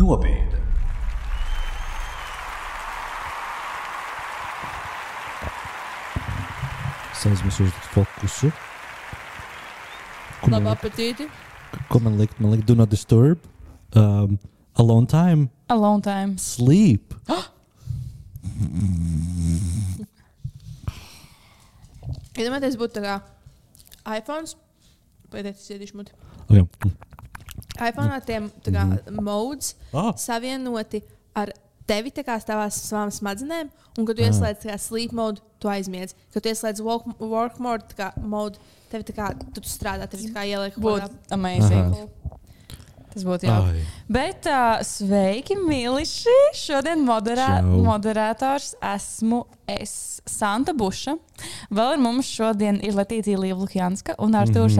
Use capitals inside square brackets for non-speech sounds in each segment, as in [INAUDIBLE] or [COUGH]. Nobīde. Sēžamies uz fokusu. Ko man Labu likt? apetīti. Ko man likt? Man likt, do not disturb. Um, alone time. A long time. Sleep. Iedomājieties, būtu tā kā iPhone. Pēdējais sēdīšu muti. Okay. iPhone tiem tā kā modes Ah. savienoti ar tevi tā kā savām savām smadzenēm, un kad tu ieslēdz tā kā sleep mode, tu aizmiedz. Kad tu ieslēdz work, work mode, tā kā mode, tev tā kā tu tur strādā, tev tā kā ieliek būtu kaut amazing. kādā- Tas būtu jauki. Ai. Bet uh, sveiki, mīļiši! Šodien moderā Čau. moderators esmu es, Santa Buša. Vēl ar mums šodien ir Latīcija Līja Lukjanska un Artūrs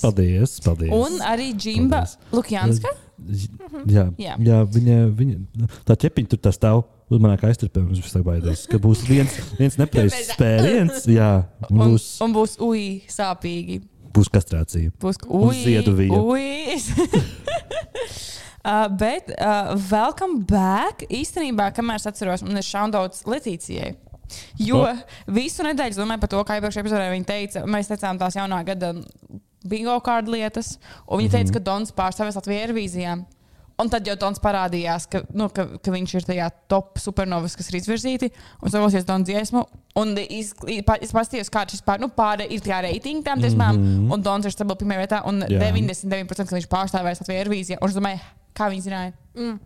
Mhm. Paldies, paldies. Un arī Džimba Paldies. Lukjanska. Ž- Jā, jā. Jā. jā viņa, viņa tā ķepiņa tur tā stāv. Uz manā aizturpē viņš visu laiku baidās, ka būs viens, viens nepareizs spēriens. Jā, un Un, būs, un būs ui, sāpīgi. būs kastrācija. Būs Un ziedu vija. uji. [LAUGHS] Uh, bet, uh, welcome back. Īstenībā, kamēr es atceros, man ir šaudauts Letīcijai. Jo O. visu nedēļu es domāju par to, kā iepriekšējā epizodē viņa teica, mēs teicām tās jaunā gada bingo kārdu lietas, un viņa teica, ka Dons pārstāvēs Latviju Eirovīzijā. Un tad jau Dons parādījās, ka, nu, ka, ka viņš ir tajā top supernovas, kas ir izvirzīti, un savosies Dons dziesmu. Un iz, i- pa- es paskatījos, kāda ir pār, nu, pāri ir tajā reitingā tam dziesmām, mm -hmm. un Dons ir stabils pirmajā vietā, un Jā. 99% ka viņš pārstāvēs Latviju Eirovīzijā. Un es domāju, kā viņi zināja. Mm.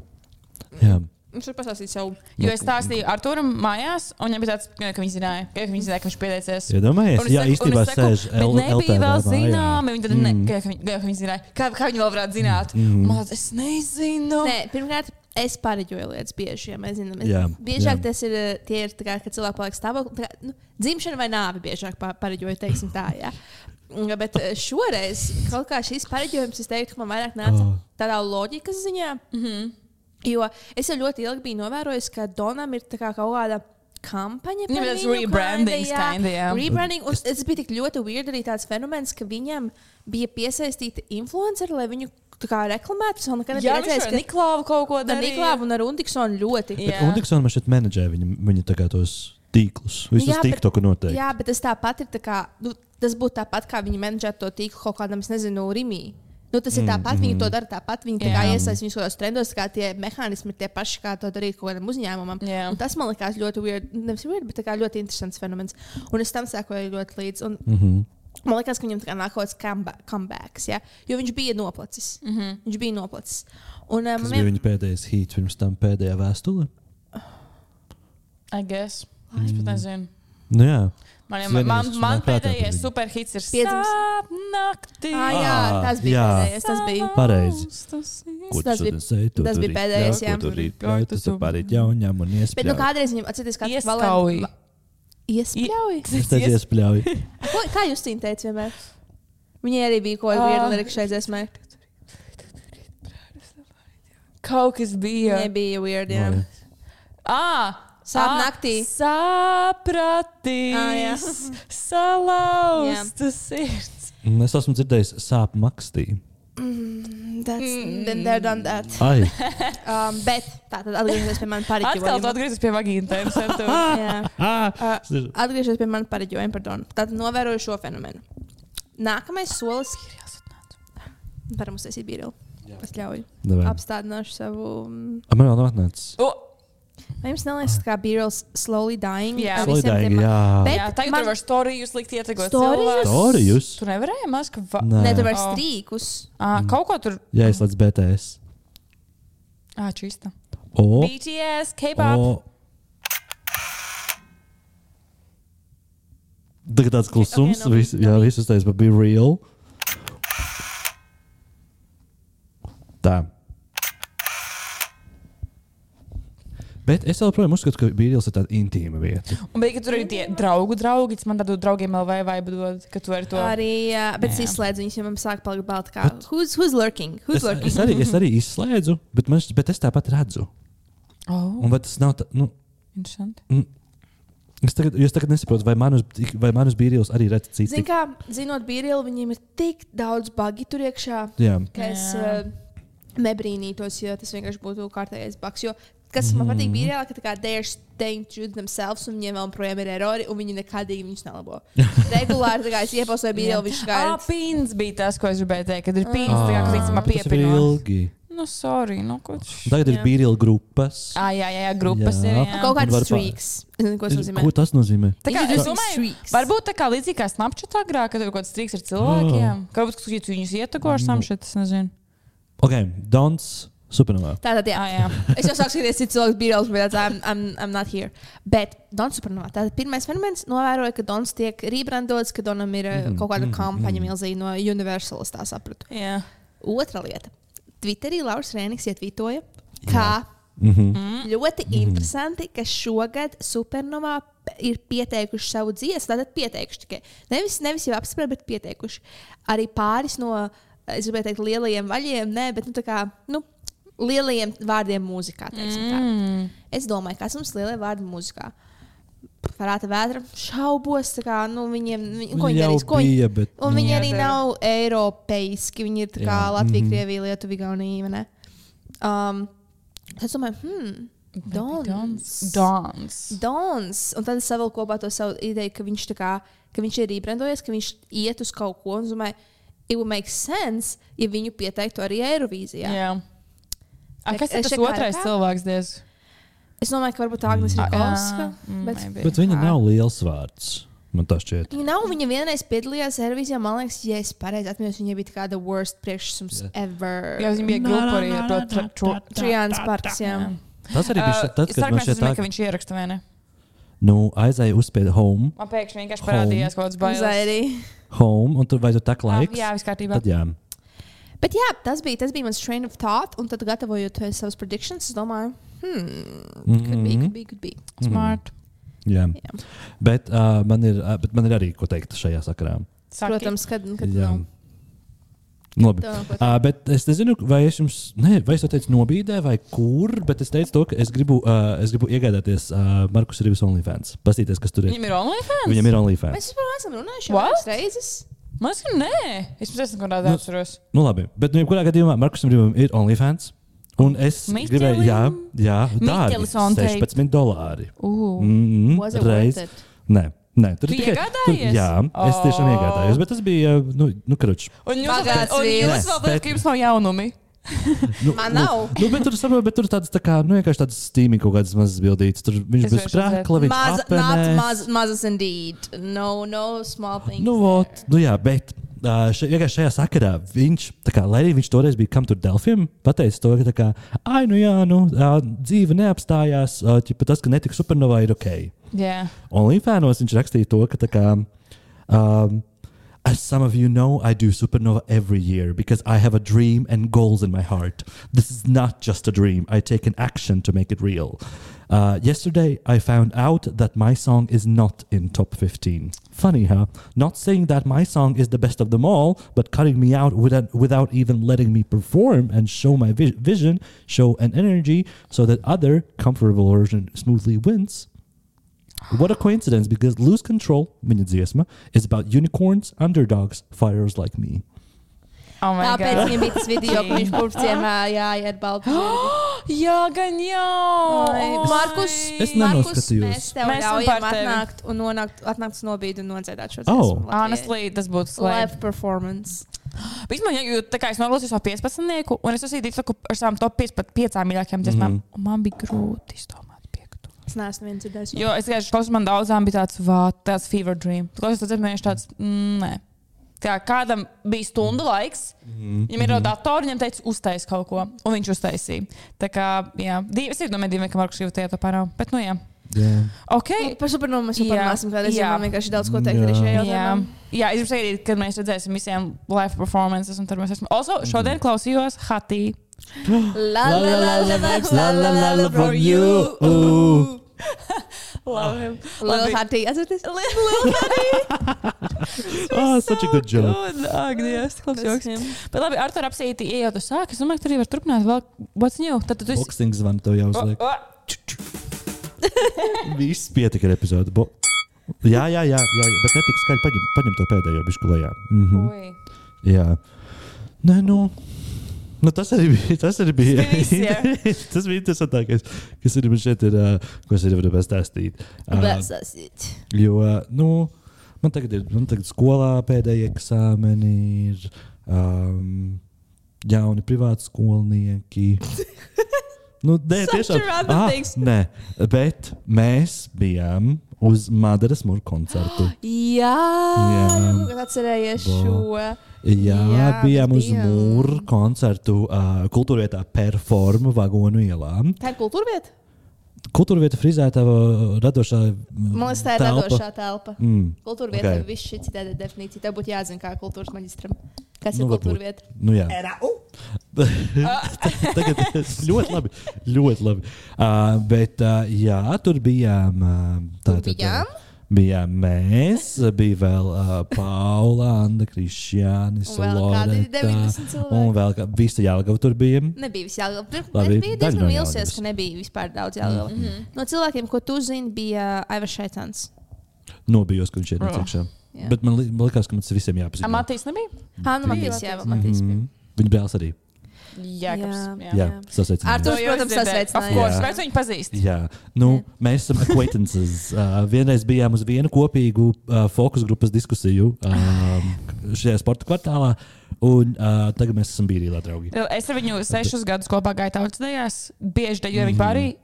Jā. Viņš tur pasāstīja savu. Jo es stāstīju Arturam mājās, un viņam bija tāds, ka viņš zināja, ka viņš, zināja, ka viņš pieteicies. Iedomājies, Un es ja saku- un īstenībā es saku, sēž bet L- nebija LTV vēl mājā. zināma. Viņa tad ne, Mm. ka, ka, viņi- ka viņi zināja, kā, kā viņi vēl varētu zināt. Mm. Man liekas, es nezinu. Nē, pirmkārt, es pareģoju lietas bieži, ja mēs zinām. Es, jā, Jā, jā. biežāk jā. tas ir, eh, tie ir tā kā, kad cilvēki paliek stāvoklī. tā kā, Nu, dzimšana vai nāve biežāk pa- pareģoju, teiksim tā. Jā. Mm, Bet eh, šoreiz kaut kā šis pareģojums, es teiktu, ka man vairāk nāca tādā loģikas ziņā. Mm -hmm. Mhm. Jo es jau ļoti ilgi biju novērojis, ka Donam ir tā kā kaut kāda kampaņa. Jā, par tas viņu rebrandings kinda, kinda, jā. Rebranding, un tas bija tik ļoti weird arī tāds fenomens, ka viņam bija piesaistīta influenceri, lai viņu tā kā reklamētu. Es vēl nekad Jā, nebiju viņš redzējis, ar ka Niklāvu kaut ko Ar darīja. Niklāvu un ar Undiksonu ļoti. Jā. Bet Undiksona man šeit menedžē viņa, viņa tā kā tos tīklus. Visus Jā, bet- tīktoku noteikti. Jā, bet tas tāpat ir. Tā kā, nu, tas būtu tāpat, kā viņi menedžētu to tīklu kaut kādam, es nezinu, rimī. Nu, tas ir tāpat, viņi to dara tāpat. Viņi tā kā Jā. iesaistās viņus kaut kādos trendos, tā kā tie mehānismi ir tie paši, kā to darīt kaut kādam uzņēmumam. Jā. Un Tas man likās ļoti weird, nevis weird, bet tā kā ļoti interesants fenomens. Un es tam sekoju ļoti līdzi. Un, mm Mhm. -hmm. Man liekas, ka viņam tā kā nāk kaut kāds comeba- comebacks, ja? jo viņš bija noplacis. Mm -hmm. Viņš bija noplacis. Un, um, Tas bija viņa pēdējais hīts pirms tam pēdējā vēstulē. I guess. Es pat nezinu. Nu, jā, Man, jau, Zvanīgs, man, man man prātā pēdējais bija. superhits ir Piedzims. Sāpnaktī. ah, jā, Ā, tas bija jā. pēdējais. Tas bija. pareizi. Ko tu Tas bija- šodien sēdi, tu tas tur bija rīt pēdējais, pļauj, jā. tu Tur tur rīt pļauj, tu bija tur pārīt pārīt jaunām un Bet nu, iespējām. kādreiz viņam atcerieties, kāds ir Ieskauj. Iespļauj. Es tev iespļauju. Ko- Kā jūs cīnāties teicat vienmēr? Viņai arī bija kaut Ā. kāda viena lirika šai dziesmai. Kaut kas bija. Viņai bija weird, jā. Vai. Ah, Sāp naktī. Ah, jā. [LAUGHS] Sapratīs, salauztas sirds. Un [LAUGHS] Es esmu dzirdējis sāpju makstī. Mm, That's, Mm, then they're done that. [LAUGHS] Ai, Um, bet tā tad atgriežamies pie manas Atkal tu pareģojuma. atgriezies pie vagīna tēmas. ar to. [LAUGHS] Jā. ah, Ā, Atgriežamies pie manas pareģojuma, pardon. Tātad novēroju šo fenomenu. Nākamais solis varam uztaisīt bīrili. Es ļauju. Davai. Apstādināšu savu. mm, man vēl nav atnācis. O, Vai jums neliekas, ka bīrils slowly dying? Jā. Ar visiem Slowly dying, tiem- jā. Bet Jā, tagad man- man... var storijas likt ietekot Storijus? Storijus? Tu nevarēji maz, ka... Va... Nē. Nē, tu vairs Ā. strīkus. À, kaut ko tur... Jā, es ledu BTS. Ā, čista. O, BTS, K-pop. o. Tagad tāds klusums. Ok, no- Vis- no Jā, viss uztais, bet bija real. Tā. Bet es joprojām uzskatu, ka Bībelis ir tāda intīma vieta. Un bija, ka tur ir tie draugu draugi. Tas man tādu draugiem LV vaibu dod, ka tu vari to... Arī, uh, bet es Jā. izslēdzu viņus, jo man sāk palikt balti. Kā, who's, who's lurking? Who's Es, lurking? es, arī, es arī izslēdzu, bet, man, šķiet- bet es tāpat redzu. Oh, Un vai tas nav tā, nu, interesanti. Es tagad, es tagad nesaprotu, vai manus, vai manus bīrīļus arī redz citi. Ziniet, kā zinot, Bīrilu, viņiem ir tik daudz bagi tur iekšā, Jā, ka es Jā. uh, nebrīnītos, ja tas vienkārši būtu kārtējais bags. Jo, kas man patīk, Mhm. bija reāli, ka tā kā dēļas staying true to themselves, un viņiem vēl projām ir erori, un viņi nekādīgi [LAUGHS] viņus nelabo. Regulāri, tā kā es iepazīstu ar Bīrilu, viņš kā Ah, ir. pīns bija tas, ko es gribēju teikt, kad ir pīns. Tā kā līdz Ah. tas ir piepilnām. ilgi. Nu, sorry, nu, kurš. Tagad ir Jā. bīrīļu grupas. Ah, jā, jā, jā, grupas Jā. jā. ir. Jā. Kaut Un var kāds pār- streaks. Es nezinu, ko tas nozīmē. Ko tas nozīmē? Tā kā, es Individual domāju, streaks. varbūt tā kā līdzīgi kā Snapchatā agrāk, kad tur kaut kāds strīks ar cilvēkiem. Oh. Kaut kas, kas viņus ietekmē Mm. ar Snapchat, es nezinu. Ok, Dons, supernovā. Tātad, jā. Ah, jā. Es jau sāku skatīties, cik cilvēks bija reāls, bet I'm, I'm not here. Bet Dons supernovā. Tātad pirmais fenomens novēroja, ka Dons tiek rebrandots, ka Donam ir mm -hmm. kaut kāda kampaņa mm -hmm. milzīga no Universalas, tā sapratu. Jā. Otra lieta. Twitterī Lauris Rēniks ietvītoja, ka Mhm. Mm-hmm. ļoti interesanti, ka šogad supernovā p- ir pieteikuši savu dziesmu. Tātad pieteikuši tikai. Nevis, nevis jau apspriež, bet pieteikuši. Arī pāris no, es gribēju teikt, lielajiem vaļiem, nē, bet nu, tā kā, nu, lielajiem vārdiem mūzikā. teiksim tā. Mm. Es domāju, kas mums lielie vārdi mūzikā. Parāda vētra, šaubos, tā kā, nu, viņiem, viņi, ko viņi Jau darīs. Ko viņi, bija, bet- un viņi Nu, Jā, arī tā ir. Mhm. nav eiropeiski. Viņi ir tā kā Jā. Latvija, Krievija, Lietuva, Igaunija. vai ne? Um, tad es domāju, hmm, Dons. Dons. Dons. Un tad es savilku kopā to savu ideju, ka viņš, tā kā, ka viņš ir rebrandojies, ka viņš iet uz kaut ko. Un es domāju, it would make sense, ja viņu pieteiktu arī Eirovīzijā. Jā. A, kas ir Es tas šeit kā otrais kā? cilvēks? Diez? Es domāju, ka varbūt Agnēs ir Ah, Kalska. jā, mm, Bet maybe. Bet viņa nav liels vārds. Man tas šķiet. Viņa nav, viņa vienreiz piedalījās servisā, man liekas, ja es pareizi atceros, viņa bija tāda worst priekšsums yeah. ever. Jā, viņam bija grupa arī ar to tra- tro- Trijāns parks, jā. Jā. Tas arī bija Ā, ša- tad, kad man Sarkans šķiet, zināja, tā, ka viņš ieraksta vienā. nu, aizēja uzspiedu home, Man pēkšņi vienkārši Home. parādījās kaut kāds bailes. Zairī. home, un tur vai tu tā kā Ah, laiks? Jā, viss kārtībā. Tad jā. Bet jā, tas bija, tas bija mans train of thought, un tad gatavojot eh, savas predictions, es domāju, hmm, could be, could be, could be. Smart. Mhm. Jā. Jā. Bet, uh, man ir, uh, bet man ir arī ko teikt šajā sakarā. Saki. Protams, kad, kad Jā. nav. Nu, Labi. Domā, ko Uh, bet es nezinu, vai es jums, ne, vai es to teicu nobīdē, vai kur, bet es teicu to, ka es gribu, uh, es gribu iegādāties uh, Markus Rīgas OnlyFans. Pastīties, kas tur ir. Viņam ir OnlyFans? Viņam ir OnlyFans. Mēs vispār esam runājuši jau What? vairākas reizes. Man liekas, ka nē. Es pats esmu kaut kādā apsvēros. Nu, labi. Bet, nu, jebkurā gadījumā Markus Rīgas ir OnlyFans. Un es Mikelim? gribēju, jā, jā dārgi, Mikelis on tape. 16 dolāri. Uh. Mm, Was it reiz. worth it? Nē, nē, tur Tu ir tikai. Tur, iegādājies? jā, es tiešām Oh. iegādājos, bet tas bija, nu, nu karoči. Un jūs Bagāts un vīrs. jūs vēl teicat, ka jums nav jaunumi. Nu, Man nu, nav. Nu, bet tur saprot, bet tur tādas tā kā, nu, vienkārši tādas stīmi kaut kādas mazas bildītas. Tur viņš Es bija vairs sprākla, viņš Maz, not apenēs. maz, mazas indeed. No, no small things. Nu, vot, nu jā, bet ā, še- vienkārši šajā sakarā viņš, tā kā, lai arī viņš toreiz bija kam tur Delfim, pateica to, ka, tā kā, ai, nu jā, nu, ā, dzīve neapstājās, ķipa tas, ka netika supernovā, ir ok. Jā. Un Līmfēnos viņš rakstīja to, ka, tā kā, um, As some of you know, I do Supernova every year because I have a dream and goals in my heart. This is not just a dream. I take an action to make it real. Uh, yesterday, I found out that my song is not in top 15. Funny, huh? Not saying that my song is the best of them all, but cutting me out without, without even letting me perform and show my vi- vision, show an energy, so that other comfortable version smoothly wins. What a coincidence because Lose Control, viņa dziesma, is about unicorns, underdogs, fighters like me. Oh my Tāpēc God. viņam [LAUGHS] bija tas video, ka viņš purvciem jājai ar [GASPS] baltu. Nu, Jā, Oh, gan jau. Ai, Markus, Es Markus, nenoskatījos. mēs tev Mēs esam ļaujam par tevi. atnākt un nonākt, atnākt uz nobīdi un nodziedāt šo Oh. dziesmu. Latvijai. Honestly, tas būtu slēpts. Live performance. Vispār, ja tā kā es nolasīju savu 15, un es uzsīju tiktu ar savām top 5, 5 mīļākajām dziesmām, mm. un man bija grūti izdomāt piekto. Es neesmu viens dzirdējis. Jo es vienkārši klausos, man daudzām bija tāds, vā, tāds fever dream. Tu Klausos, tas vienkārši tāds, mm, nē. Kā kādam bija stunda laiks, mm. viņam Mhm. ir mm. dators, viņam teica, uztais kaut ko, un viņš uztaisīja. Tā kā, jā, divi, es domāju, divi, ka Markus jau tajā to parāda. Bet, nu, jā, Yeah. ok. Nu, Par supernomu mēs jau Jā. parunāsim, kad es Jā. jau vienkārši daudz ko teikt arī Jā. šajā Jā, jautājumā. jā es gribu teikt, ka mēs redzēsim visiem live performances, un tur mēs esam. Also, Mhm. šodien klausījos Hatī. La, La la, la, la, vibes, la, la, la, la, from you. [LAUGHS] Ooh. Love him. Lielu hati, [LAUGHS] atcerieties? Lielu Oh, such a good joke. Ak, Dievs, klaus joks. him. Bet labi, Artur, apsīti, ejot uz sāku. Es domāju, ka tur arī var turpināt vēl. What's new? Tad tu esi. Boxing zvanu tev jau O, uzliek. o. Viss pietika ar epizodi. Bo... Jā, jā, jā, jā, jā, bet netika skaļi. Paņem, paņem to pēdējo bišu lejā. Mm -hmm. Ui. Jā, nē, nu. Nu, tas arī bija. Tas, arī bija Tas bija [LAUGHS] tas bija interesantākais, kas arī man šeit ir. Uh, ko es arī varu pastāstīt. Uh, Vēsāsiet. jo, uh, nu, man tagad ir man tagad skolā pēdējie eksāmeni, ir um, jauni privāti skolnieki. Nu, nē, Such tiešām Ah, random things. nē, bet mēs bijām uz Madaras mūra koncertu. Jā, Jā. jā. atcerējies Bo. šo. Jā, Jā Jā, bijām uz bijām. mūra koncertu uh, kultūrvietā Performa vagonu ielām. Tā ir kultūra vieta? Kultūra vieta frizētava eh, radošā. Man liekas, tā ir telpa. radošā telpa. Mm. Kultūra vieta, Ok. okay. viss šī citāda definīcija. Tev būtu jāzina, kā kultūras maģistram. Kas ir Nu, nu, varbūt. kultūra vieta? Nu, jā. [LAUGHS] Ah. Tagad [LAUGHS] ļoti labi. Ļoti labi. Uh, bet, uh, jā, tur bijām. Uh, tā, Tur bijām? Bijām mēs, bija vēl uh, Paula, Anna, Kristiānis, Un vēl kādi Loreta, 90 cilvēki. Un vēl kā, visi jālgava tur bija. Nebija viss jāgala. Tur Labi, es biju daļa no diezgan vīlusies, Jelgavas. ka nebija vispār daudz jāgala. Mm -hmm. No cilvēkiem, ko tu zini, bija Aivars Šaitans. Nobijos, ka viņš ir Ah. iekšā. Oh, Jā. Bet man, li man liekas, ka mums visiem jāpazīst. Matīs nebija? Mhm. Hanna Matīs, jā, Matīs. bija. Viņa brālis arī. Jēkabs. Jā. Jā, Ar sasveicināmies. to, protams, sasveicinājās. Ko es Jā. redzu, viņu pazīst? Jā, nu, mēs esam acquaintances. Uh, vienreiz bijām uz vienu kopīgu uh, fokus grupas diskusiju um, šajā sporta kvartālā, un uh, tagad mēs esam bijuši draugi. Nu, Es ar viņu sešus gadus kopā gāju tautas dēļās, bieži dejoju viņu pārī.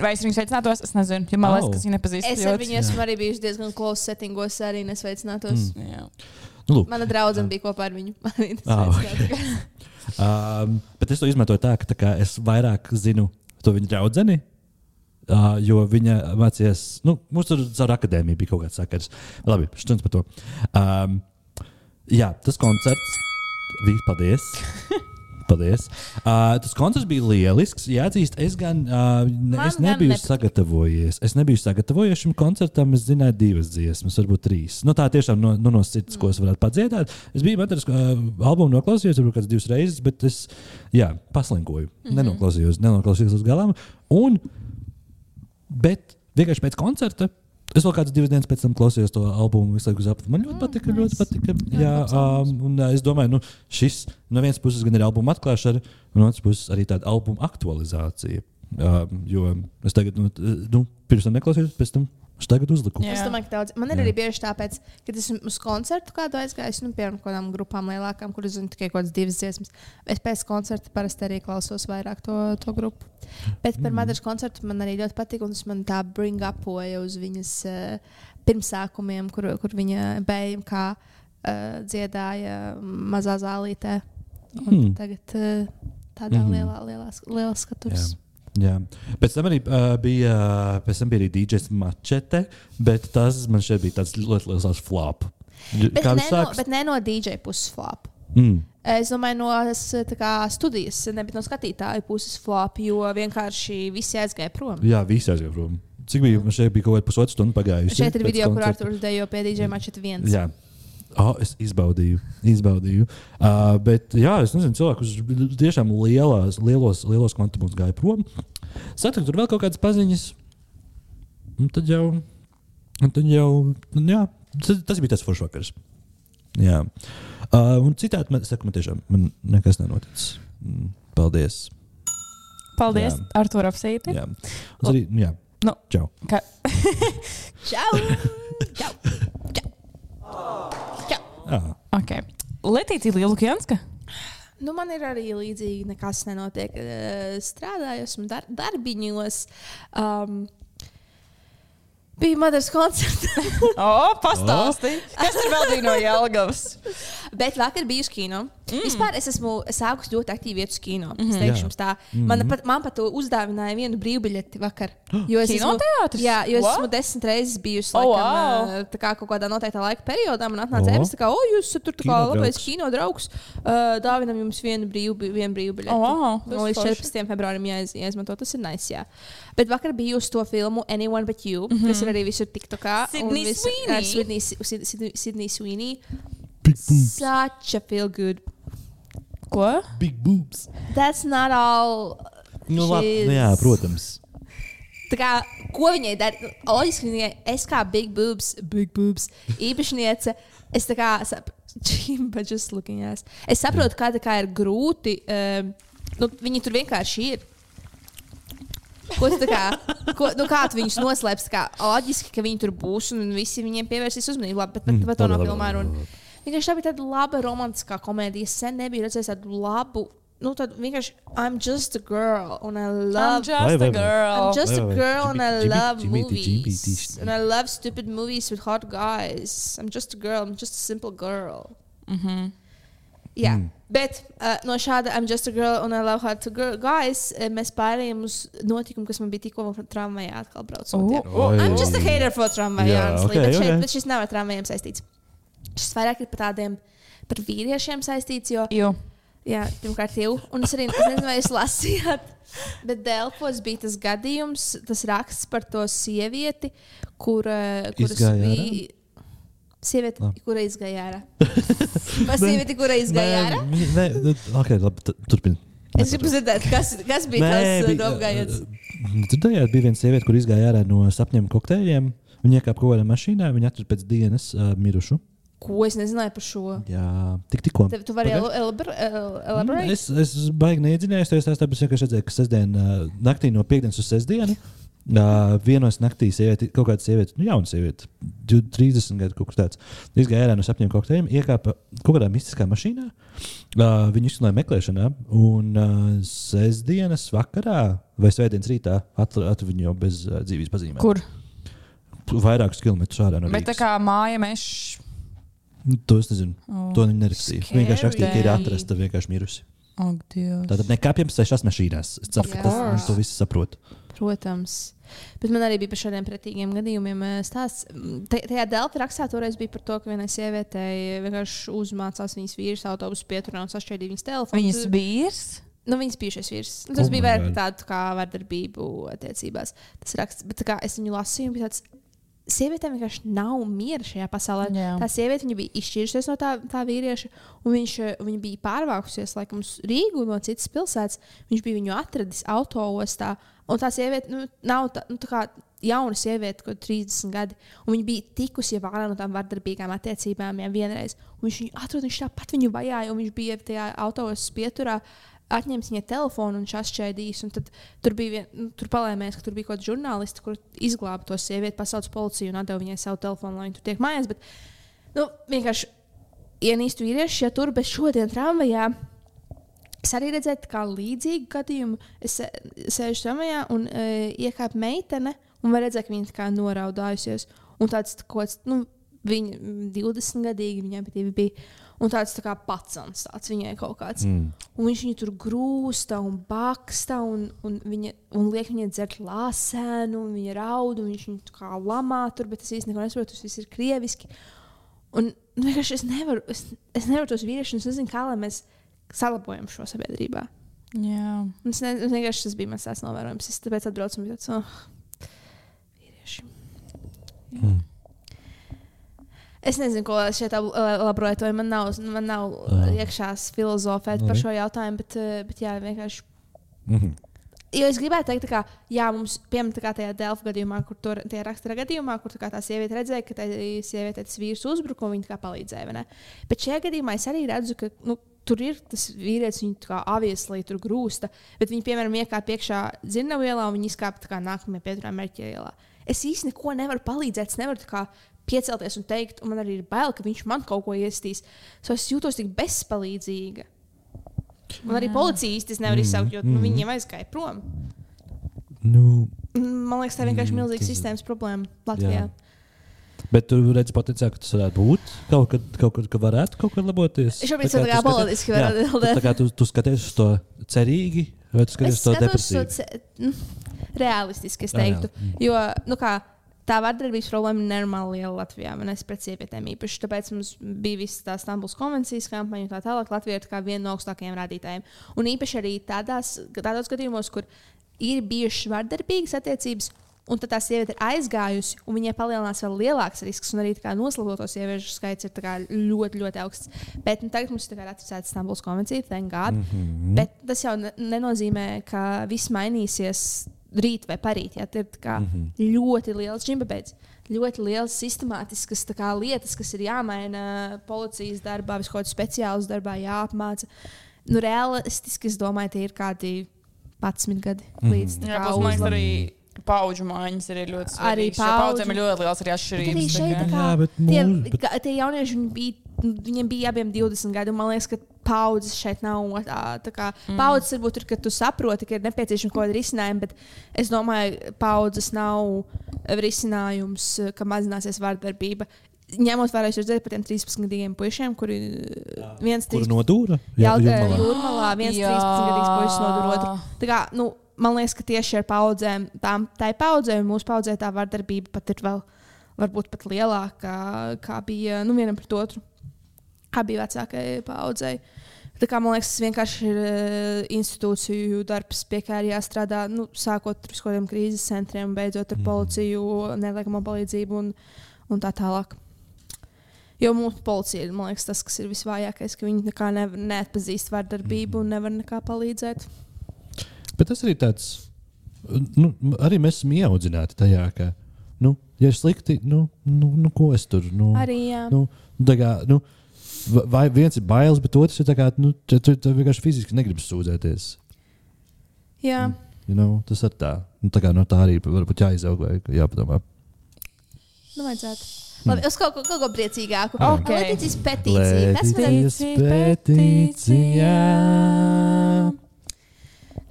Vai es viņu sveicinātos? Es nezinu, jo man Mhm. Au. liekas, ka viņu nepazīst. Es ar viņu esmu arī bijusi diezgan close settingos, arī nesveicinātos. Mm. viņu. Nu, lūk. Mana draudzene bija kopā ar viņu. [LAUGHS] Arī Ah, nesveicinātos. um, bet es to izmantoju tā, ka tā kā es vairāk zinu to viņa draugu. Uh, jo viņa mācījās, nu, mums tur caur akadēmiju bija kaut kāds sakars. Labi, stundas par to. Um, jā, tas koncerts bija. Paldies! [LAUGHS] Paldies. Uh, tas koncerts bija lielisks. Jāatzīst, es gan uh, ne, Man es gan nebiju ne- sagatavojies. Es nebiju sagatavojies šim koncertam. Es zināju, divas dziesmas, varbūt trīs. Nu, tā tiešām no, no, no sirds, ko es varētu padziedāt. Es biju matras uh, albumu noklausījies, varbūt kādas divas reizes, bet es jā, paslinkoju. Mm Mhm. -hmm. Nenoklausījos, nenoklausījos līdz galam. Un, bet vienkārši pēc koncerta. Es vēl kādas divas dienas pēc tam klausījos to albumu, visu laiku uz apakšu. Man Ah, ļoti patika, ļoti patika. Jā, um, un uh, es domāju, nu, šis no vienas puses gan ir albuma atklāšana, un no otras puses arī tāda albuma aktualizācija. Um, jo es tagad, nu, t- nu pirms tam neklausījos, pēc tam es tagad uzliku. Jā. Es domāju, ka daudz. Man ir arī bieži tāpēc, kad esmu uz koncertu kādu aizgājis, nu, piemēram, kaut kādām grupām lielākām, kuras zinu tikai kaut kādas divas dziesmas. Es pēc koncerta parasti arī klausos vairāk to, to grupu. Bet par mm. Madaras koncertu man arī ļoti patīk, un tas man tā bring upoja uz viņas uh, pirmsākumiem, kur, kur viņa bērnam kā uh, dziedāja mazā zālītē. Un Mm. tagad uh, tādā Mhm. mm. lielā, lielā, lielā skatuvē. Jā. Pēc tam arī uh, bija, pēc tam bija arī DJs mačete, bet tas man šeit bija tāds ļoti liels flop. Bet Kā ne, viņš no, sāks? bet ne no DJ puses flāpa. Mm. Es domāju, no es, tā kā, studijas, nevis no skatītāju puses flop, jo vienkārši visi aizgāja prom. Jā, visi aizgāja prom. Cik bija? Man šeit bija kaut kāda pusotra stunda pagājusi. Šeit ir pēc video, kur koncerta. Arthurs dejo pie DJ mačeta viens. Jā. Oh, es izbaudīju, izbaudīju. Uh, bet, jā, es nezinu, cilvēkus tiešām lielās, lielos, lielos kvantumos gāja prom. Satiku, tur vēl kaut kādas paziņas. Un tad jau, un tad jau un jā, tas, tas bija tas foršs vakars. Jā. Uh, un citādi, man, saku, man tiešām man nekas nenoticis. Mm, Paldies. Paldies, Jā. Artur, apsīti. Jā. Un Arī, nu jā. Nu. Čau. Čau! Čau! Čau! Čau! Ah. Okay. Letīcija Lielu Kjanska. Nu, man ir arī līdzīgi, nekas nenotiek. Eh, Strādāju, esmu dar darbiņos. Um, bija Madaras koncerts, [LAUGHS] O, pastāsti! Kas tur vēl bija no Jelgavas? bet vakar biju uz kino. Mm. Vispār es esmu sākus ļoti aktīvi iet uz kino. Mm Mhm. -hmm. Jā. teikšu, jums tā. Man pat, man pat to uzdāvināja vienu brīvbiļeti [GASPS] vakar. Jo es esmu- Kinoteātris? Jā, jo es What? esmu desmit reizes bijusi Oh, laikam, wow. oh, wow. kā, kaut kādā noteiktā laika periodā. Man atnāca Oh. oh. e-pasta, ka, o, jūs esat tur tā kā Kinodraugs. labais kino draugs. Uh, dāvinam jums vienu brīvbiļeti. Vienu brīvbiļeti. Oh, wow. Tas no, līdz forši. 14. februārim jāiz, jāizmanto. Tas ir nice. Jā. Bet vakar biju uz to filmu Anyone But You, Mhm. mm -hmm. kas ir arī visur TikTokā. Sydney Uh, Sweeney. Sidney Sweeney. Big boobs. Such a feel good. Ko? Big boobs. That's not all. uh, Nu, labi, She's- nu, jā, protams. Tā kā, ko viņai dara? Loģiski, viņai es kā big boobs, big boobs īpašniece. Es tā kā [LAUGHS] saprotu, es saprotu, kā, tā kā ir grūti. Um, nu, viņi tur vienkārši ir. Ko tu tā kā, ko, nu, kā tu viņus noslēpsi? Tā kā Loģiski, ka viņi tur būs un visi viņiem pievērsīs uzmanību. Labi, bet, bet, Mm, bet to labi, nav labi, filmā. labi, Un... labi. Vienkārši tā bija tāda laba romantiskā komēdija. Es sen nebiju redzējis tādu labu, nu, tādu vienkārši I'm just a girl and I I'm love just Vai, vai, vai. a girl. I'm just Wait, a wait, wait. girl and I Jimmy- love Jimmy- Jimmy- movies. Jimmy- And I love stupid movies with hot guys. I'm just a girl. I'm just a simple girl. Mhm. Jā, Mm. bet uh, no šāda I'm just a girl and I love hot girl guys eh, mēs pārējām uz notikumu, kas man bija tikko tramvajā atkal braucot. jā. Oi. Oh, I'm just a hater for tramvaju, Oh. Jā, yeah, honestly. Okay, okay, bet, šeit, okay. okay. bet šis nav ar tramvajiem saistīts. Šis vairāk ir par tādiem, par vīriešiem saistīts, jo Jū. Jā, pirmkārt, jau. Un es arī es nezinu, vai jūs lasījāt, bet Dēlpos bija tas gadījums, tas raksts par to sievieti, kur, eh, kuras Izgāja bija. Sieviete, Labi. kura izgāja ārā. Par sievieti, kura izgāja ārā. Nē, nē, okay, labi, tu- turpini. Es gribu dzirdēt, kas, kas bija tas eh, domājums. Dzirdējāt, nu, bija viena sieviete, kur izgāja ārā no sapņiem kokteļiem. Viņa iekāpa kaut kādā mašīnā, viņa atrada pēc dienas uh, mirušu. Ko es nezināju par šo? Jā, tik tikko. Tev, tu vari Pagaid. Mm, elaborēt? Es, es baigi neiedziļinājos, jo es tās tāpēc vienkārši redzēju, ka sestdien, ā, naktī no piekdienas uz sestdienu. Uh, vienos naktī sievieti, kaut kāda sieviete, nu, jauna sieviete, div- 30 gadu kaut kas tāds, izgāja ārā no sapņiem kokteļiem, iekāpa kaut kādā mistiskā mašīnā. Uh, viņu izslēdza meklēšanā, un uh, sestdienas vakarā vai svētdienas rītā atrada viņu jau bez uh, dzīvības pazīmēm. Kur? Vairākus kilometrus ārā no Bet tā Rīgas. kā māja mežs. Nu, To es nezinu. Oh. To viņi nerakstīja. Viņi vienkārši rakstīja, ka ir Scary. atrasta vienkārši mirusi. Ak, Dievs. Tātad nekāpjam sešās mašīnās. Es ceru, Of ka tas course. mums to viss saprot. Protams. Bet man arī bija par šādiem pretīgiem gadījumiem eh, stāsts. Mm, Te- Tajā Delta rakstā toreiz bija par to, ka vienai sievietei vienkārši uzmācās viņas vīrs autobusu pieturā un sašķēdīja viņas telefonu. Viņas vīrs. nu, viņas bijušais vīrs. Nu, Oh tas my bija vairāk God. tādu kā vardarbību attiecībās. Tas raksts, bet tā kā es viņu lasīju, un bija tāds. Sievietēm vienkārši nav miera šajā pasaulē. Jā. Tā sieviete viņa bija izšķīrusies no tā, tā vīrieša, un viņš, eh, viņa bija pārvākusies laikam uz Rīgu no citas pilsētas. Viņš bija viņu atradis autoostā. Un tā sieviete nu, nav tā, nu, tā kā jauna sieviete, kur 30 gadi. un Viņa bija tikusi jau ārā no tām vardarbīgām attiecībām jau vienreiz. Un viņš viņu atrada, viņš tāpat viņu vajāja, un viņš bija tajā autoostā pieturā atņēmis viņai telefonu un šāšķēdījis. Un tad tur bija vien, nu, tur palēmēs, ka tur bija kaut kāds žurnālists, kur izglāba to sievieti, pasauca policiju un atdeva viņai savu telefonu, lai viņa tur tiek mājās. Bet, nu, vienkārši ienīstu vīrieši, ja tur bez šodien tramvajā. Es arī redzēju, kā līdzīgu gadījumu. Es sē- sēžu tramvajā un e, iekāpu meitene, un var redzēt, ka viņa tā kā noraudājusies. Un tāds tā kaut kāds, nu, viņa mm, 20 gadīgi viņai pat divi bija. Un tāds tā kā pacans, tāds viņai kaut kāds. Mm. Un viņš viņu tur grūsta un baksta, un, un, viņa, un liek viņai dzert lāsēnu, un viņa raud, un viņš viņu tā kā lamā tur, bet es īstenībā neko nesaprotu, tas viss ir krieviski. Un nu, vienkārši es nevaru, es, es nevaru tos vīriešus, un es nezinu, kā lai mēs salabojam šo sabiedrībā. Jā. Un Es, ne, es vienkārši tas bija mans tās novērojums. Es tāpēc atbraucu un biju tāds, oh, vīrieši. Jā. Mm. Es nezinu, ko lai es šeit laborēju, vai man nav, man nav Ah. iekšā filozofēt Labi. par šo jautājumu, bet, eh, bet jā, vienkārši Mm -hmm. Jo es gribēju teikt, tā kā, jā, mums, piemēram, tā kā tajā Dēlķa gadījumā, kur tur tie rakstura gadījumā, kur tā, kā tā sieviete redzēja, ka tai sieviete tas vīrs uzbruka un viņa tā kā palīdzēja. vai ne? Bet šajā gadījumā es arī redzu, ka nu, tur ir tas vīrietis, viņa tā kā avieslī tur grūsta, bet viņa, piemēram, iekāpa iekšā dzinēvielā un viņa izkāpa tā kā nākamajā pieturā mērķa ielā. Es īstenībā neko nevaru palīdzēt, es nevaru tā kā piecelties un teikt, un man arī ir bail, ka viņš man kaut ko iestīs. So es jūtos tik bezpalīdzīga. Man arī policija īsti nevar izsaukt, jo nu, mhm. viņiem aizgāja prom. nu, Man liekas, tā ir vienkārši Mm, milzīga tas- sistēmas problēma Latvijā. Jā. bet tu redz potenciāli, ka tas varētu būt. Kaut kad, kaut kad ka varētu kaut kad laboties. Šobrīd Tā tas kā ir kā tu skaties- politiski. Jā, var tu atbildēt. Tā kā tu, tu skaties uz to cerīgi, vai tu skaties Es uz to skatos to depresīvi? ce- mm, realistiski, es Reāli, teiktu. Jo nu kā, tā vardarbības problēma ir nenormāli liela Latvijā. Man es pret sievietēm īpaši. Tāpēc mums bija visas tās Stambulas konvencijas kampaņa un tā tālāk. Latvija ir tā kā viena no augstākajiem rādītājiem. Un īpaši arī tādās, tādos gadījumos, kur ir bijušas vardarbīgas attiecības. Un tad tā sieviete ir aizgājusi, un viņai palielinās vēl lielāks risks. Un arī tā kā noslēgto sieviešu skaits ir tā kā ļoti, ļoti augsts. Bet nu, tagad mums ir tā kā ratificēta Stambulas konvencija, thank God. Mm -hmm. Bet tas jau ne- nenozīmē, ka viss mainīsies rīt vai parīt. Jā, tad ir tā kā, mm -hmm. ļoti liels džimbabēds, ļoti liels sistemātisks tā kā, lietas, kas ir jāmaina policijas darbā, viskot speciālus darbā, jāapmāca. Nu, realistiski es domāju, tie ir kādi 11 gadi līdz mm Jā, -hmm. plus, man liekas, arī paudžu mājiņas ir ļoti svarīgas. Arī Starp paudzēm paudžu- ir ļoti liels arī Bet arī atšķirības. šeit tā tā kā. kā, Jā, bet tie, mūs- bet- kā- tie jaunieši viņi bija. Viņiem bija abiem 20 gadi, un man liekas, ka paudzes šeit nav. Tā, tā kā, mm. Paudzes varbūt ir, ka tu saproti, ka ir nepieciešama kaut kāda risinājuma, bet es domāju, paudzes nav risinājums, ka mazināsies vārdarbība. Ņemot vērā, es redzēju par tiem 13 gadiem puišiem, kuri eh, viens Kur 13 nodūra? Jā, tā ir jūrmalā. jūrmalā. Viens Jā. 13 gadīgs puisis nodur otru. Tā kā, nu, man liekas, ka tieši ar paudzēm, tām, tai paudzē, un mūsu paudzē tā vardarbība pat ir vēl, varbūt pat lielāka, kā bija nu, vienam pret otru, kā bija vecākajai paudzei. Tā kā man liekas, tas vienkārši ir eh, institūciju darbs, pie kā ir jāstrādā. Nu, sākot ar skoliem, krīzes centriem, beidzot ar policiju, nelegālo palīdzību un, un tā tālāk. Jo mūsu policija ir man liekas, tas, kas ir visvājākais, ka viņi nekā nevar neatpazīst vardarbību un nevar nekā palīdzēt. Bet tas arī tāds, nu, arī mēs esam ieaudzināti tajā, ka, nu, ja ir slikti, nu, nu, nu ko es tur. Nu, Arī jā. nu, tā kā, nu, va- vai viens ir bailes, bet otrs ir tā kā, nu, tu, tu, tu vienkārši fiziski negribi sūdzēties. jā. You know, tas ir tā. Nu, tā kā no tā arī varbūt jāizaug vai jāpadomā. Nu, vajadzētu. Labi, uz kaut ko, kaut ko priecīgāku. Ok. Latvijas petīcija. Tas varētu, Lētīcijas petīcijā.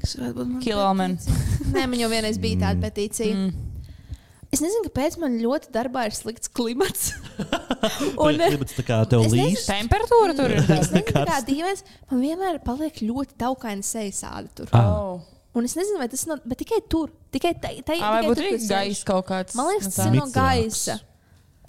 kas varētu būt man. Kilomen. Nē, man jau vienreiz bija tāda petīcija. Mm. Es nezinu, kāpēc man ļoti darbā ir slikts klimats. un, eh, Tāpēc tā kā tev Es nezinu. līdz. Temperatūra tur ir. es nezinu, kā dīvains, man vienmēr paliek ļoti taukaina sejas sāla tur. Ah. Oh. Un es nezinu, vai tas no, bet tikai tur, tikai tai- tai- tikai Vai tur, būtu kur arī es sēžu. gaisa kaut kāds? Man liekas, nu tas tā. ir no Mitrāks. gaisa.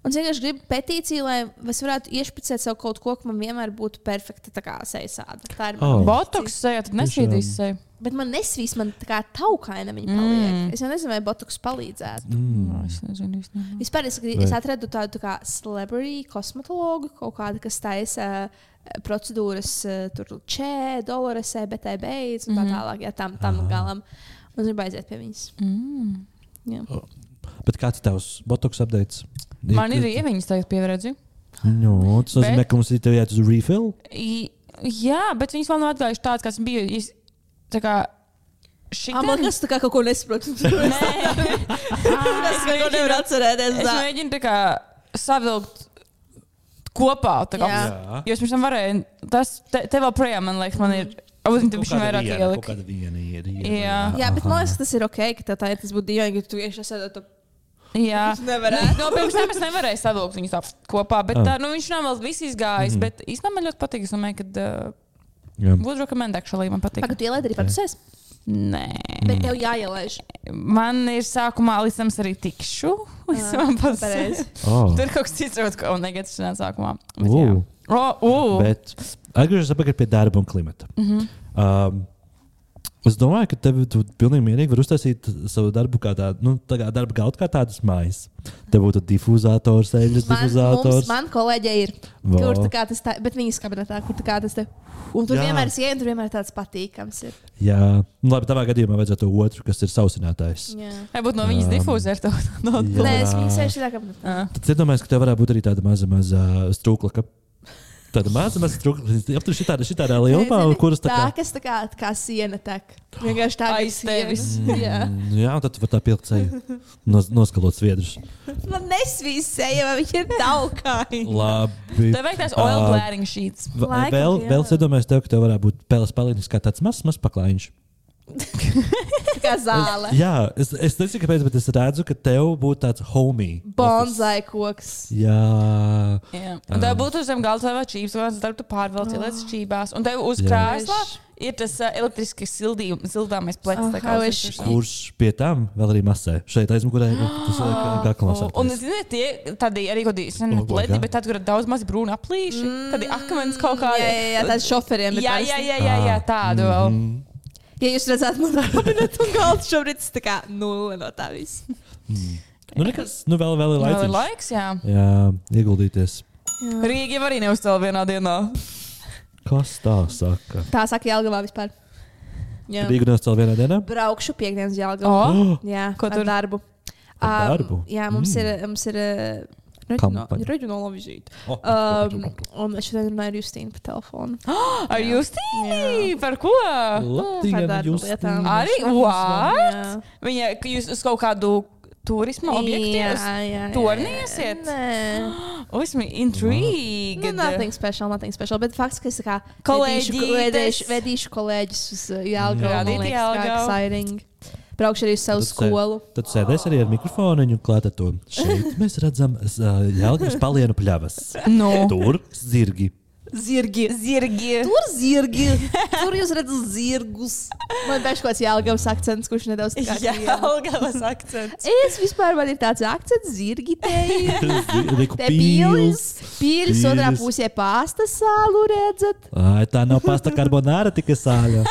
Un es vienkārši gribu petīciju, lai es varētu iešpicēt sev kaut ko, ka man vienmēr būtu perfekta tā kā sejasāde. Tā ir. Oh. Oh. Botoks sejā, tad nesīdīs seju. Bet man nesvīs, man tā kā taukaina viņa paliek. Mm. Es jau nezinu, vai botoks palīdzētu. Mm. Nā, Es nezinu, es nezinu. Vispār es, grib, es atradu tādu tā kā celebrity kosmetologu, kaut kādu, kas taisa eh, procedūras eh, tur čē, dolores, E ebetē beidz un tā tālāk, ja tam, tam galam. Un es gribu aiziet pie viņas. Mm. Bet kāds ir tavs botoks updates? Man ir ieviņas tagad pieredzi. Nu, tas nozīmē, Bet- ka mums ir tev jāiet uz refill. I- Jā, bet viņas vēl nav atgājušas tādas, kādas bija. Es- Tā kā šī Ah, man [LAUGHS] liekas, tā kā kaut ko [LAUGHS] nesaprotu. Es neko nevaru atcerēties. Es tā. mēģinu tā kā savilkt kopā. tā kā. Jā. Jā. Jo es pirms tam varēju, tas te, te vēl projām, man liekas, man ir. Uz viņu pišķi vairāk ielikt. kāda viena ir. Jā. Jā, bet man liekas, tas ir ok, ka tā tā ir. Tas būtu dīvaini, ja tu vienkārši sēdētu. Jā, nevarētu. No, Nu, pirms tam es nevarēju savilkt viņus ap- kopā, bet Ah. Mhm. tā, nu, viņš nav vēl viss izgājis. Mm. Bet īstenībā man ļoti patīk. Es domāju, ka uh, Jā. būtu rekomendācija, lai man patīk. Tagad tu ielaidi arī patusēs, Nē, bet tev jāielaiž. man ir sākumā līdz tam es arī tikšu. Līdz tam pasēs. Pareizi. Oh. Tur kaut kas cits, varbūt, ko negatīvs nāca sākumā. Ū. Ugh, Bet atgriežamies atpakaļ pie darba un klimata. Mm Mhm. -hmm. um, es domāju, ka tev tu pilnīgi mierīgi var uztaisīt savu darbu, kā tādu, nu, tā kā darba galdu, kā tādas mājas. Te būtu difuzators, eļļas Man, mums, difuzators. man kolēģe ir. Vau. Kur tā kā tas tā, bet viņas kabinetā, kur tā kā tas te. Un tur Jā. vienmēr es ieeju, un tur vienmēr tāds patīkams ir. Jā, nu, labi, tavā gadījumā vajadzētu to otru, kas ir sausinātājs. Jā. Vai būtu no viņas difūzera? to- no- Jā. Nē, es viņu sēžu tā kabinetā. Ah. Tad es domāju, ka tev varētu būt arī tāda maza, maza strūklaka. Tāda maza, maza strūklaka. Aptur šitā, šitā lielumā, un kuras tā tā, kā. kas tā kā, tā kā siena tek. Vienkārši tā, Aiz ka siena- [LAUGHS] tevis. Jā. Mm. Jā, un tad tu vari tā pilkt ceļu. Nos, noskalot [LAUGHS] sviedrus. Man nesvīs seja, vai viņa ir taukaina. Labi. Tev vajag tās oil Ah. blēriņu šīs. V- Laikam, Vēl, jā. vēl es iedomājos, tev, ka tev varētu būt peles palīgs, kā tāds mazs, mazs paklājiņš. Tā kā zāle. Jā, es, es nezinu, kāpēc, bet es redzu, ka tev būtu tāds homie. Bonzai koks. Jā, Jā. Un tev būtu uz zem galda vai čības, vai tad tu pārvelc ielietas čībās. Un tev uz Jā. krēsla ir tas uh, elektriski sildījums, sildāmais plecs. tā kā Aha, uz es- visu šo. kurš pie tam vēl arī masē. Šeit aizmugurē ir tas gaklās. Un, ziniet, tie tādi arī kaut kādi sen Oh, pledi, God. bet tad, kur ir daudz maz brūna aplīši, Mm. tad ir akmens kaut Mm, Jā, kāda. jā, jā, tāds šoferiem. ir jā, parasti. jā, jā, jā, Ah. jā, tādu Mm, vēl. mhm, Ja jūs redzat, man kabinetu un galds šobrīd tas tā kā nulle no tā visa. Nu, nekas, nu vēl, vēl ir Vēl ir laiks. laiks, jā. Jā, ieguldīties. Rīgi jau arī neuzcēla vienā dienā. Kas tā saka? Tā saka Jālgavā vispār. Jā. Rīgdienas vēl vienā dienā? Braukšu piekdienas jēlgā. O, Jā, Ko ar tur? darbu. Ar Ā, darbu? Jā, mums ir. Mums ir nu, Kampaņa. Reģionāla vizīte. Oh, Um, un es šodien runāju ar Justīnu pa telefonu. Oh, [GASPS] ar Justīnu! Par ko? par Latvijas darba lietām. Arī? What? Jā. Viņa, ka jūs uz kaut kādu turismu objektu Jā, ies- jā, torni jā. iesiet? Nē, Uzmi, nu, intrigue! nothing special, nothing special. Bet fakts, ka es kā Kolēģītes. vedīšu, vedīšu, vedīšu kolēģis uz uh, Jelgavu. Jā. man Radīt liekas, kā Jelgavu. Exciting. Braukšu arī uz savu skolu. Tad sēdēs arī ar mikrofonu klāta to. Šeit mēs redzam uh, Jelgavas palienu pļavas. Nu, Tur zirgi. zirgi! Zirgi! Tur zirgi. Tur jūs redzat zirgus. Man ir kaut kāds Jelgavas akcents, kurš nedaudz Jā, kā- Algavas akcents. Es vispār man ir tāds akcents, zirgi te. Riku Te pīlis, pīlis otrā Pīlis. pusē pāsta sālu redzat. Ai, tā nav pasta carbonāra, tikai sāla.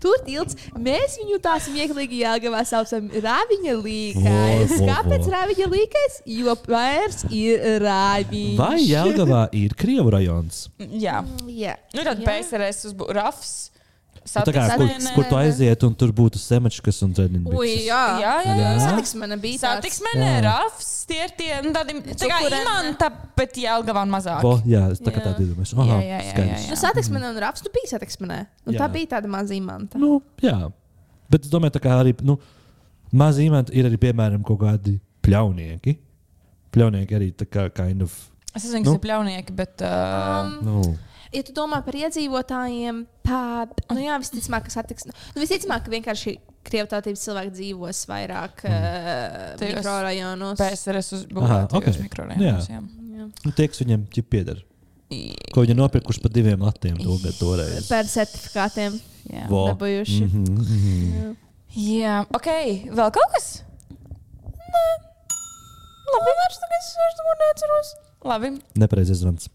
Tur tilts, mēs viņu tā smieklīgi jāgavā saucam rāviņa Vo, līkais. vo, vo. Kāpēc rāviņa līkais? Jo vairs ir rāviņš. Vai Jelgavā ir Krievu rajons? [LAUGHS] Jā, Jā. nu tad Jā. PSRS uz bu- Rafs. Nu, Tā kā, kur, Satiksmene. kur tu aiziet un tur būtu semečkas un Ui, treniņš. jā. Jā, jā, jā. Jā. Satiksmena bija tāds. Satiksmene, Jā. Rafs, tie ir tie, nu, tādi, tā kā Cukurene. imanta, bet Jelgavā un mazāk. Bo, jā, es tā kā Jā. tādu iedomājos. Jā, Aha, jā, jā, skaidrs. jā, Nu, satiksmena un raps, tu biji satiksmenē. Nu, Jā. tā bija tāda mazīmanta. Nu, jā. Bet es domāju, tā kā arī nu, maz imanta ir arī, piemēram, kaut kādi pļaunieki. Pļaunieki arī tā kā kind of. Es nezinu, Nu. kas ir pļaunieki, bet. Uh, Nu, Ja tu domā par iedzīvotājiem, tad, nu jā, visticamāk, ka satiksme. Nu, visticamāk, ka vienkārši krievtautības cilvēki dzīvos vairāk mm. uh, Tajos mikrorajonos. PSRS uz Aha, Bulgārijas okay. ok. mikrorajoniem. Jā. Jā. nu tie, kas viņam ķip pieder. Ko viņi ir nopirkuši par diviem latiem to gadu toreiz. Par certifikātiem Jā. Vo. dabūjuši. Mm. Mhm, mhm. Jā, ok, vēl kaut kas? Nē, labi, vairs tagad es vairs neko neatceros. Labi, Nepareizais zvans.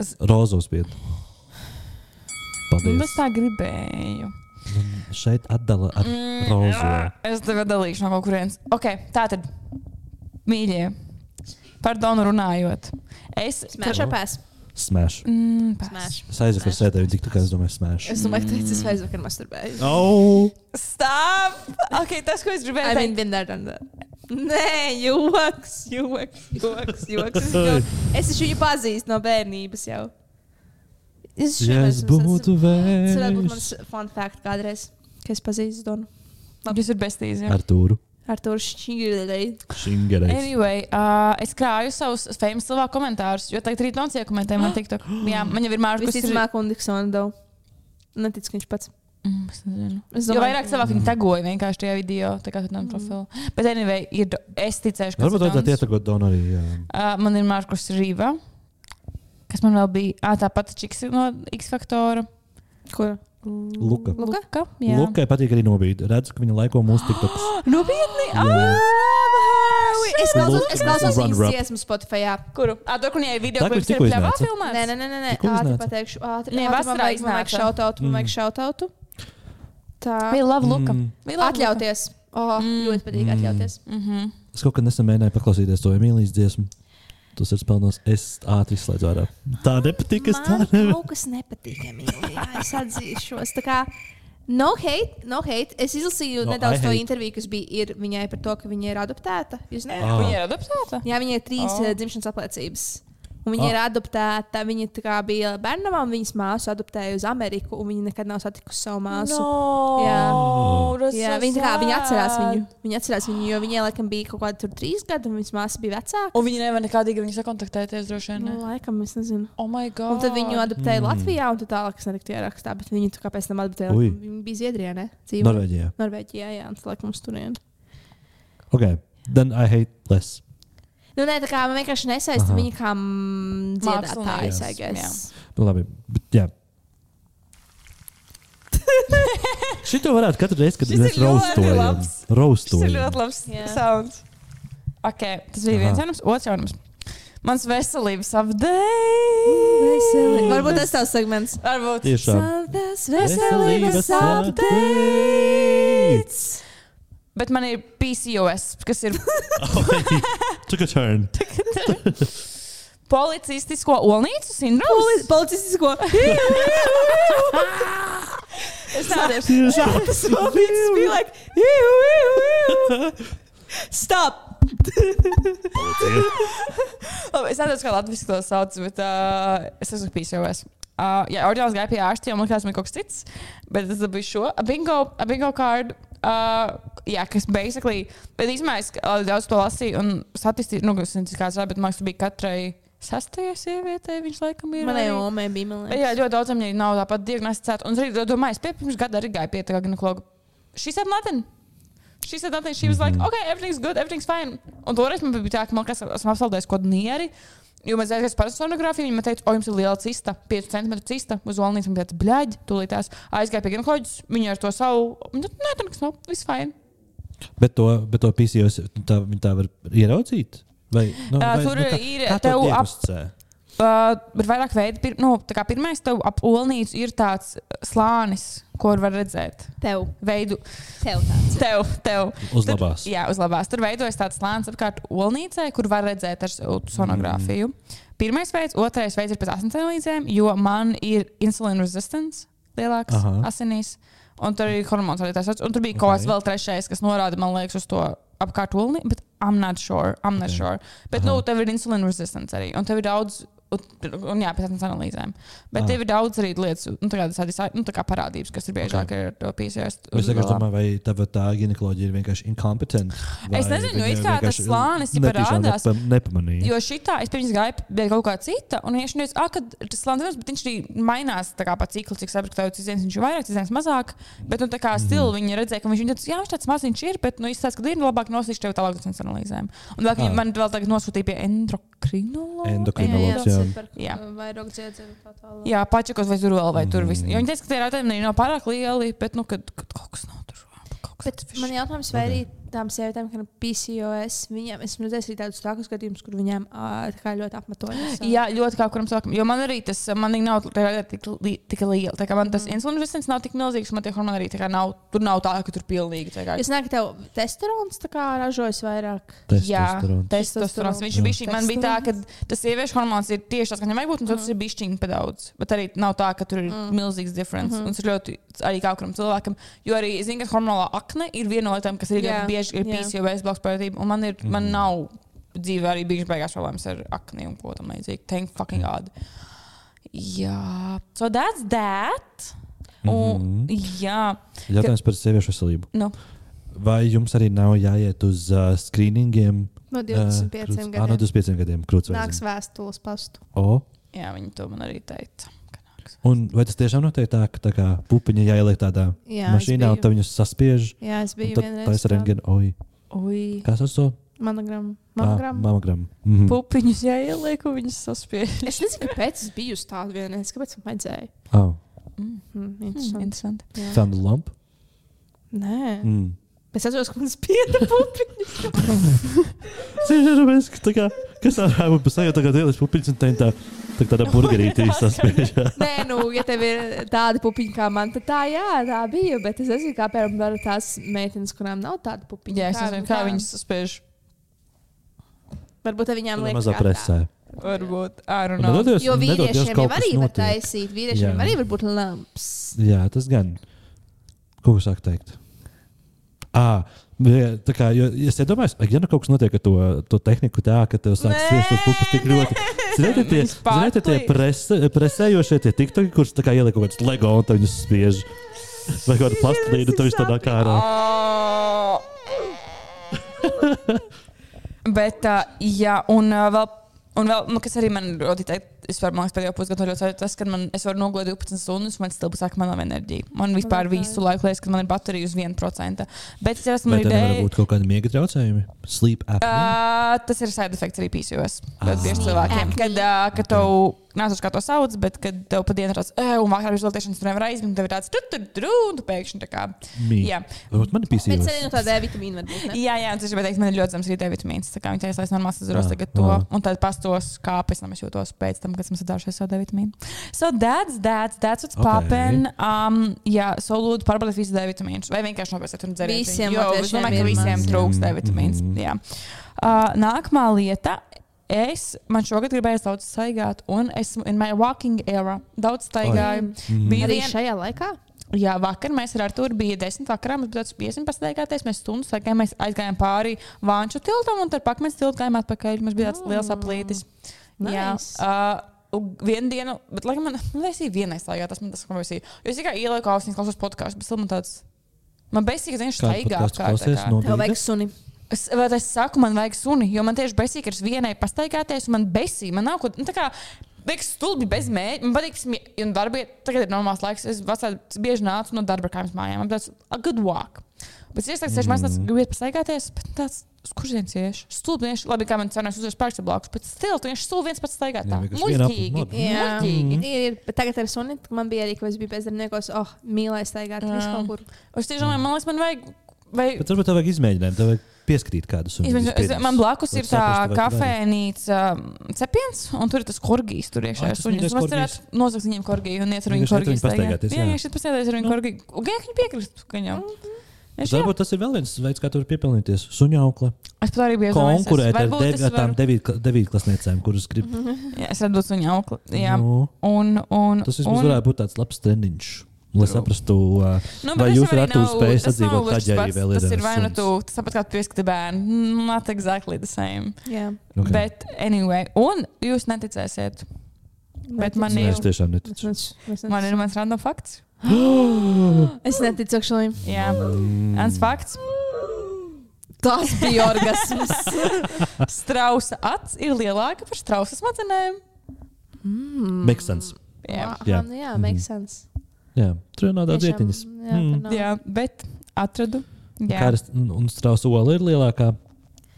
Es- Rozos pied. nu, Paldies. es tā gribēju. Šeit atdala ar Mm. rozo. Es tev dalīšu no kaut kurienes. Ok, tā tad, mīļie, par Donu runājot. Es Smash Tad- up ass. Smash. Mm, pass. Smash. Es aizveru ar sēdēju, tik tā kā es domāju, smash. Es domāju, ka tas ir aizvakar masturbējis. Oh! Stop! Ok, tas, ko es I gribēju mean, teikt. been there, done that. Nē, joks, joks, joks, joks. Es, jau, es viņš viņu pazīstu no bērnības jau. Es Ja es būtu Tas varētu būt vējš. mans fun fact kādreiz, ka es pazīstu Donu. Labi, jūs esat besties. Ar tūru. Ar to šķīrēju. Šingereiz. Anyway, uh, es krāju savus famous cilvēku komentārus, jo tagad rīt Lons iekomentē man TikTok. [GASPS] Jā, man jau ir mārķis, kas ir. Visticamāk, un Diksona daudz. Neticu, ka viņš pats. Mm, es nezinu. Es Jo domāju, Mm. vairāk cilvēku viņi tagoja vienkārši tajā video, tā kā tam profilu. Bet anyway, ir, do- es ticēšu, ka Varbūt tas ir vajadzētu Dons. ietagot Donu arī. jā. Uh, man ir Mārkus Rīva, kas man vēl bija. Ah, tā pati čiks no X faktora. Kur? Luka. Luka? Luka? Jā. Lukai patīk arī nobīdi. Redzu, ka viņa laiko mūsu tiktoks. [GASPS] Nopietni! Jā. Es klausos, es Luka. klausos Run viņas rap. dziesmu Spotify. Jā. Kuru? Ah, tur, kur viņai ir video, Tā, kur kurš ir tikko pļāvā iznāca. filmā. Nē, nē, nē, nē, nē. Tikko ātri uznāca. pateikšu, ātri. Nē, ātri, man vasarā vajag- man vajag iznāca. šautautu, man vajag šautautu. Tā. Viņa lava Luka. Mm. We love Luka. Atļauties. O, ļoti patīk atļauties. Mhm. Es kaut kad nesen mēģināju paklausīties to Emīlijas dziesmu. Tas ir spēlnos. Es ātri izslēdzu ārā. Tā nepatīk. Es tā Man nevaru. Ah, kaut kas nepatīkami. jā, Es atzīšos. Tā kā No hate, no hate. Es No, izlasīju no, I nedaudz to hate. interviju, kas bija ir viņai par to, ka viņa ir adoptēta. Jūs nezināt? Ah. Viņa ir adaptēta. Jā, viņai ir trīs Oh. oh. dzimšanas apliecības. Un Viņa Ah. oh. ir adoptēta. Viņa tā kā bija bērnam, un viņas māsu adoptēja uz Ameriku, un viņa nekad nav satikusi savu māsu. No, tas Jā, so viņa, tā kā, viņa atcerās sad. viņu. Viņa atcerās viņu, jo viņai laikam bija kaut kāda tur trīs gadi, un viņas māsa bija vecāka. Un viņi nevar nekādīgi viņu sakontaktēties, droši vien. Nu, ne? laikam, es nezinu. Oh, my God. Un tad viņu adoptēja Mm. mm. Latvijā, un tā tālāk, kas nebija tajā rakstā, bet viņu tā kā pēc tam adoptēja. Ui. Viņa bija Zviedrijā, ne? Dzīvo. Norvēģijā. Norvēģijā, jā, un tas laikam uz turieni. Okay. Then I hate less. Nu, nē, tā kā man vienkārši nesaista Aha. viņa kā mm, dziedātājas, Mākslinieks, I guess. Nu, Labi. Bet, jā. [LAUGHS] Šito varētu katru reizi, kad Šis mēs ir ļoti raustojam. labs. Tas ir Raustojam. ļoti labs Jā. sounds. Okay, tas bija Aha. viens jaunums, otrs jaunums. Mans veselības Veseli. apgabals. Varbūt tas tavs segments. Varbūt. Tiešām. Saldas Veselības veselības updates. updates. Bet man ir PCOS, kas ir [LAUGHS] [LAUGHS] Took a turn. [LAUGHS] [LAUGHS] policistisko olnīcu sindroms. Policistisko. Es tādu Šāds It's be like, ew, ew, ew. Stop! Labi, es nezinu, kā latviešu to sauc, bet uh, es esmu PCOS. Uh, jā, oriģināls gāja pie ārsta, jau man liekas, man kaut kas cits. Bet es dabūju šo a bingo, a bingo kārdu. Uh, jā, kas basically. Bet īstenībā es uh, daudz to lasīju, un statistika, nu, tas ir kāds, bet man liekas, bija katrai sastajai sievietei viņš laikam ir. Manai arī. omai bija Jā, melnēs. ļoti daudziem viņiem nav tāpat diagnosticēta. Un es arī domāju, es pie- pirms gada arī gāju pie tā ginekologa. Šis ir Latvijas. She said nothing. She was like, okay, everything's good, everything's fine. Un toreiz man bija tā, ka man kas esmu apsaldējis kaut nieri. Jo mēs aizgājām par sonogrāfiju, viņa man teica, o, jums ir liela cista, 5 cm cista. Uz olnijas man teica, bļaģ, tūlīt tās. Aizgāja pie ginekoloģijas, viņa ar to savu, viņa teica, nē, tam nekas nav, viss fine. [LAUGHS] Bet to, bet to PCOS tā, viņi tā var ieraudzīt? Vai, nu, Ā, vai, tur nu, kā, ir- kā to tev ap- diagnosticē? Uh, ir vairāk veidu, pir, nu, tā kā pirmais tev ap olnīcu ir tāds slānis, ko var redzēt. Tev, Veidu, tev tāds. tev, tev. Uz Tur- labās. Jā, uz labās. Tur veidojas tāds slānis apkārt olnīcai, kur var redzēt ar s- sonogrāfiju. Mm. Pirmais veids, otrais veids ir pēc asins analīzēm, jo man ir insulīna resistance lielāks Aha. Aha. asinīs. Un tur ir hormonas arī tas pats. Un tur bija kaut Ok. kāds vēl trešais, kas norāda, man liekas, uz to apkārt olni, bet I'm not sure. I'm not Ok. sure. Bet, Aha. nu, tev ir insulīna resistance arī. Un tev ir daudz. Un, un jā, pēc tam analīzēm. Bet Ah. ah. tev ir daudz arī lietas, nu, tā kā, tādas, nu, tā kā parādības, kas ir biežāk okay. ar to PCS. Es vienkārši uzvēlām. domāju, vai tava tā ginekoloģija ir vienkārši inkompetenta. Es vai nezinu, jo viņa it kā tas vienkārši slānis jau netīšām parādās. nepa- Nepamanīja. Jo šī tā, es pirms gāju pie kaut kā cita, un viņš teica, ah, ka tas slānis, bet viņš arī mainās tā kā pa ciklu, cik saprotu, ka tev cizienas viņš ir vairāk, cizienas mazāk. Bet, nu, tā Mhm. kā stila viņi redzēja, ka viņš ir tāds, jā, viņš tāds maziņš ir, bet, nu, izstāsta, ka ir labāk nosīst tev tālāk uz analīzēm. Un vēl, ka Ah. viņi man vēl tagad nosūtīja pie endokrinologa. Endokrinologs, jā. Jā. Vairāk dziedzēju tā tālāk. Jā, pačakos vai zurvēl vai tur viss. Jo Mhm. viņi teica, ka tie rādījumi nav pārāk lieli, bet, nu, kad, kad kaut kas nav tur. kaut kas Bet fiš- man jautājums, vai arī tām sievietēm, kam ir PCOS, viņām esmu redzējis arī tādus tākus gadījumus, kur viņām ā, tā kā ļoti apmetojas. Jā, ļoti kā kuram cilvēkam. Jo man arī tas, man viņa nav tā kā tik, li- tik liela. Tā kā man tas insulīna resistents nav tik milzīgs, man tie hormoni arī tā kā nav. Tur nav tā, ka tur pilnīgi. tā Kā, Es nezinu, ka tev testosterons tā kā ražojas vairāk. Jā, Testosterons. testosterons. Viņš Jā. ir bijis. Man bija tā, ka tas sieviešu hormons ir tieši tāds, kas viņam vajag būt, un tas ir bijis šķiņķi daudz. Bet arī nav tā, ka tur ir mm. milzīgs difference. Mm -hmm. Un tas ir ļoti arī kā kuram cilvēkam. Jo arī, zinu, ka hormonālā akne ir viena no lietām, kas arī Jā, ļoti bieži ir jā. PCOS bloks parādība, un man, ir, mm. man nav dzīve arī bijušas beigās problēmas ar akni un ko tam līdzīgi. Thank fucking god. Jā, so that's that. Un, mm -hmm. Jā, Jautājums par sieviešu veselību. nu. Vai jums arī nav jāiet uz uh, skrīningiem? No 25 Ah, no gadiem. 25 gadiem krūtsvērs. Nāks vēstules pastu. O, jā, viņi to man arī teica. ka nāks. un vai tas tiešām notiek tā, ka tā kā pupiņa jāieliek tādā Jā, jā, es mašīnā, biju. un tad viņus saspiež? Jā, es un biju Tad vienreiz. tā ir rentgena. Oi, Ui. kā sauc to? Monogram. Ah, Monogram. mamogram. Mhm. Pupiņus jāieliek, un viņas saspiež. Es nezinu, kāpēc es biju uz tādu vienreiz, kāpēc man vajadzēja. Oh, Mm. Hmm, Mm. interesanti. Interesanti. Jā. found the lump? Nē, Mm. es atceros, ka man spieda pupiņu. Sēžam, es tā kā, kas ar haimu pasēju, tagad ielas pupiņas un tā, tā, tā tādā burgerītī saspiež. Nē, nu, ja tev ir tāda pupiņa kā man, tad tā, jā, tā bija. Bet es nezinu, kā piemēram var tās meitenes, kurām nav tāda pupiņa. Jā, es nezinu, kā viņas spēj. Varbūt ar viņām liekas. Mazā kā tā. presē. Varbūt, I don't know. Nedodies, Jo vīriešiem jau kaut kas arī var notiek. taisīt, Jā. vīriešiem jau arī var būt lamps. Jā, tas gan. Ko jūs sākat teikt? À, tā kā jo, es iedomājos, ja nu kaut kas notiek ar to, to tehniku, tā ka tev sākas Nē, sviest uz pupas tik ļoti. Ziniet, tie, Viņas ziniet, tie pārklīst. prese, presējošie tie tiktoki, kurus tā kā ieliek kaut kāds lego un tad viņus spiež. Vai kādu plastlīdu, tad viņš tādā kā ar. Oh, Ā. [LAUGHS] Bet, uh, jā, un uh, vēl, un vēl nu, kas arī man ļoti teikt, es varu, man liekas, pēdējo pusgadu ļoti svarīgi tas, ka man, es varu noglot 12 stundas, un man stilu sāk manā enerģija. Man vispār tā ir. visu laiku liekas, ka man ir baterija uz 1%. Bet es jau esmu Vai tev nevar ideja. būt kaut kādi miega traucējumi? Sleep apnea. Uh, tas ir side effects arī PCOS. Ļoti bieži cilvēkiem, Acne. kad, uh, kad tev nesas kā to sauc, bet kad tev pa dienu tāds, eh, un vakarā uz lotiešanas tu nevar aizmigt, tev ir tāds, tur, tur, tur, un tu pēkšņi tā kā. Mī. Uh, Jā, nu, Varbūt man ir Pēc PCOS. tam no tā D vitamīna var būt. ne? jā, jā un tas ir, bet teiks, man ir ļoti zems rītē vitamīns, tā kā viņi teica, lai es normāli sazaros Ah, tagad to, ah. un tad pastos, kā pēc tam nu, es jūtos pēc tam, kad esmu sadāršies savu D vitamīnu. So that's, that's, that's what's Okay. poppin. Um, jā, so lūdzu pārbaudiet visu D vitamīnus, vai vienkārši nopērciet un dzeriet. Visiem viņu, jo es latviešiem domāju, ir ka visiem maz. trūkst D vitamīns. Jā. Uh, nākamā lieta. Es, man šogad gribēju daudz staigāt, un esmu in my walking era. Daudz staigāju. Mm. Mhm. Bija Arī vien- šajā laikā? Jā, vakar mēs ar Arthuru bijām 10. vakarā. Mums bija tāds 15. gājāties, mēs stundu sakām, mēs aizgājām pāri Vānču tiltam un ar pakmens tiltu gājām atpakaļ. Mums bija tāds liels aplītis. Oh. Nice. Jā, uh, vienu dienu, bet laikam man, man liekas, bija vienais laikā, tas man tas komisija. Jo es tikai ielieku ausis, klausos podkāstu, bet man tāds, man besīgi, zinu, Kādu staigā. podcastu apkārt, tā klausies kā. no Tev vajag Vīgas? suni. Es, bet es saku, man vajag suni, jo man tieši besīgi ir vienai pastaigāties, un man besīgi, man nav ko. Nu, tā kā, Liekas, stulbi bez mēģinājuma. Man patīk, smie- un varbūt tagad ir normāls laiks. Es vasarā bieži nācu no darba kājām uz mājām. Man tāds - a good walk. Bet es iesaku, mm. es gribu iet pastaigāties, bet tāds - uz kurienes iešu? Stulbi, viņš labi, kā man cenās uzreiz parks blakus, bet stulbi, viņš stulbi viens pats Jā, staigā. Tā vienkārši vienu muļķīgi. apli- labi. Jā, Muļķīgi. Mm. ir, ir. Bet tagad ar suni man bija arī, ka es biju bezdarbniekos. Oh, mīlēju staigāt. Jā. Es kaut kur. Es tiešām domāju, man liekas, man vajag. Vai, Bet varbūt tev vajag izmēģinājumu, tev vajag pieskatīt kādu sunu. Es, man, es, man blakus ir tā Saprast, vai tu kafejnīca um, cepiens, un tur ir tas korgijas. Tur iekšā Ai, ir tas suņi. mīļais Es korgijs. varētu nozagt viņiem korgiju un iet ar Vienkārši viņu iet korgiju. viņu pastaigāties, jā. jā, viņš ir pastaigājis ar viņu korgiju. Un gan viņi piekrist, ka viņam. Bet Es, jā, Varbūt tas ir vēl viens veids, kā tur piepelnīties. Suņaukla. es pat arī biju aizdomājies. Konkurēt ar Varbūt devi, es ar tām varu- devītkla- devītklasniecēm, kuras grib. Jā, Es redzu suņu auklu. Jā. Nu, Un, un, tas vismaz varētu būt tāds labs treniņš, lai saprastu, uh, Nu, vai bet tas jūs jau arī ar to nav- spējat tas nav sadzīvot gluži tad, ja pats. arī vēl ir. Tas uh, ir vai nu suns. tu, tas tāpat kā tu pieskatīji bērnu, not exactly the same. Jā. Ok. Okay. Bet, anyway, un jūs neticēsiet, Bet man Nē, ir- es tiešām Es neticu. nec- es nec- man ir mans random fakts. Es neticu šim. [GASPS] [GASPS] Jā, Mm. mans fakts. Tas bija orgasms. Strausa acis ir lielāka par strausa smadzenēm. Makes sense. Jā, Aha, Jā. Mhm. Nu, nu jā, makes sense. Jā, tur ir nāda Tiešām, dzietiņas. jā, Mm. tur nav. jā bet atradu. Kā Jā, ar un strausa ola ir lielākā.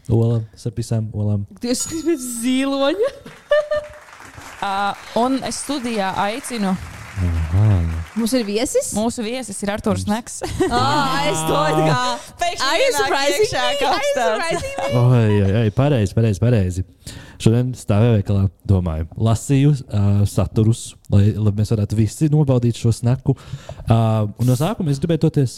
Ola ar visām olām. Dievs, kas bija ziloņa? uh, un es studijā aicinu Mums ir viesis. mūsu viesus, ir Arthurs Mm. Neks. Ah, es to it kā. Are you surprising me? Are you Aizsmeļamies! surprising me? Oi, oi, oi, pareizi, pareizi, pareizi. Šodien stāvēju veikalā, domāju, lasīju uh, saturus, lai, lai mēs varētu visi nobaudīt šo snaku. Uh, un no sākuma es gribēju doties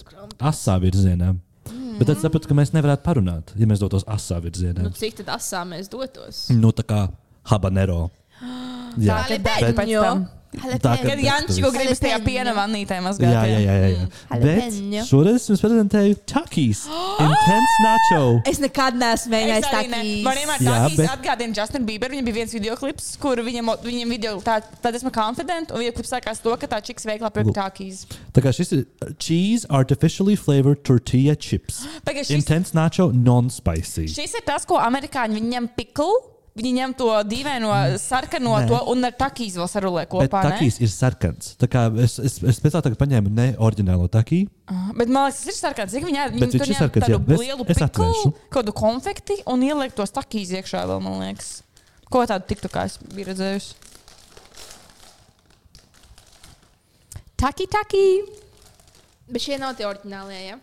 asā virzienā. Mm. Bet tad sapratu, ka mēs nevarētu parunāt, ja mēs dotos asā virzienā. Nu, cik tad asā mēs dotos? Nu, tā kā [GASPS] habanero. Jā, Jalapeņo. bet- Tagad- Kad Jančs kaut gribas tajā piena vannītē mazgāt. Jā, jā, jā. jā, jā. [LAUGHS] Jalapeno. Bet šoreiz es jums prezentēju [GASPS] Takijas Intense Nacho. Es nekad neesmu Es mēģinājis arī ne. tā Man vienmēr Jā, tā īsti bet- bet... atgādina Justinu Bieberu. Viņam bija viens video klips, kur viņam, viņam video, tā, tad esmu confident, un video klips sākās to, ka tā čiks veiklā pie Lūk. tā kīs. Tā kā šis ir uh, cheese artificially flavored tortilla [GASPS] chips. Pagaid, šis- Intense nacho non-spicy. Šis ir tas, ko amerikāņi viņi ņem piklu. Viņi ņem to dīvaino, sarkano Mm. Nē. to un ar takīs vēl sarulē Bet kopā. ne? takīs ir sarkans. Tā kā es, es, es pēc tam paņēmu ne oriģinālo takiju. Ah, Bet man liekas, tas ir sarkans. Cik viņi ņem, Bet viņi viņš tur ir ņem sarkans, tādu jā. Es- es lielu nu. piklu, atvēršu. kādu konfekti un ieliek tos takīs iekšā vēl, man liekas. Ko tādu tiktu, kā es biju redzējusi? Taki, taki! Mhm. Bet šie nav tie oriģinālie. Ja?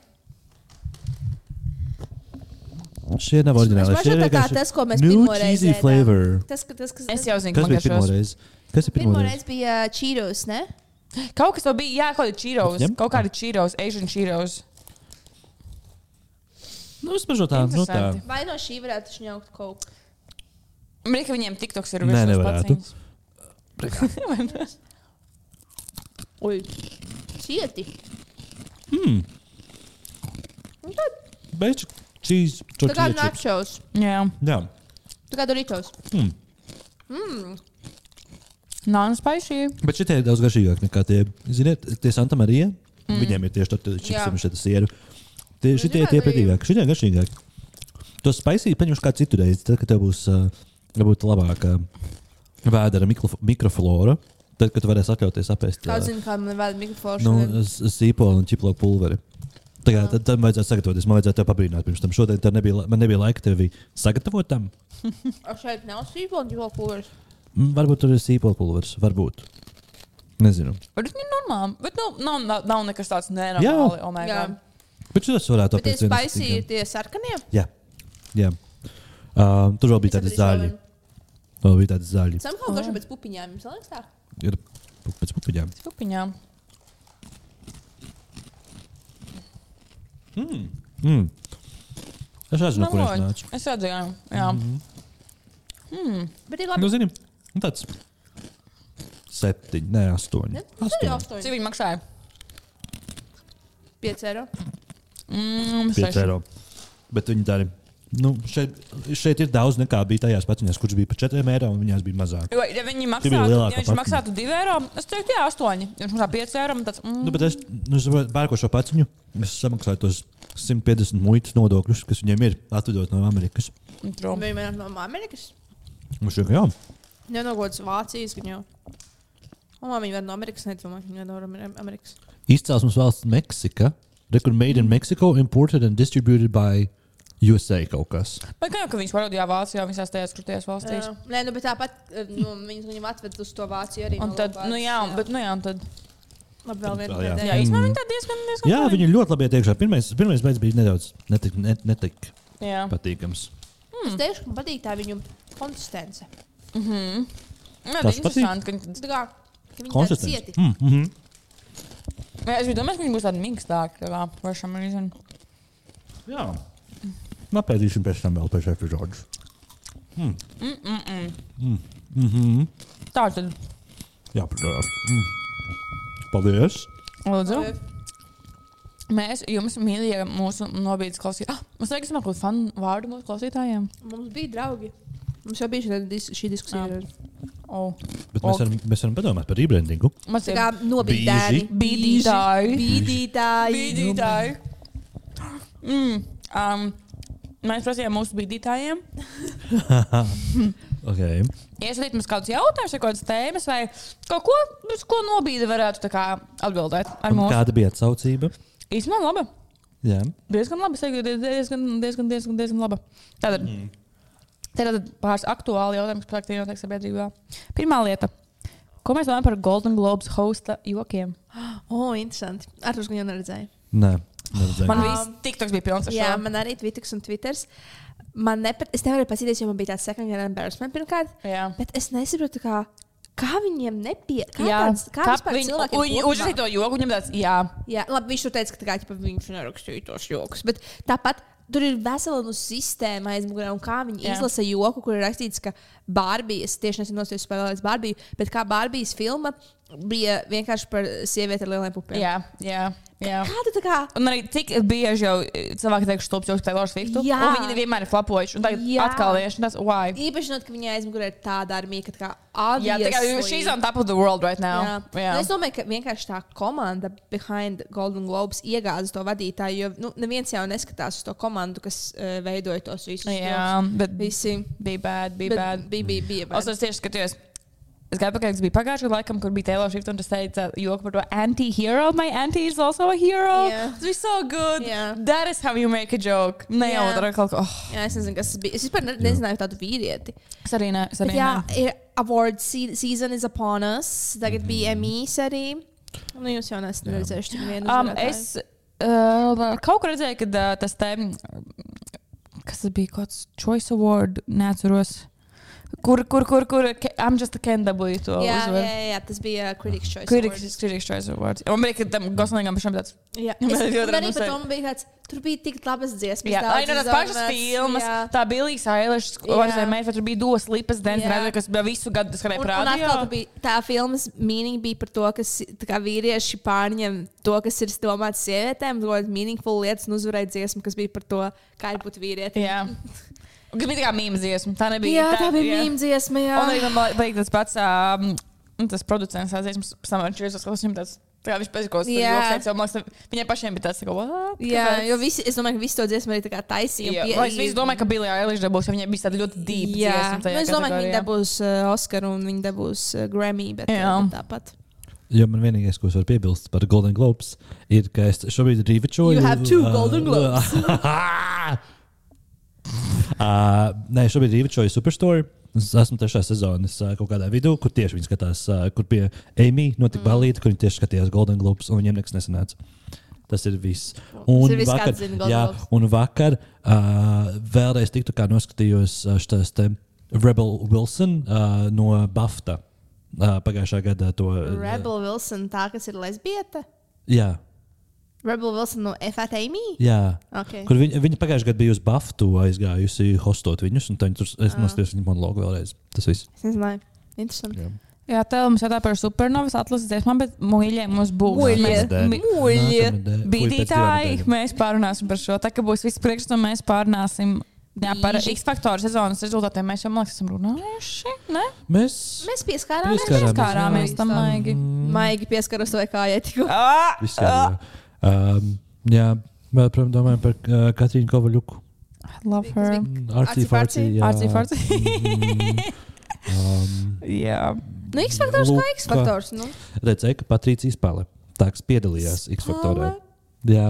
Šie nav oriģināli. Es Šie ir pašu tā kā vienkārši tas, ko mēs new pirmo reizi cheesy ēdām. flavor. Tas, ka- tas, kas Es jau zinu, Kas ka man bija garšos. pirmoreiz? Kas ir pirmo pirmoreiz? reizi bija čīros, ne? Kaut kas vēl bija, jā, kaut kādi čīros, Ņem? Ah. kaut kādi čīros, Asian čīros. Nu, vismaz no tā, no tā. Interesanti. Vai no šī varētu šņaukt kaut ko? Man liekas, ka viņiem tiktoks Nē, ir virs tos nevarētu. paciņas. Vai ne? Ui, cieti. Beidz cheese Tā kā tortilla chips. načos, Jā. Jā. tā kā doritos. Nāna spēcīgi. Bet šitie ir daudz garšīgāki nekā tie. Ziniet, tie Santa Marija, mm. viņiem ir tieši tortilla Jā. chips un šita siera. Tie, šitie ir zini, tie vai- pretīgāki, šitie ir garšīgāki. To spaisīgi paņemšu kā citu reizi, tad, kad tev būs uh, varbūt labāka vēdera mikrof mikroflora. Tad, kad tu varēsi atļauties apēst Kā zinu, kā man vēl mikrofons. nu, s- sīpolu un ķiploku pulveri. Tā kā, tad, tad vajadzētu sagatavoties. Man vajadzēja te pabrīnāt pirms tam. Šodien tev nebija, la- man nebija laika tevi sagatavot tam. Ar šeit nav sīpols, jo kurs. Mm, Varbūt tur ir sīpolu pulveris. Varbūt. Nezinu. Bet viņi ir normāli. Bet nu, nav, nav, nav nekas tāds Jā. nenormāli. Oh my Jā. God. Bet šis varētu Bet tie apēst. vienas spaisīgi ir citas. tie sarkanie. Jā. Jā. Um, tur vēl bija tādi Es zaļi. saprotu, Vēl bija tādi zaļi. Sam kaut kā pēc pupiņām, jums liekas tā? Ir pu- pēc pupiņām. Stupiņā. Nu, Mm. Es Mhm. redzu, no Man kurienes ļoti. nāca. Es redzēju, jā. Mm -hmm. Bet ir Nu, labi. zini, nu tāds. Septiņi, nē, astoņi. Ne? Tas ir Nu, Astoņi. astoņi. Cik viņi maksāja? 5 eiro. Mm, 5 seši. eiro. Bet viņi tā arī. Nu, šeit, šeit ir daudz nekā bija tajās paciņās, kurš bija par 4 eiro un viņās bija mazāk. Jo, ja viņi bija maksātu, ja lielāka viņš pakāpe. maksātu 2 eiro, es teiktu, jā, 8. Ja viņš maksā 5 eiro, tad mm, Nu, bet es nu, es pērku šo paciņu, es samaksāju tos 150 muitas nodokļus, kas viņiem ir atvedot no Amerikas. trūm. Viņi man no Amerikas. Mums jau jā, Ne no godas Vācijas, gan jau. Un man viņa var no Amerikas, nedomā, ka viņa var no Amerikas. izcelsmes valsts Meksika. Record made in Mexico, imported and distributed by USA kaut kas. Vai kā jau, ka viņš parodījā Vācijā visās tajās krūties valstīs? Jā. Nē, nu, bet tāpat eh, nu, viņas viņam atved uz to Vāciju arī. Un no tad, Vācijas, nu jā, bet, nu jā, un tad. Labi, vēl viena Jā. Jā, pēdējā. īstenībā viņi tā diezgan, diezgan. Jā, viņi ir ļoti labi ietiekšā. Pirmais, pirmais beidzas bija nedaudz netik, net, netik Jā. patīkams. Es teikšu, ka man patīk tā viņu konsistence. Jā, Tas tas ir interesanti. ka viņi- Tā kā ka viņi tādi Konsistents. cieti. Mm, mm -hmm. Jā, Es biju domājis, ka viņi būs tādi mīkstāki. tā kā, for some reason. Jā. Napēdīsim pēc tam vēl pēc epizodes. Tā tad, Jā, protams. Mm. Paldies! lūdzu. Mēs jums, mīļie, mūsu nobīdes klausītāji, ah, mums vajag izmantot kādu fanu vārdu mūsu klausītājiem. Mums bija draugi. Mums jau bija šī, dis šī diskusija. Oh. Bet mēs Ok. varam, mēs varam padomāt par rebrandingu. Mums Tā ir kā nobīdēji. Bīdītāji. Bīdītāji. bīdītāji. Mm, um, mēs prasījām mūsu bīdītājiem. Okay. Iesūtīt mums kādus jautājumus, vai kādas tēmas, vai kaut ko, uz ko nobīde varētu tā kā, atbildēt ar Un mums. Kāda bija atsaucība? Īstenībā labi. Jā. Diezgan labi. Es teiktu, diez- diezgan, diezgan, diezgan, diezgan labi. Tātad, mm. tātad pāris aktuāli jautājumi, kas praktiski notiek sabiedrībā. Pirmā lieta. Ko mēs domājam par Golden Globes hosta jokiem? O, interesanti. Ar to, ka jau neredzēju. Nē, neredzēju. Man Um, viss tiktoks bija pilns ar Jā, šo. man arī Twitter un Twitter. Man nepat, es nevaru paskatīties, jo man bija tāds second hand embarrassment pirmkārt. Jā. Bet es nesaprotu, kā, kā viņiem nepie... kā Jā, tāds, kā kā vispār viņi cilvēkiem kopumā? uzrakstīja to joku, viņam tāds, jā, Jā, labi, viņš tur teica, ka tā kā, ķipa, viņš nerakstīja tos joks. Bet tāpat tur ir vesela nu, sistēma aizmugurē, un kā viņi Jā. Jā. izlasa joku, kur ir rakstīts, ka Bārbijas, tieši nesen nosties spēlēs Bārbiju, bet kā Bārbijas filma bija vienkārši par sievieti ar lieliem pupiem. jā, jā. jā. Kāda tā kā? Un arī cik bieži jau e, cilvēki teiks, ka tas ir Taylor Swift. Jā. Viņi vienmēr ir flapojuši. Un tagad Jā. atkal ir tas, why. Īpaši, not, ka viņa aizmugurē ir tāda armija, ka tā kā abi Jā, tā kā jo she's on top of the world right now. Jā. Jā. Nu, es domāju, ka vienkārši tā komanda behind Golden Globes iegāza to vadītāju. Jo nu, neviens jau neskatās uz to komandu, kas uh, veidoja tos visus. jā, bet bija visi. bad, bija Bet bad. Bija, bija, bija. vai Es ne? es tieši skatījos. Es gāju pakaļ, kas bija pagājušajā laikam, kur bija Taylor Swift, un tas teica, joku par to anti-hero. My auntie is also a hero. Jā. Tas bija so good. Jā. That is how you make a joke. Ne jau Jā. tur atkal. Oh, Jā, es nezinu, kas tas bija. Es vispār ne, nezināju tādu vīrieti. es arī ne. Es Bet, arī jā, ne. ir award se season is upon us. Tagad mm -hmm. bija Emīls arī. Nu, jūs jau nesat redzējuši tik vienu. Um, uzvarētāju. es uh, kaut kur redzēju, ka uh, tas te, kas tas bija, kaut kāds Choice Award, neatceros. Kur, kur, kur, kur, Ke- I'm just a Ken dabūju to Jā, jā, uzvaru. jā, jā, tas [LAUGHS] bija Critics' Choice. Awards. Critics, critics Choice Awards. Un man liekas, ka tam Goslingam pašam tāds. Jā, [LAUGHS] Man es, ļoti un arī interesē. par to man bija tāds, tur bija tik labas dziesmas. Jā, daudz arī no tās izdomāts, pašas filmas. jā. Tā bija Līsija Ailešs, Jā. kurš vienmēr tur bija dos lipas dance, Jā. redzēju, kas bija visu gadu skanēja Un, un atkal tur prātā. bija tā filmas mīnīga bija par to, ka tā kā vīrieši pārņem to, kas ir domāts sievietēm, ļoti mīnīgu lietas un uzvarēja dziesmu, kas bija par to, kā ir būt vīrietim. Jā. Un Kas bija tā kā mīmīma dziesma, tā nebija. Jā, tā bija mīmīga dziesma. Jā. Un arī man liekas, tas pats um, tas producents aizies mums samērķis, kas viņam tāds. Tā kā viņš pēc kaut Jā. kādas joks, viņai pašiem bija tāds, tā kā, "What? Jā, Kāpēc?" jo visi, es domāju, ka visi to dziesmu arī tā kā taisīja. Jā, un pie- lai Es visi domāju, ka Billy Eilish dabūs, jo viņai bija tāda ļoti dziļa. Jā, nu, es domāju, ka viņi dabūs uh, Oskaru un viņi dabūs uh, Grammy. Bet, Jā. bet tāpat. Jo man vienīgais, ko es varu piebilst par Golden Globes, ir, ka es šobrīd rīvečoju. You have two Golden [LAUGHS] Globes. uh, nē, šobrīd rīvečoju Superstore. Es esmu trešā sezonas uh, kaut kādā vidū, kur tieši viņi skatās, uh, kur pie Amy notika mm. balīti, kur viņi tieši skatījās Golden Globes, un viņiem nekas nesanāca. Tas ir viss. Un ir viss, vakar, kāds zina Golden jā, Globes. un vakar uh, vēlreiz tiktu kā noskatījos uh, šitās te Rebel Wilson uh, no Bafta uh, pagājušā gada to. Rebel Wilson, tā kas ir lesbieta. Jā, Rebel Wilson no FATMI. jā. Okay. Kur viņa, viņa pagājušajā gadā bija uz Baftu aizgājusi hostot viņus, un tad viņa tur es nostājos viņa monologu vēlreiz. Tas viss. Es nezināju. Interesanti. Jā. Jā, tā mums jādara par supernovas atlases dziesmām, bet muļķiem mums būs. Muļļie. Mēs- Nākamnedēļ. Muļļie. Nākamnedēļ. Ui, pēc Bīdītāji, divām nedēļām. mēs pārunāsim par šo. Tā kā būs viss priekšā, tad mēs pārunāsim. Jā, par Bīži. X faktoru sezonas rezultātiem mēs jau, man liekas, esam runājuši. Ne? Mēs Mēs pieskārāmies. Pieskārāmies, Mm. jā. Skārāmies tam maigi. Maigi pieskaros savai kājai. [LAUGHS] tikko. [LAUGHS] Ah! visi arī. Um, jā, vēl, protams, domājam par uh, Katrīnu Kovaļuku. Mm, Love her. Artsy fartsy. Arcīfarcī. Artsy fartsy. Mm-hmm. um, Jā. Nu, X faktors kā Luka. X faktors. Nu. redzēja, ka Patricija Spāle tāds piedalījās X faktorā. Jā,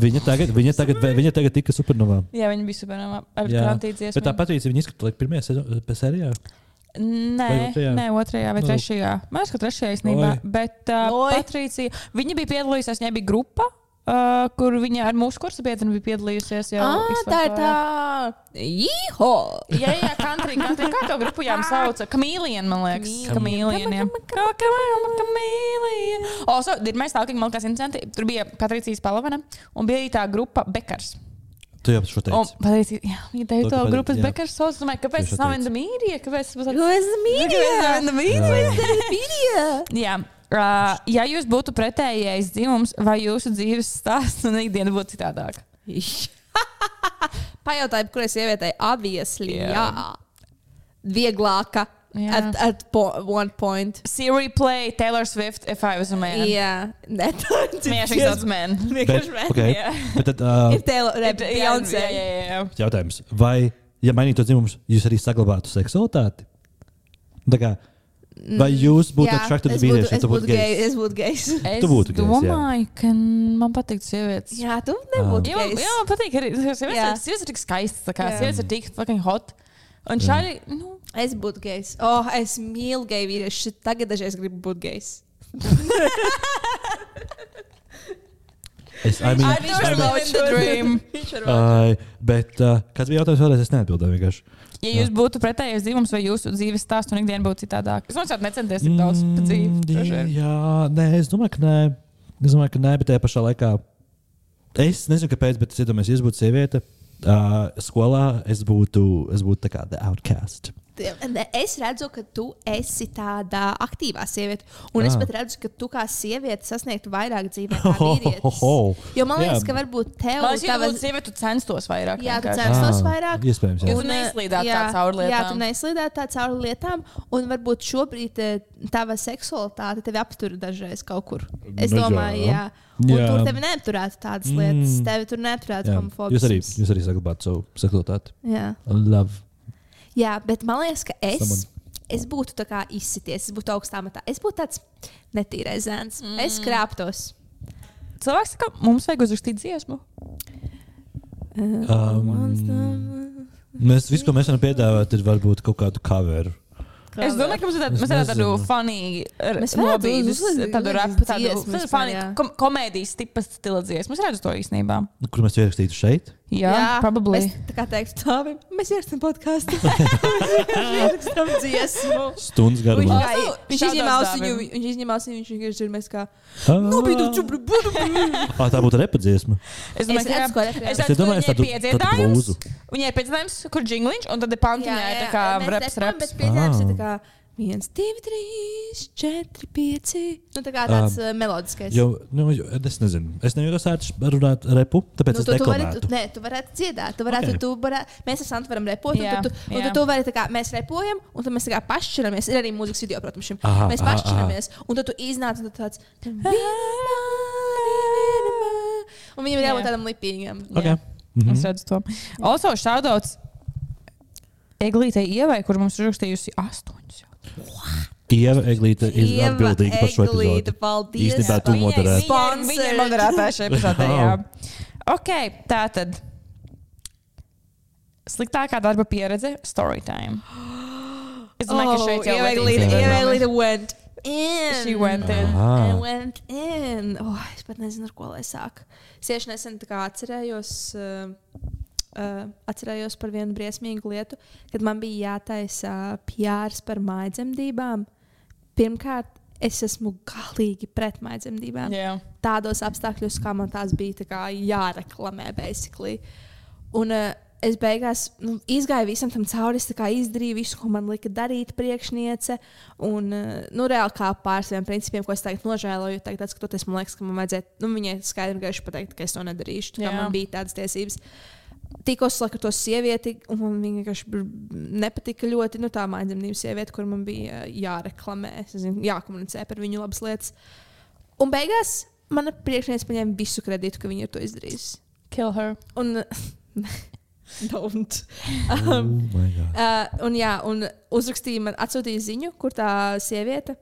viņa tagad, viņa tagad, viņa tagad tika supernovā. Jā, viņa bija supernovā ar Jā, krantīties. Bet tā Patricija viņa izskatās like, pirmajā eh, sezonā, pēc sērijā. Vai Nē, otrajā? nē, otrajā vai Nu. trešajā. Man liekas, ka trešajā īstenībā. Oi. Bet uh, Oi. Patricija, viņa bija piedalījusies, viņai bija grupa. Uh, kur viņa ar mūsu kursu biedru bija piedalījusies jau? Ah, X tā ir Faktorā. tā. Jīho! Jā, jā, [LAUGHS] country, country. Kā to grupu jām sauca? Kamīlien, man liekas. Kamīlien. jā. Kā kamīlien, kamīlien. O, so, ir mēs talking, man liekas, incidenti. Tur bija Patricijas Palavana un bija arī tā grupa Bekars. Tu jau šo Un teici. Patricija, jā, viņa To, teica to ka Pat- grupas jā. Bekars sauc. Domāju, kāpēc Tieši tas nav teicu. viena mīrija? Kāpēc tas Nu, nav es mīlu! viena mīrija? Mīļie! Jā. Uh, ja jūs būtu pretējais dzimums, vai jūsu dzīves stāsts un ikdiena būtu citādāk? Pajautāju, kurai sievietei aviesli. Jā. Jā. Vieglāka. Jā. At, at po one point. Siri play Taylor Swift, if I was a man. Jā, Jā, nē, [LAUGHS] tā ir Smiešanas daudz man. Bet, Vienkārši vēl. okay. jā. Bet tad, uh, Ir Taylor, re, Beyoncé. Jā, jā, jā. jautājums, vai, ja mainītu dzimumu, jūs arī saglabātu seksualitāti? Tā kā, vai jūs būtu Jā, attraktīvi es vīrieši, ja es tu Mm, būtu gejs? Es būtu gejs. Es Tu būtu gejs, jā. domāju, ka man patīk sievietes. Jā, tu nebūtu [LAUGHS] Jā, man, gejs. jā, man patīk arī sievietes. Jā. ir- Sievietes ir tik skaistas, tā kā Jā. sievietes ir tik fucking hot. Un šādi, nu, Es būtu gejs. Oh, es mīlu geju vīriešu. Tagad dažreiz gribu būt gejs. Es, I mean, I I never mean, loved the dream. ai, bet uh, kāds bija jautājums vēlreiz? Es neatbildēju vienkārši. Ja jūs būtu pretējais dzīvums, vai jūsu dzīves stāsts un ikdiena būtu citādāk? Es domāju, ka necenties tik daudz Mm. par dzīvi. droši vien. Jā, nē, es domāju, ka nē. Es domāju, ka nē, bet tajā pašā laikā. Es nezinu, kāpēc, bet es iedomājos, ja es būtu sieviete. Uh, skolā es būtu, es būtu tā kā the outcast. Ne, Es redzu, ka tu esi tāda aktīvā sieviete. Un Ah. es pat redzu, ka tu kā sieviete sasniegtu vairāk dzīvē, kā vīrietis. Ho, ho, ho. Jo man Jā. liekas, ka varbūt tev Man liekas, ja tu tavas- būtu sieviete, tu censtos vairāk. Jā, tu vienkārši. censties. Censtos Ā, vairāk. Iespējams, jā. Un- neizslīdāt tā cauri Jā, lietām. tu neizslīdāt tā cauri lietām, un varbūt šobrīd eh, tava seksualitāte tevi aptur dažreiz kaut kur. Es Nu jā. domāju, jā. Un Jā. tur tevi neapturētu tādas lietas, Mm. tevi tur neapturētu jā. Jūs homofobijas. arī, jūs arī saglabājat savu seksualitāti. Jā. Love. jā, bet man liekas, ka es, Someone. es būtu tā kā izsities, es būtu augstā matā. Es būtu tāds netīrais zēns. Mm. Es krāptos. Cilvēks saka, mums vajag uzrakstīt dziesmu. Um, mēs visu, ko mēs varam piedāvāt, ir varbūt kaut kādu coveru. Es domāju, ka mums ir tāda- Es mums ir tāda nezinu. tādu funny, r- Mēs varētu nobīdes, uzlikt- tādu uzlikt rapu, tādu dziesmas, tādu funny jā. kom- komēdijas tipa stila dziesmu. Mēs redzam to īstenībā. Nu, Kur mēs to ierakstītu šeit? Jā, jā probably. Mēs tā [LAUGHS] kā teiktu, tā, mēs [LAUGHS] ierakstām podkāstu. Mēs ierakstām dziesmu. Stundas Viņš garumā. Jā. kā- Viņš Shout izņēma out ausiņu, Dāvim. viņš izņēma ausiņu, viņš vienkārši ir mēs kā. Nu, tā būtu repadziesma. Es domāju, Es ka redzu, ko referē. Es Es iedomājos tādu- viņai tādu piedziedājums. blūzu. Viņai piedziedājums, kur džingliņš, un tad ir pantiņā ir tā kā raps, raps. raps. 1, 2, 3, 4, 5. Nu, tā kā tāds um, melodiskais. Jo, nu, jo, es nezinu, es nejūtos ērti runāt repu, tāpēc Nu, nu, es tu, tu, varētu, deklamēju. nē, tu varētu dziedāt. Tu varētu, Ok. okay. tu varētu, mēs ar Santu varam repot. Jā, un tu, tu, un jā. tu, tu vari, tā kā, mēs repojam, un tad mēs tā kā pašķiramies. Ir arī mūzikas video, protams, šim. Aha, Aha, mēs aha, aha. pašķiramies. Un tad tu iznāc un tu tāds. Un viņam ir Jā. jābūt tādam lipīgam. Okay. Mhm. Es redzu to. Also, šādauts Eglītei Ievai, kur mums ir rakstījusi astoņus. jau. Ieva Eglīte ir Ieva atbildīga par šo Eglīte, epizodi. paldies Īstenībā tu par- moderē. Viņai- Viņa ir- viņa ir moderētāja šajā epizodē. jā. Ok, tā tad. Sliktākā darba pieredze - story time. Es Oh, domāju, ka šeit jau ievēlīta, Jā. ievēlīta went in. She went in. I Ah, went in. Oh, es pat nezinu, ar ko lai sāku. Es tieši nesen tā kā atcerējos, uh, uh, atcerējos par vienu briesmīgu lietu, kad man bija jātaisa pjārs par mājdzemdībām. Pirmkārt, es esmu galīgi pret mājdzemdībām Jā. tādos apstākļos, kā man tās bija tā kā jāreklamē, basically. Un uh, eh, es beigās nu, izgāju visam tam cauri. Es tā kā izdarīju visu, ko man lika darīt priekšniece. Un, eh, nu, reāli kā pār saviem principiem, ko es tagad nožēloju, tagad skatoties, man liekas, ka man vajadzēja nu, viņai skaidri un gaiši pateikt, ka es to nedarīšu. Tā kā Jā. man bija tādas tiesības. Tikos ar to sievieti, un man viņa vienkārši br- nepatika ļoti nu, tā mājdzīvības sieviete, kur man bija eh, jāreklamē, es zinu, jākomunicē par viņu labas lietas. Un beigās mana priekšniece paņēma visu kredītu, ka viņa ir to izdarījusi. Kill her. Un, don't. [LAUGHS] Oh um, my God. uh, un, jā, un uzrakstīja man, atsūtīja ziņu, kur tā sieviete,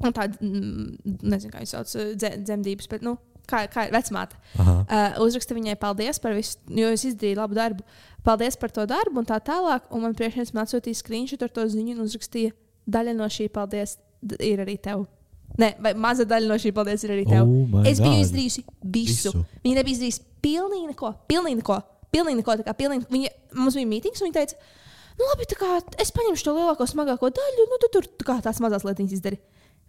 un tā, mm, nezinu, kā viņas sauc, uh, dze- dzemdības, bet, nu, kā, kā ir vecmāte. Aha. Uh, uzraksta viņai paldies par visu, jo es izdarīju labu darbu. Paldies par to darbu, un tā tālāk. Un man priekšnieks man atsūtīja screenshot ar to ziņu un uzrakstīja, daļa no šī paldies d- ir arī tev. Nē, vai maza daļa no šī paldies ir arī tev. Oh my es biju God. izdarījusi visu. Visu. visu. Viņa nebija izdarījusi pilnīgi neko. Pilnīgi neko. Pilnīgi neko tā kā, pilnīgi, viņa, mums bija mītings, un viņa teica, nu labi, tā kā es paņemšu to lielāko, smagāko daļu, nu tu tur tā kā tās mazās lietiņas izdari.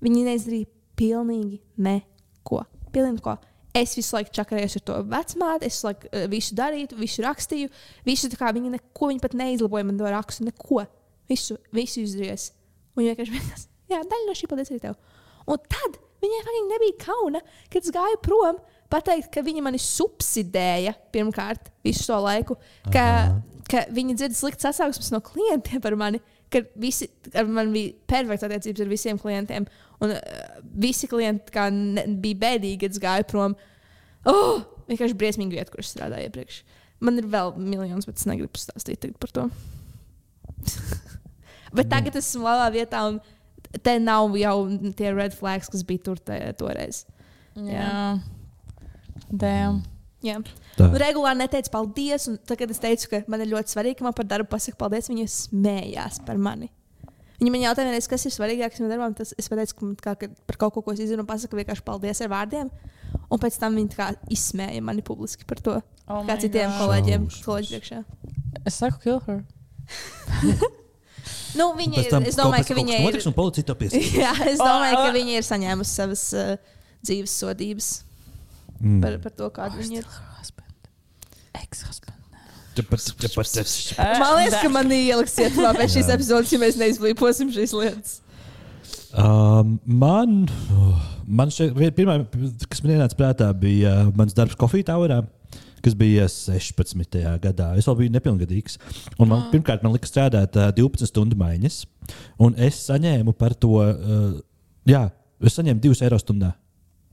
Viņa neizdarīja pilnīgi neko. Pilnīgi neko. Es visu laiku čakarējos ar to vecmāti, es visu laiku eh, visu darīju, visu rakstīju, visu tā kā viņa neko, viņa pat neizlaboja man to rakstu, neko. Visu, visu izdarījis. Un viņa vienkārši [LAUGHS] vienkārši, jā, daļa no šī paldies arī tev. Un tad viņai faktiski nebija kauna, kad es gāju prom, pateikt, ka viņa mani subsidēja pirmkārt visu šo laiku, ka, ka viņa dzird slikts sasauksmes no klientiem par mani. Ka visi ar mani bija perfekta attiecības ar visiem klientiem. Un uh, visi klienti kā, ne, bija bēdīgi, kad es gāju prom. Oh, vienkārši briesmīgi vieta, kur es strādāju iepriekš. Man ir vēl miljons, bet es negribu stāstīt tagad par to. [LAUGHS] bet tagad es esmu labā vietā, un te nav jau tie red flags, kas bija tur tajā, toreiz. Jā. Dēm. Jā. Tā. Nu, regulāri neteicu paldies, un tagad es teicu, ka man ir ļoti svarīgi, ka man par darbu pasakā paldies. Viņa smējās par mani. Viņa man jautāja, vienreiz, kas ir svarīgāks man darbam. Tas, es pateicu, ka man kā, ka par kaut ko, ko es izdarīju, pasakā vienkārši paldies ar vārdiem. Un pēc tam viņa tā kā izsmēja mani publiski par to. Oh kā my citiem God. kolēģiem, Šausmas. kolēģiem priekšā. Es saku, kill her. Nu, viņa ir. Es domāju, ka viņai ir. Notiks, un policija to [LAUGHS] piespriež. Jā, es domāju, [LAUGHS] Ah, ah. ka viņa ir saņēmusi savas uh, dzīves sodības Mm. par, par to, Oh, kāda viņa ir. Ex-husband. Eh, Man liekas, ka man ieliks cietumā pēc šīs Jā. epizodes, ja mēs neizblīposim šīs lietas. Um, man, oh, man šeit vie- pirmā, kas man ienāca prātā, bija uh, mans darbs Coffee Towerā. Kas bija 16. gadā. Es vēl biju nepilngadīgs. Un Man, Ah. pirmkārt, man lika strādāt uh, 12 stundu maiņas. Un es saņēmu par to, uh, jā, es saņēmu 2 eiro stundā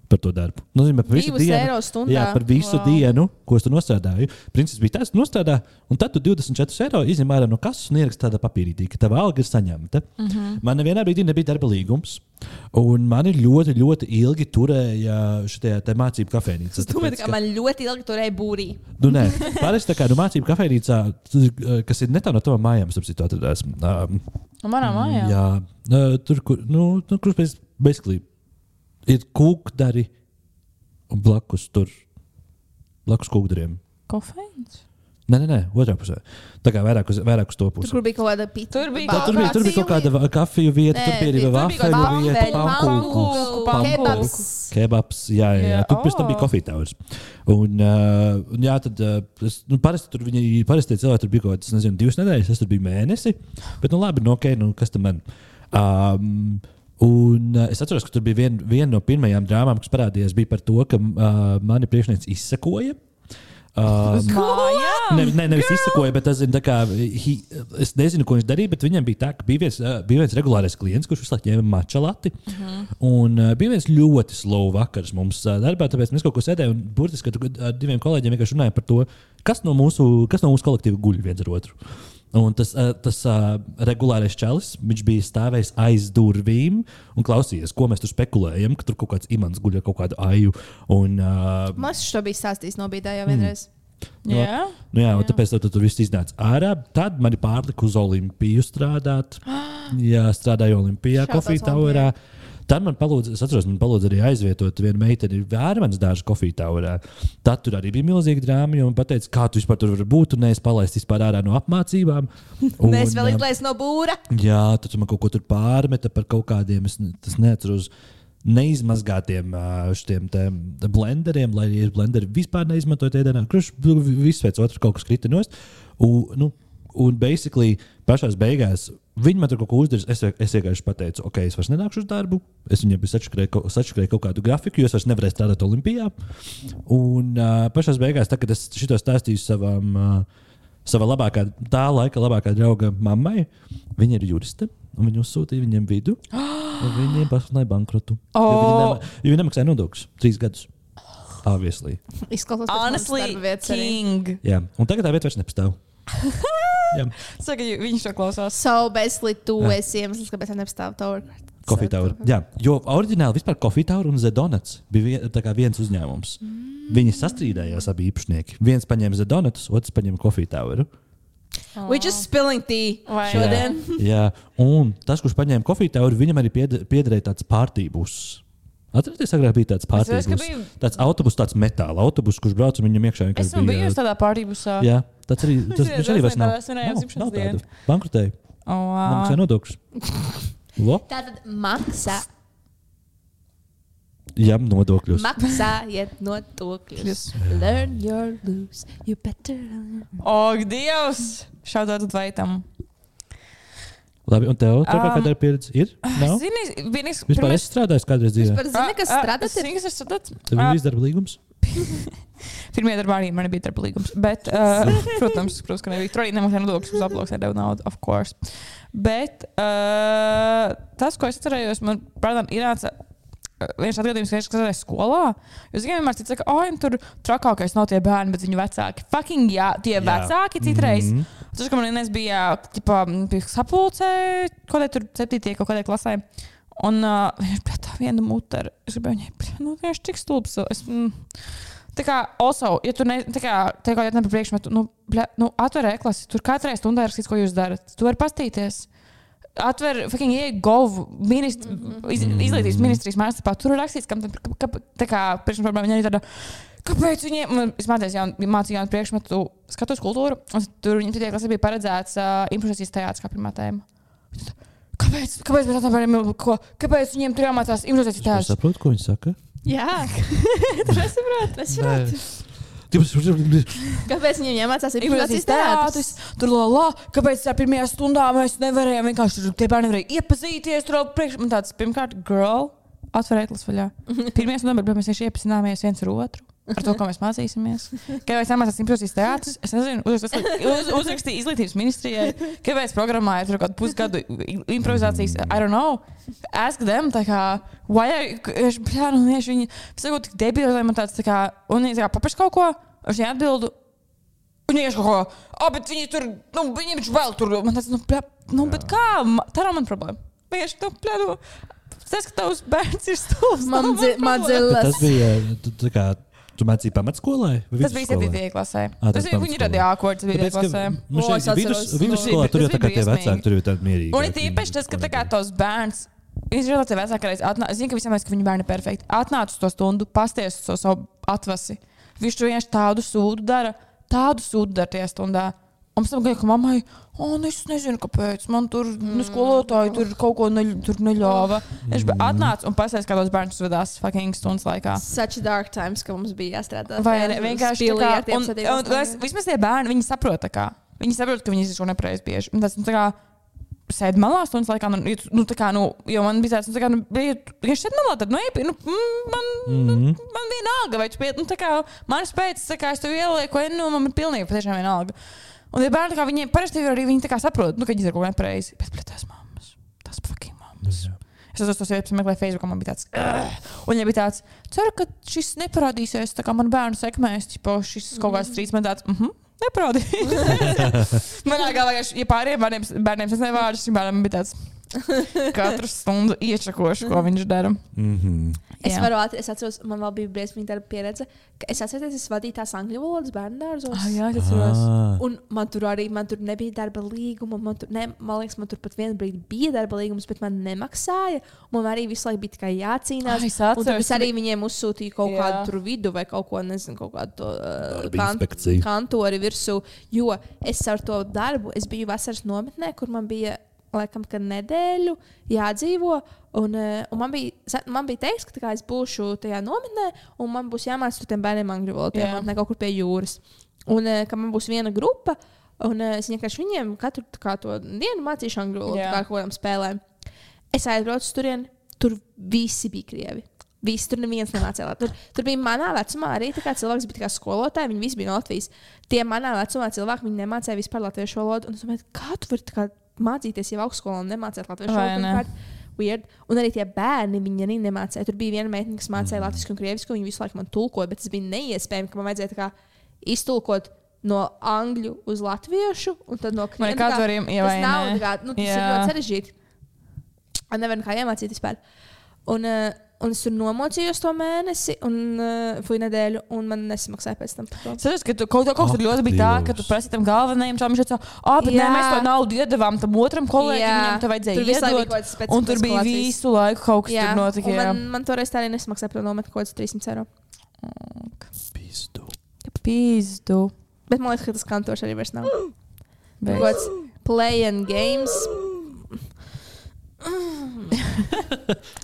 par to darbu. Tas nozīmē, ka visu Divus dienu, eiro stundā? jā, par visu wow. Vau. dienu, ko es tur nostādīju. Principā bija tas, ka nostādā, un tad tu 24 eiro izņem ārā no kases un ieraksti tādā papīrītī, ka tava alga ir saņemta. Mm Mhm. -hmm. Man vienā brīdī nebija darba līgums, un man ļoti, ļoti ilgi turēja šajā te mācību kafejnīcā. Es domāju, ka man ļoti ilgi turēja būrī. Nu, nē, parasti tā kā nu, mācību kafejnīcā, t- kas ir netālu no tavām mājām, sapratu, atradās. Um, Manā mājā. jā, uh, tur, kur, nu, nu, kurš pēc basically ir kūkdari un blakus tur, blakus kūkdariem. Kofeīns. Nē, nē, nē, otrā pusē. Tā kā vairāk uz, vairāk uz to Tur, pusi. kur bija kaut kāda pīta. Tur bija Tā, kaut tur, bija, tur bija kaut kāda va- kafiju vieta, Nē, tur bija Eh, arī tur bija vafeļu kaut kāda vieta, pankūku, pankūku, pankūku, pankūku, kebabs. kebabs. Jā, jā, jā. Jā, tur pēc tam o. bija kofija tavs. Un, uh, un jā, tad uh, es, nu, parasti tur viņi, parasti tie cilvēki tur bija kaut kāds, nezinu, divas nedēļas, es tur biju mēnesi. Bet, nu, labi, nu, ok, nu, kas tam man? Um, Un uh, es atceros, ka tur bija viena vien no pirmajām drāmām, kas parādījās, bija par to, ka uh, mani priekšnieci izsakoja. Um, Mājā. Ne, ne, nevis izsakoja, bet tas ir tā kā. He, es nezinu, ko viņš darīja, bet viņam bija tā, ka bija viens, ā, bija viens regulārs klients, kurš visu laiku ņēma mača lati. Uh -huh. Un ā, bija viens ļoti slovs vakars mums ā, darbā, tāpēc mēs kaut ko sēdējām un burtiski tu- ar diviem kolēģiem vienkārši runājām par to, kas no mūsu, kas no mūsu kolektīva guļ viens ar otru. Un tas, ā, tas ā, regulārais čalis, viņš bija stāvējis aiz durvīm un klausījies, ko mēs tur spekulējam, ka tur kaut kāds imants guļ ar kaut kādu aju. Un, uh, Mākslinieks to bija stāstījis nobīdā Mm. jau vienreiz. Nu, Jā. Nu, jā, un tāpēc tad, tad tur viss iznāca ārā. Tad man ir pārlika uz Olimpiju strādāt. jā, strādāju Olimpijā, Šaubas kofiju taurā. Tad man palūdza, es atceros, man palūdza arī aizvietot vienu meiteni vērmens dārza kofiju taurā. Tad tur arī bija milzīga drāma, jo man teica, kā tu vispār tur vari būt, un es palaistu vispār ārā no apmācībām. Un, Mēs vēl ā, izlaisām no būra. Jā, tad tu man kaut ko tur pārmeta par kaut kādiem. Es ne- tas neatceros. neizmazgātiem ā, šitiem te blenderiem, lai arī es blenderi vispār neizmantoju ēdienā. Kruš, nu, viss pēc otras kaut kas krita nost. Un, nu, un basically pašā beigās viņi man tur kaut ko uzdarīs. Es, es vienkārši pateicu, ok, es vairs nenākšu uz darbu. Es viņiem biju sačakarēju kaut- sačakarēju kaut kādu grafiku, jo es vairs nevarēju strādāt Olimpijā. Un uh, pašā beigās, tagad es šito stāstīju savam. Uh, savā labākā, tā laika labākā drauga mammai. Viņa ir juriste, un viņa uzsūtīja viņiem vidu. un Viņiem pasludināja bankrotu. Jo viņi Oh! nema- Jo viņi nemaksāja nodokļus trīs gadus. Obviously. Izklausās, Honestly, ka King. Jā. Un tagad tā vieta vairs nepastāv. Jā. Saka, ju- viņš to klausās. So, basically, tu Jā. esi iemesls, kāpēc man nepastāv tā orka. Coffee Tower. Jā, jo oriģināli vispār Coffee Tower un Zedonuts bija vien, tā kā viens uzņēmums. Mm. Viņi sastrīdējās abi īpašnieki. Viens paņēma Zedonuts, otrs paņēma Coffee Tower. We're just spilling tea. Vai Šodien. Jā, un tas, kurš paņēma kofiju teoriju, viņam arī pied- piederēja tāds pārtības. Atcerieties, agrāk bija tāds atceros, pārtības. ka Bija... bija- Tāds autobus, tāds metāla autobus, kurš brauca un viņam iekšā. vienkārši Esmu bija- bijusi tādā pārtībusā. Jā, tāds arī tas Es viņš arī vairs nav. nezinu, tā Nav- es nav varēju tādu. apzināties Bankrotēja, Oh, wow. nemaksāja nodokļus. Lo? Tātad maksā, Jā, nodokļus. maksājiet nodokļus. Learn your lose. You better learn. Ak, Dievs! Šādot vaitam. Labi, un tev tur um, Um, kāda ir pieredze? Ir? Nav? Zini, vienīgs. Vispār es strādāju kādreiz dzīvē. Par zini, kas strādā Zini, kas ir strādāt? Tev Ā, ir izdarba līgums? Pirmie darbā arī man bija darba līgums. Bet, uh, protams, protams, ka nebija. Tur arī nemaksāja nodokļus, uz aploksē deva naudu, of course. Bet uh, tas, ko es atcerējos, man, protams, ir nāca. uh, Viens atgadījums, ka es skatījos skolā. Jūs zināt, vienmēr cits saka, ah, tur trakākais nav tie bērni, bet viņu vecāki. Fucking, jā, tie jā. vecāki citreiz. Mm -hmm. Tas, ka man vienreiz bija ģipā, sapulcē, kaut kādā tur septītajā, kaut kādā klasē. Un uh, viņš bija tā viena mutera. Es gribēju viņai, "Bļa, nu, vienkārši tik stulbs. tu." Es, mm, Tā kā, also, ja tu ne, tā kā, tā kā, ja tu ne par priekšmetu, nu, bļa, nu atver e-klasi, tur katrai stundai rakstīts, ko jūs darat. Tu vari pastīties. Atver, fucking, ieej, gov, minist, iz, izglītības ministrijas mājaslapā, tur ir rakstīts, kam tam, ka, tā kā, priekšmetā viņa arī tāda. Kāpēc viņiem, man- es mācījos jaunu, mācīju jaunu priekšmetu, skatos kultūru, un tur viņiem tie, kas bija paredzēts uh, improvisācijas teātris kā pirmā tēma. Kāpēc, kāpēc mēs atveram, ko, kāpēc viņiem tur jāmācās improvisācijas Es teātris? saprotu, ko viņi saka. [LAUGHS] Jā, Es Nē. varētu. kāpēc viņiem jāmācās ir Improvisācijas improvisācijas teātris? teātris, tur lala, kāpēc tā pirmajā stundā mēs nevarējām vienkārši tur tie bērni nevarēja iepazīties. Tur jau priekš man tāds, pirmkārt, girl, atverēt lasu [LAUGHS] vaļā. Pirmajā stundā bet mēs vienkārši iepazināmies viens ar otru. Ar to, ko mēs mācīsimies. Kāpēc tā mācās improvisācijas teātris? Es nezinu, uzrakstīju uz, uzrakstīju izglītības ministrijai. Kāpēc programmāja tur kaut kādu pusgadu i- improvizācijas? I don't know. Ask them, tā kā, why are you, es- bļā, nu, vienkārši viņi, sakot, tik debili, lai man tāds, tā kā, un viņi tā kā papaši kaut ko, un viņi atbildu, Viņa ir kaut kā, ah, bet viņi tur, nu, viņiem taču vēl tur, man tas, nu, plē, nu bet kā, Ma- tā nav mana problēma. Vienkārši, nu, plē, nu, tas, ka tavs bērns ir stulbs. nav mana problēma. Bet Madzilla. Tas bija, tu, tā kā, tu mācīji pamatskolai? vai Tas bija vidusskolai? 7. klasē. Ā, tas Tas bija, pamatskolā. viņi radīja ākords 7. Tāpēc, klasē. ka, nu, O, es šeit atceros. vidus, vidusskolā Tas tur jau tā kā bija tie briesmīgi. vecāki, tur jau tādi mierīgi. Un ir tīpaši tas, ka tā kā tos bērns. Viņš ir tāds vecākais. atnā- Es zinu, ka visiem liekas, ka viņa bērni ir perfekti. Atnāca uz to stundu, pasties uz to savu atvasi. Viņš tur vienkārši tādu sūdu dara, tādu sūdu dara tajā stundā. Un pēc tam gāja, ka mammai, un es nezinu, kāpēc man tur nu, skolotāji tur kaut ko neļ, tur neļāva. Viņš mm. atnāca un pasties, kā tos bērnus vadās fucking stundas laikā. Such dark times, ka mums bija jāstrādā. Vai Jā, ne, mums vienkārši spīlī tā ar kā, tiem un, sadiem un, un, astotiem. vismaz tie bērni, viņi saprot, tā kā, viņi saprot, ka viņi izsako nepareizi bieži. Un Tas, nu, tā kā, Sēdi malā, stundas laikā, nu, ja tu- nu, tā kā, nu, jo man bija tāds, nu, tā kā, nu, bija, ja es sēdu malā, tad, nu, epi, nu, mm, man, mm -hmm. man vienalga, vai tu pie, nu, tā kā, man ir spēc, tā kā, es tev ielieku, ja, nu, man ir pilnīgi patiešām vienalga. Un, ja bērni, tā kā, viņi, parasti jau arī viņi, tā kā, saprot, nu, ka viņi izsako nepareizi, bet, bet tās mammas, tās fucking mammas. Es atceros, tos sievietes meklēju Facebook, un man bija tāds, "Ugh!" un viņa bija tāds, ceru, ka šis neparādīsies, tā kā man bērnu sekmēs, tipo, šis kaut kāds trīs man tāds, mhm. Neparādīsies. [LAUGHS] Manā galvā, ja pārējiem bērniem, bērniem tas nevārds, šim bērnam bija tāds. Katru stundu iečakošu, ko viņš dara. Mhm. Es Jā. varu atcerēties, es atceros, man vēl bija briesmīga darba pieredze. ka Es atceros, es vadīju tās angļu valodas bērnu dārzos. Ah, jā, es atceros. Ā. Un man tur arī man tur nebija darba līguma. Man, tur, ne, man liekas, man tur pat vienā brīdī bija darba līgums, bet man nemaksāja. Un man arī visu laiku bija tikai jācīnās. Ai, Ah, es Un tad atceros, es arī viņiem uzsūtīju kaut Jā. jā. kādu tur vidu vai kaut ko, nezinu, kaut kādu to, uh, Darba kan- inspekciju. kantori virsū. Jo es ar to darbu, es biju vasaras nometnē, kur man bija. laikam, ka nedēļu jādzīvo. Un, eh, un man, bija, sa- man bija teiks, ka tā kā es būšu tajā nometnē, un man būs jāmācās tur tiem bērniem angļu valodu, Jā. yeah. ne kaut kur pie jūras. Un eh, ka man būs viena grupa, un eh, es vienkārši viņiem katru tā kā, to dienu mācīšu angļu valodu, Jā. yeah. kā ar kaut kādām spēlēm. Es aizbraucu tur, tur visi bija krievi. Visi tur neviens nemācīja. Tur, tur bija manā vecumā arī tā kā cilvēks, bija tā kā skolotāji, viņi visi bija no Latvijas. Tie manā vecumā cilvēki, viņi nemācīja vispār latviešu valodu. Un es domāju, kā tu vari tā kā mācīties jau augstskolā un nemācīt latviešu Vai ne? valodu? pirmkārt? Weird. Un arī tie bērni, viņi arī nemācīja. Tur bija viena meitene, kas mācīja Mhm. latviešu un krievisku, viņa visu laiku man tulkoja, bet tas bija neiespējami, ka man vajadzēja tā kā iztulkot. No angļu uz latviešu, un tad Man no krievu. ir kāds variem tas nav tā ievainot. kā, nu, tas ir Jā. ļoti sarežģīti. Man nevar nekā iemācīt vispār. Un, uh, un es tur nomocījos to mēnesi, un uh, fui nedēļu, un man nesamaksāja pēc tam. par to. Saprotiet, ka tu, kaut, kaut kas Ak, tur ļoti bija tā, ka tu Dievs. prasīji tam galvenajam čalam, viņš teica, ah, bet nē, Jā. mēs to naudu iedavām tam otram kolēģim, Jā. viņam to vajadzēja Tur visu laiku bija iedot. kaut kas specifisks Un tur bija Latvijas. visu laiku kaut kas Jā, tur notika. un jā. man, man toreiz tā arī nesmaksāja par to nometni kaut kāds 300 eiro. Pizdu. Pīzdu. Bet man liekas, ka tas kantošs arī vairs nav. Bet- Kaut kāds play and games.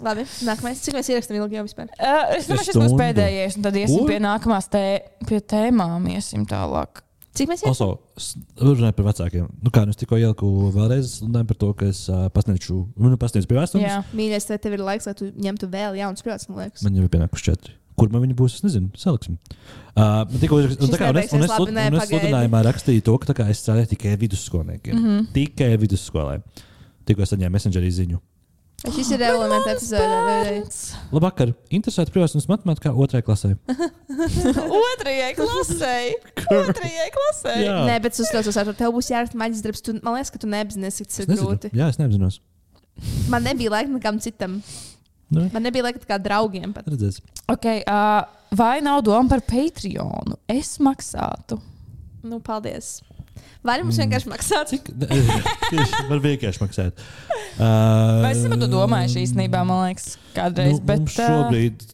Labi, nākamais. Cik mēs ierakstām ilgi jau vispār? Ā, Es domāju, šis būs Stundu. pēdējais, un tad iesim Kur? pie nākamās tē, pie tēmām. Iesim tālāk. Cik mēs ierakstām? Also, s- runājot par vecākiem, nu kā nu es tikko ieliku vēlreiz, runājot par to, ka es uh, pasniegšu, nu, pasniegšu pievērstību. Jā, Mīļais, vai tev ir laiks, lai tu ņemtu vēl jaunus prātus, man liekas. Man jau ir pienākuši četri. Kur man viņi būs, es nezinu, saliksim. Uh, tikko es Šis tā kā un es, un nebeigsies es, labi, un nē, es pagaidi. sludinājumā rakstīju to, ka tā kā es strādāju tikai vidusskolniekiem. Mhm. Mm -hmm. Tikai vidusskolē. Tikko es saņēmu messengerī ziņu. Šis ir elements epizode. Labvakar, interesēta privātums matemātikā otrajā klasē. [LAUGHS] Otrajai [LAUGHS] klasei. Otrajai klasei. Jā. Nē, bet es uztraucos, ar to tev būs jāraksta maģis darbs. Tu, man liekas, ka tu neapzinājies, cik tas Es ir nezinu. grūti. Jā, es neapzinos. Man nebija laika nekam citam. Nu, Man nebija laika kā draugiem. Pat. redzēs. Okay, uh, vai nav doma par Patreonu? Es maksātu. Nu, paldies. Vai nu mums Mm. vienkārši maksā? Cik? [LAUGHS] Tieši var vienkārši maksāt. Uh, Vai es par to domāju īstenībā, man liekas, kādreiz. Nu, bet, mums ā, šobrīd.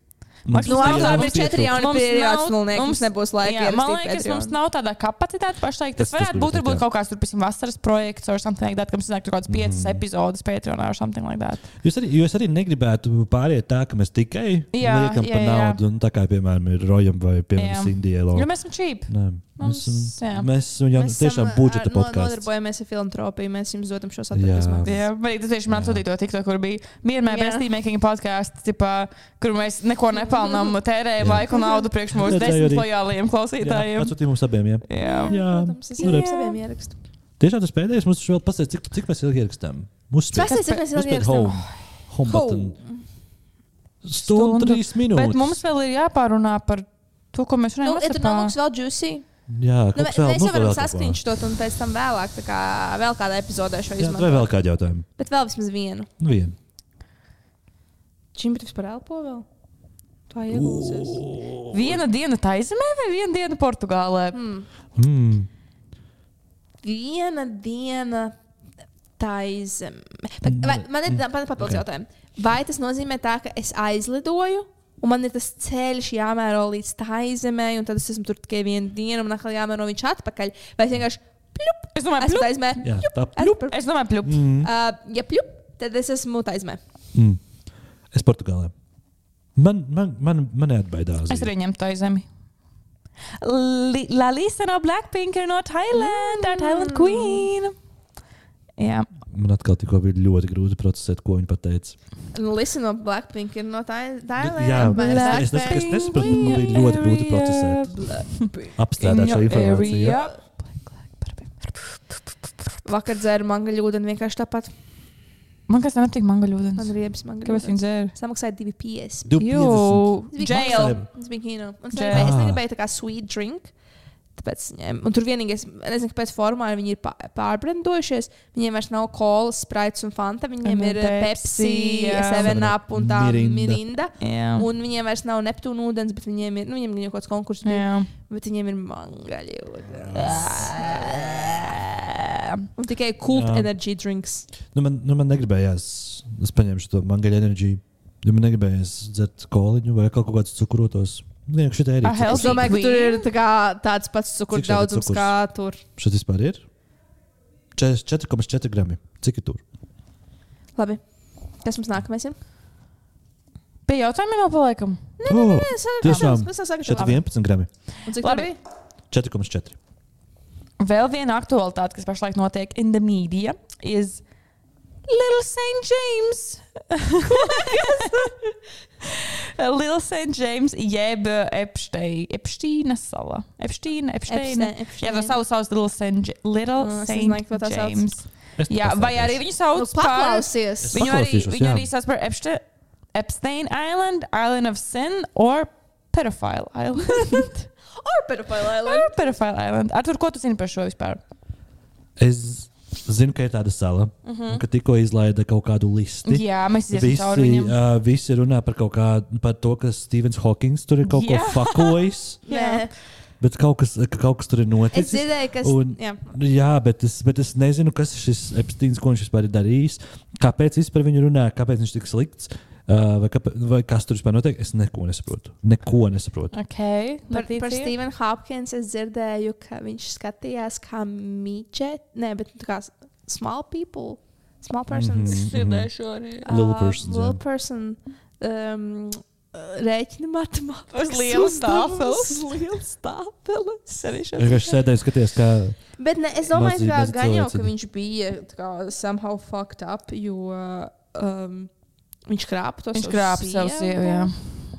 Maksā- Nu, Jā, labi, labi, mums ir četri pietrūkst. jauni Mums periods. nav- Man liekas, mums mums- nebūs laika. Jā, man ierakstīt liekas, Patreon. mums nav tāda kapacitāte pašlaik. Tas- Tas, tas tas varētu būt varbūt, varbūt jā. kaut kāds turpinājums vasaras projekts, vai something like that, kad mums nāk kaut kāds piecas Mhm. mm. epizodes Patreonā vai something like that. Jūs arī, jūs arī negribētu pāriet tā, ka mēs tikai jā, Jā, liekam jā, jā, par jā. naudu, un tā kā piemēram ir Rojam vai Jā. Indijai. Jo mēs esam čīpi. Mēs, Mums, jā. esam- mēs esam jau Mēs tiešām esam, budžeta ā, no- podkāsts. nu, Nodarbojamies ar filantropiju. Mēs jums dodam šo Jā. saturu. Jā, bet tas tieši man Jā. sūtīja to tikto, kur bija miermē Jā. bestīmēkiņa podkāsts, tipā, kur mēs neko [LAUGHS] nepelnām, Jā. tērējam laiku un naudu priekš Redzēju mūsu desmit arī. lojālajiem klausītājiem. Atsūtīja mums abiem. Jā. Jā. Jā, Protams, es nu jau re. saviem ierakstu. Tiešām tas pēdējais mums taču vēl pasaka, cik, cik mēs ilgi ierakstām. Mūsu spēlē Pastāstiet, cik mēs jau home. ierakstām. Home button. Stundu Stundu. trīs minūtes. Bet mums vēl ir jāpārunā par to, ko mēs Nu, runājam. ja tur nav mums vēl juicy. jā, Nu, kaut mēs kas vēl. mēs nu, jau varam vēl kaut ko. saskriņšot un pēc tam vēlāk, tā kā vēl kādā epizodē šo Jā, vai izmantot. vēl kādi jautājumi? Bet vēl vismaz vienu. Nu, vienu. Čim bet vispār elpo vēl? Tā iegūsies. Viena diena Taizemē vai viena diena Portugālē? Hmm. Mm. Viena diena tā izeme. Man ir tāds papildus Mm. Ok. jautājums. Vai tas nozīmē tā, ka es aizlidoju? Un man ir tas ceļš jāmēro līdz tā zemē, un tad es esmu tur tikai vienu dienu, un atkal jāmēro viņš atpakaļ. Vai es vienkārši plup, Es domāju, esmu pļup. tā zemē? Jā, tā Plup. Es domāju, pļup. Mm. Uh, ja plup, tad es esmu tā zemē. Mm. Es Portugālē. Man, man, man, man neatbaidās. Es arī ņemtu to zemi. Lalisa no Blackpink ir no Thailand, our Mm. Thailand queen. Jā, Man atkal tikko bija ļoti grūti procesēt, ko viņa pateica. Nu, Lisa no Blackpink ir no tā Nu, jā, zemes. bet- Es- es nesaprotu, es nesaprotu, man bija ļoti grūti procesēt. Apstrādāt šo informāciju. Jā, Vakar dzēru mangaļu ūdeni vienkārši tāpat. man kas nepatīk mangaļu Man ūdens. ir riebas mangaļu. Kāpēc ūdens. viņi dzēra? Samaksāja 2,50. Divi piecdesmit. jail. Maksāja. Tas bija kino. Un Es Jail. negribēju, es Ah. negribēju tā kā sweet drink. Tāpēc, es ņēmu. un tur vienīgais, es nezinu, kāpēc formāli viņi ir pā- pārbrendojušies. Viņiem vairs nav kolas, spraits un fanta. Viņiem Un ir eh, Pepsi, Pepsi, jā. 7up un tā Mirinda. mirinda. Jā. Un viņiem vairs nav Neptūna ūdens, bet viņiem ir, nu, viņiem ir kaut kāds konkurss, bija, Jā. bet viņiem ir mangaļi ūdens. Un tikai cool Jā. energy drinks. Nu, man, nu, man negribējās, es paņemšu to mangaļu enerģiju. Ja man negribējās dzert koliņu vai kaut Nu, kādas cukrotos. Nē, šī tā ir. Ah, hell. Es domāju, ka tur Green. ir tā kā, tāds pats cukuru Cik šeit ir daudzums cukurs? kā tur. Šeit vispār ir 4,4 grami. Cik ir tur? Labi. Kas mums nākamais ir? Pie jautājumiem vēl paliekam. Nē, nē, nu, nē, tiešām. Mēs jau Oh! Šeit sākām. 11 grami. Un cik Labi. labi? 4,4. Vēl viena aktualitāte, kas pašlaik notiek in the media, ir Little St. James. [LAUGHS] Little St. James, jeb Epštei- Epštīna sala. Epštīna, Epštīna. Jā, tā sauc savus Little St. J- Little Mm, es nezinu, kā St. tā sauc. Nu, James. Es Jā, paklausīšos. vai arī viņu sauc par Paklausies. Es Viņu arī, paklausīšos, viņu jā. arī sauc par Epšte- Epstein Island, Island of Sin or Pedophile [LAUGHS] Island. Orpēdopēlē. or Pedophile Island. Ar ko tu zini par šo vispār? Es zinu, ka ir tāda sala, uh Mhm. -huh. ka tikko izlaida kaut kādu listi. Jā, mēs iesim Visi, cauri viņam. uh, visi runā par kaut kādu, par to, ka Stevens Hawkins tur ir kaut ko Jā. fakojis, Jā. bet kaut kas, ka kaut kas tur ir Es noticis. dzirdēju, kas. Un- Jā. Nu Jā, bet es, bet es nezinu, kas ir šis Epsteins, ko viņš vispār ir darījis. Kāpēc vispār viņu runā, kāpēc viņš ir tik slikts, uh, vai, kāpēc, vai kas tur vispār notiek? Es neko nesaprotu. Neko nesaprotu. Okay, Par, par Latīcija? Stevenu Hopkins es dzirdēju, ka viņš skatījās kā mīķet, ne, bet kā s- small people, small persons. Mm Mhm, mhm. -hmm. Little persons, jā. Little person. Um, Rēķina matemātikā. Uz liela [LAUGHS] stāfeles. Uz liela stāfeles. Arī Es vienkārši sēdēju, skaties, kā Bet ne, es domāju, Mazi ka bez gan jau ka cilvēciņa. viņš bija tā kā, somehow fucked up, jo um, viņš krāpa to Viņš krāpa savu sievu. Jā.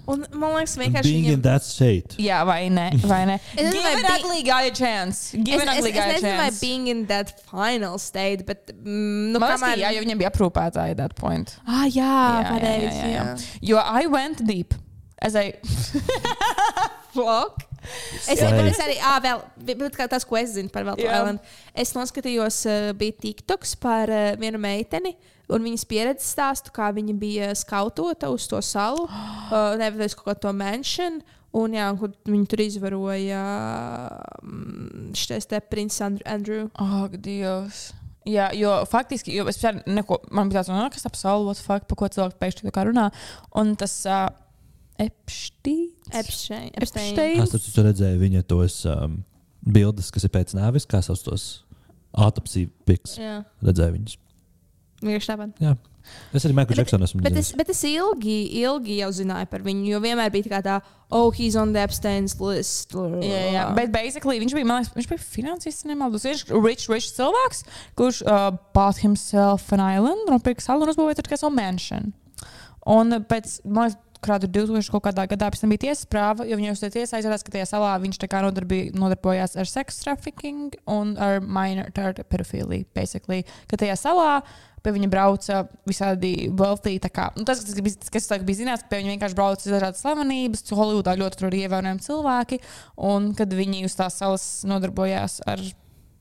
Un, man liekas, vienkārši being in viņam, that state. jā, vai ne? Vai ne? Es nezinu, Give vai an bi- ugly guy a chance. Give es, an es, ugly es guy a nezinu, vai chance. being in that final state, bet mm, nu, Man liekas, ka kamēr... jā, jo viņam bija aprūpētāji at that point. Ah, jā, jā, pareizi. jā, Jā, jā. Jo I went deep. Es eju, Fuck. Es, Jā. bet es arī, ah, vēl, bet kā tas, ko es zinu par Veltu Jā. Islandu. Es noskatījos, eh, bija TikToks par eh, vienu meiteni. Un viņas pieredzes stāstu, kā viņa bija skautota uz to salu, [GASPS] eh, nevis kaut ko to manšanu. Un, jā, un kur viņu tur izvaroja mm, šitais te princis Andr- Andrew. ak, Dievs. Jā, jo faktiski, jo es vienkārši neko, man bija tāds, no, kas apsaule, what the fuck, par ko cilvēki pēkšņi tā kā runā. Un tas uh, Epštīns. Epstein. Epstein. Epšteins. Es tur tur redzēju viņa tos um, bildes, kas ir pēc nāves, kā sauc tos autopsiju piks. Jā, Redzēju viņus. vienkārši tāpat. Jā. Es arī Michael Bet- Jacksonu esmu Bet es, redzējis. bet es ilgi, ilgi jau zināju par viņu, jo vienmēr bija tā, kā tā oh, he's on the Epstein's list. Jā, jā, bet basically viņš bija, man liekas, viņš bija finansists, nemaldos. Viņš ir rich, rich cilvēks, kurš uh, bought himself an island, nopirka salu un uzbūvēja tur kā savu mansion. Un uh, pēc, man liekas, kādu 2000 kaut kādā gadā pēc tam bija tiesas prāva, jo viņu uzstāja tiesā aizvērās, ka tajā salā viņš tā kā nodarbī, nodarbojās ar sex trafficking un ar minor, tā ar pedofiliju, basically. Ka tajā salā pie viņa brauca visādi wealthy. tā Kā, nu, tas, kas bija, tas, kas tā bija zināms, ka pie viņa vienkārši brauca dažādas slavenības, jo Holivudā ļoti tur ir ievērojami cilvēki. Un kad viņi uz tās salas nodarbojās ar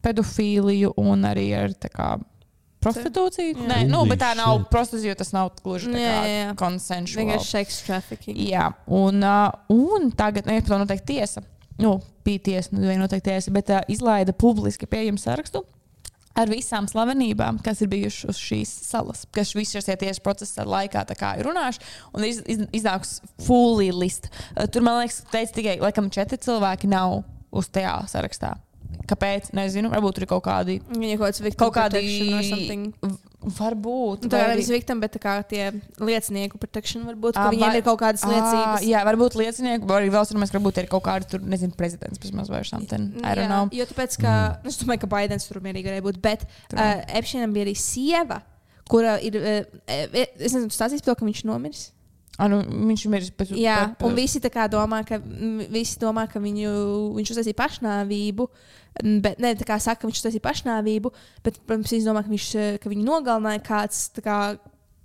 pedofīliju un arī ar tā kā. Prostitūcija? Jā. Nē, nu, Holy bet tā nav shit. prostitūcija, jo tas nav gluži tā Jā, jā, kā jā. konsensuāla. Vienkārši seksa trafficking. Jā, un, uh, un tagad, nu, ja par to noteikti tiesa, nu, bija tiesa, nu, viena noteikti tiesa, bet uh, izlaida publiski pieejamu sarakstu. Ar visām slavenībām, kas ir bijušas uz šīs salas, kas visas šīs tieši procesa laikā tā kā ir runājuši, un iz, iz, iznāks fully list. Uh, Tur, man liekas, teica tikai, laikam, četri cilvēki nav uz tajā sarakstā. Kāpēc? Nezinu, varbūt tur ir kaut kādi. Viņa kaut kāds victim Kaut kādi. protection or something. v- Varbūt. Nu, Tā vai kā arī- nevis victim, bet tā kā tie liecinieku protection varbūt, Ā, ka viņiem vai- ir kaut kādas Ā, Ah, liecības. Jā, varbūt liecinieki, vai arī vēl sarunājamies, ka varbūt ir kaut kāda tur, nezinu, prezidents vismaz vai something. I don't know. jo tāpēc, ka mm. es domāju, ka Baidens tur mierīgi varēja būt, bet True. uh, Epsteinam bija arī sieva, kura ir, uh, es nezinu, stāstīs par to, ka viņš nomirs. Ah, nu, viņš ir miris pēc Jā, pēc- un visi tā kā domā, ka, mm, visi domā, ka viņu, viņš uztaisīja pašnāvību. mm, Bet, ne, tā kā saka, ka viņš uztaisīja pašnāvību, bet, protams, viņš domā, ka, viņš, eh, ka viņu nogalināja kāds, tā kā,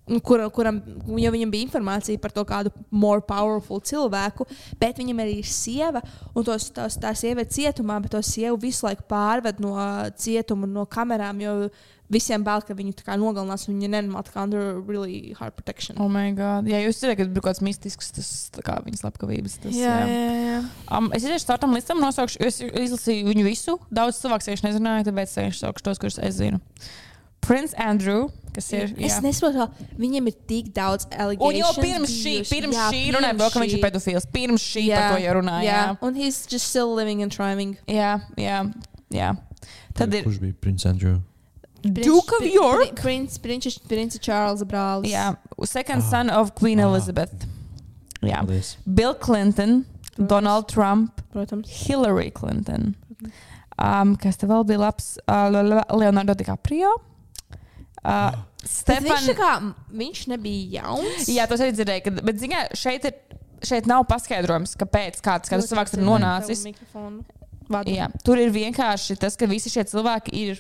nu, kur, kuram jau viņam bija informācija par to kādu more powerful cilvēku, bet viņam arī ir sieva, un tos, tos, tā sieva ir cietumā, bet to sievu visu laiku pārved no cietuma, no kamerām, jo visiem bail, ka viņu tā kā nogalinās, un viņa nenormāli tā kā under really hard protection. Oh my god. Jā, jūs zināt, ka bija kaut kāds mistisks, tas tā kā viņas slepkavības. Tas, jā. Um, es iziešu startam listam, nosaukšu, es izlasīju viņu visu. Daudz cilvēku es nezināju, tāpēc es saukšu tos, kurus es zinu. Prince Andrew, kas ir. Es jā. nesaprotu, kā viņiem ir tik daudz elegantu. Un jau pirms šī, pirms jā, šī runāja, vēl, ka viņš ir pedofils. Pirms šī jā, par to jau runāja. Jā, Jā, un viņš just still living and thriving. jā, jā. jā. Tad ir Kurš bija Prince Andrew? Duke of York. Prince, prinča, prinča Čārlza brālis. Jā, second son of Queen Ah. Elizabeth. Jā, Paldies. Bill Clinton, Protams. Donald Trump, protams. Hillary Clinton. Um, kas te vēl bija labs? Uh, la- la- la- Leonardo DiCaprio. Uh, Ah. Stefan... Viņš, tā Stefan. kā, viņš nebija jauns. Jā, tas arī dzirdēju, kad, bet zini, kā, šeit ir. Šeit nav paskaidrojums, kāpēc kāds kāds cilvēks ir nonācis. Jā, tur ir vienkārši tas, ka visi šie cilvēki ir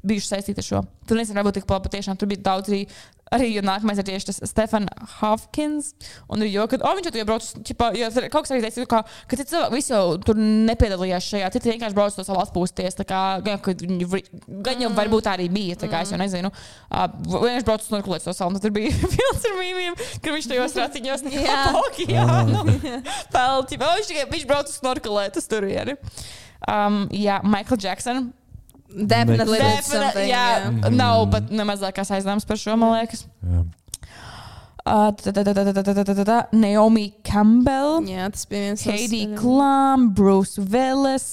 bijuši saistīti ar šo. Tur nezinu, varbūt tik plaši patiešām tur bija daudz arī. Arī jo nākamais ir tieši tas Stefan Hafkins. Un ir jau, kad oh, viņš jau tur iebrauc, ķipā, jo tur kaut kas arī teica, ka, ka citi cilvēki visi jau tur nepiedalījās šajā. Citi vienkārši brauc uz savu atpūsties. tā kā, Gan, kad viņi vri- gan jau varbūt arī bija, tā kā es jau nezinu. Uh, vienkārši brauc uz nokulēt savu salu. un Tur bija [LAUGHS] viens ar mīmiem, ka [LAUGHS] viņš tajos raciņos [LAUGHS] nepokījā. Nu, pelti. Vai Viņš tikai viņš brauc uz snorkelēt uz turieni. Um, jā, Michael Jackson. Definitely Makes- did Defini- something, jā, jā. mm. nav pat ne mazākās aizdomas par šo, man liekas. Jā. Uh, tā, tā, tā, tā, tā, tā, tā, tā, tā, Naomi Campbell, jā, tas bija viens no Katie Klum, Bruce Willis,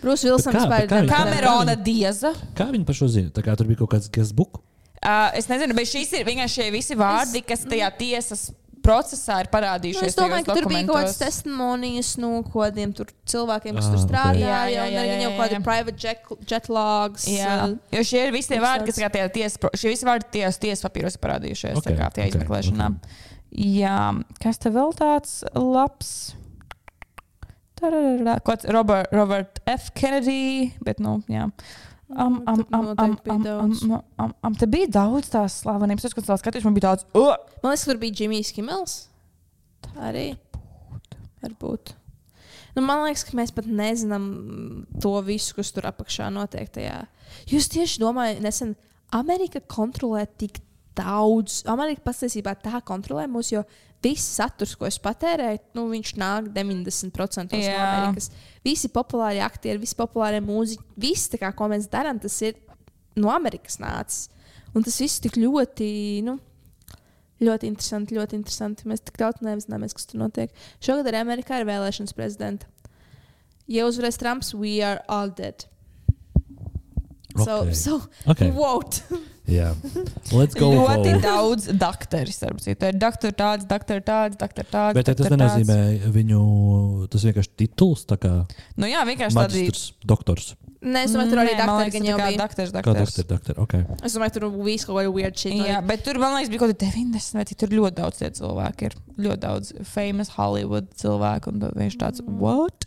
Brūsis Vilsons Bet kā, vispār bet kā nebija. viņš- Kamerona Dieza. Kā viņi par šo zina? Tā kā tur bija kaut kāds guestbook. Uh, es nezinu, bet šīs ir vienkārši šie visi vārdi, kas tajā tiesas procesā ir Nu, parādījušies. es domāju, tajos ka tur bija kaut kādas dokumentos. testimonijas no kaut kādiem tur cilvēkiem, kas Ah, tur ok. strādāja. Jā, jā, Jā, jā, jā, jā, jā, jau jā, kaut kādi jā. private jet, jet logs. Jā, uh, jo šie ir visi tie Kas vārdi, kas tāds? kā tie tiesas, šie visi vārdi tiesas, tiesas papīros ir parādījušies okay, Ok, kā ok, tie okay, izmeklēšanā. Okay. Jā, kas te vēl tāds labs? Tararara, Kāds Robert, Robert F. Kennedy, bet nu, jā. Am, am, Tur am, am, noteikti bija am, am, daudz. am, am, am, te bija daudz tās slavenības. Es skatos, skatīšu, man bija daudz. Uh! Man liekas, tur bija Jimijs Kimels. Arī. Varbūt. Nu, man liekas, ka mēs pat nezinām to visu, kas tur apakšā notiek. Tajā. Jūs tieši domājat, nesen Amerika kontrolē tik daudz. Amerika patiesībā tā kontrolē mūs, jo viss saturs, ko es patērēju, nu, viņš nāk 90% no Jā. Amerikas. Visi populārie aktieri, visi populārie mūziķi, viss, tā kā, ko mēs darām, tas ir no Amerikas nācis. Un tas viss tik ļoti, nu, ļoti interesanti, ļoti interesanti. Mēs tik daudz nezinājām, kas tur notiek. Šogad arī Amerikā ir vēlēšanas prezidenta. Ja uzvarēs Trumps, we are all dead. So, Ok. so Ok. vote. Jā. Let's go. Ļoti vote. daudz doktori, starp citu. Ir doktori tāds, doktori tāds, doktori tāds. Bet ja tas doktori tāds. nenozīmē viņu, tas vienkārši tituls, tā kā Nu jā, vienkārši tādi. maģistrs, doktors. Nē, Nu, es domāju, tur arī Nē, man daktāri liekas, gan nu tā jau kā bija. Doktors, Kā doktors. doktor, doktor, ok. Es domāju, tur viss kaut kāda weird shit. Jā, notiek. bet tur, man liekas, bija kaut kāda 90 vai cik tur ļoti daudz tie cilvēki. Ir ļoti daudz famous Hollywood cilvēku. Un tad viņš tāds, Mm. what?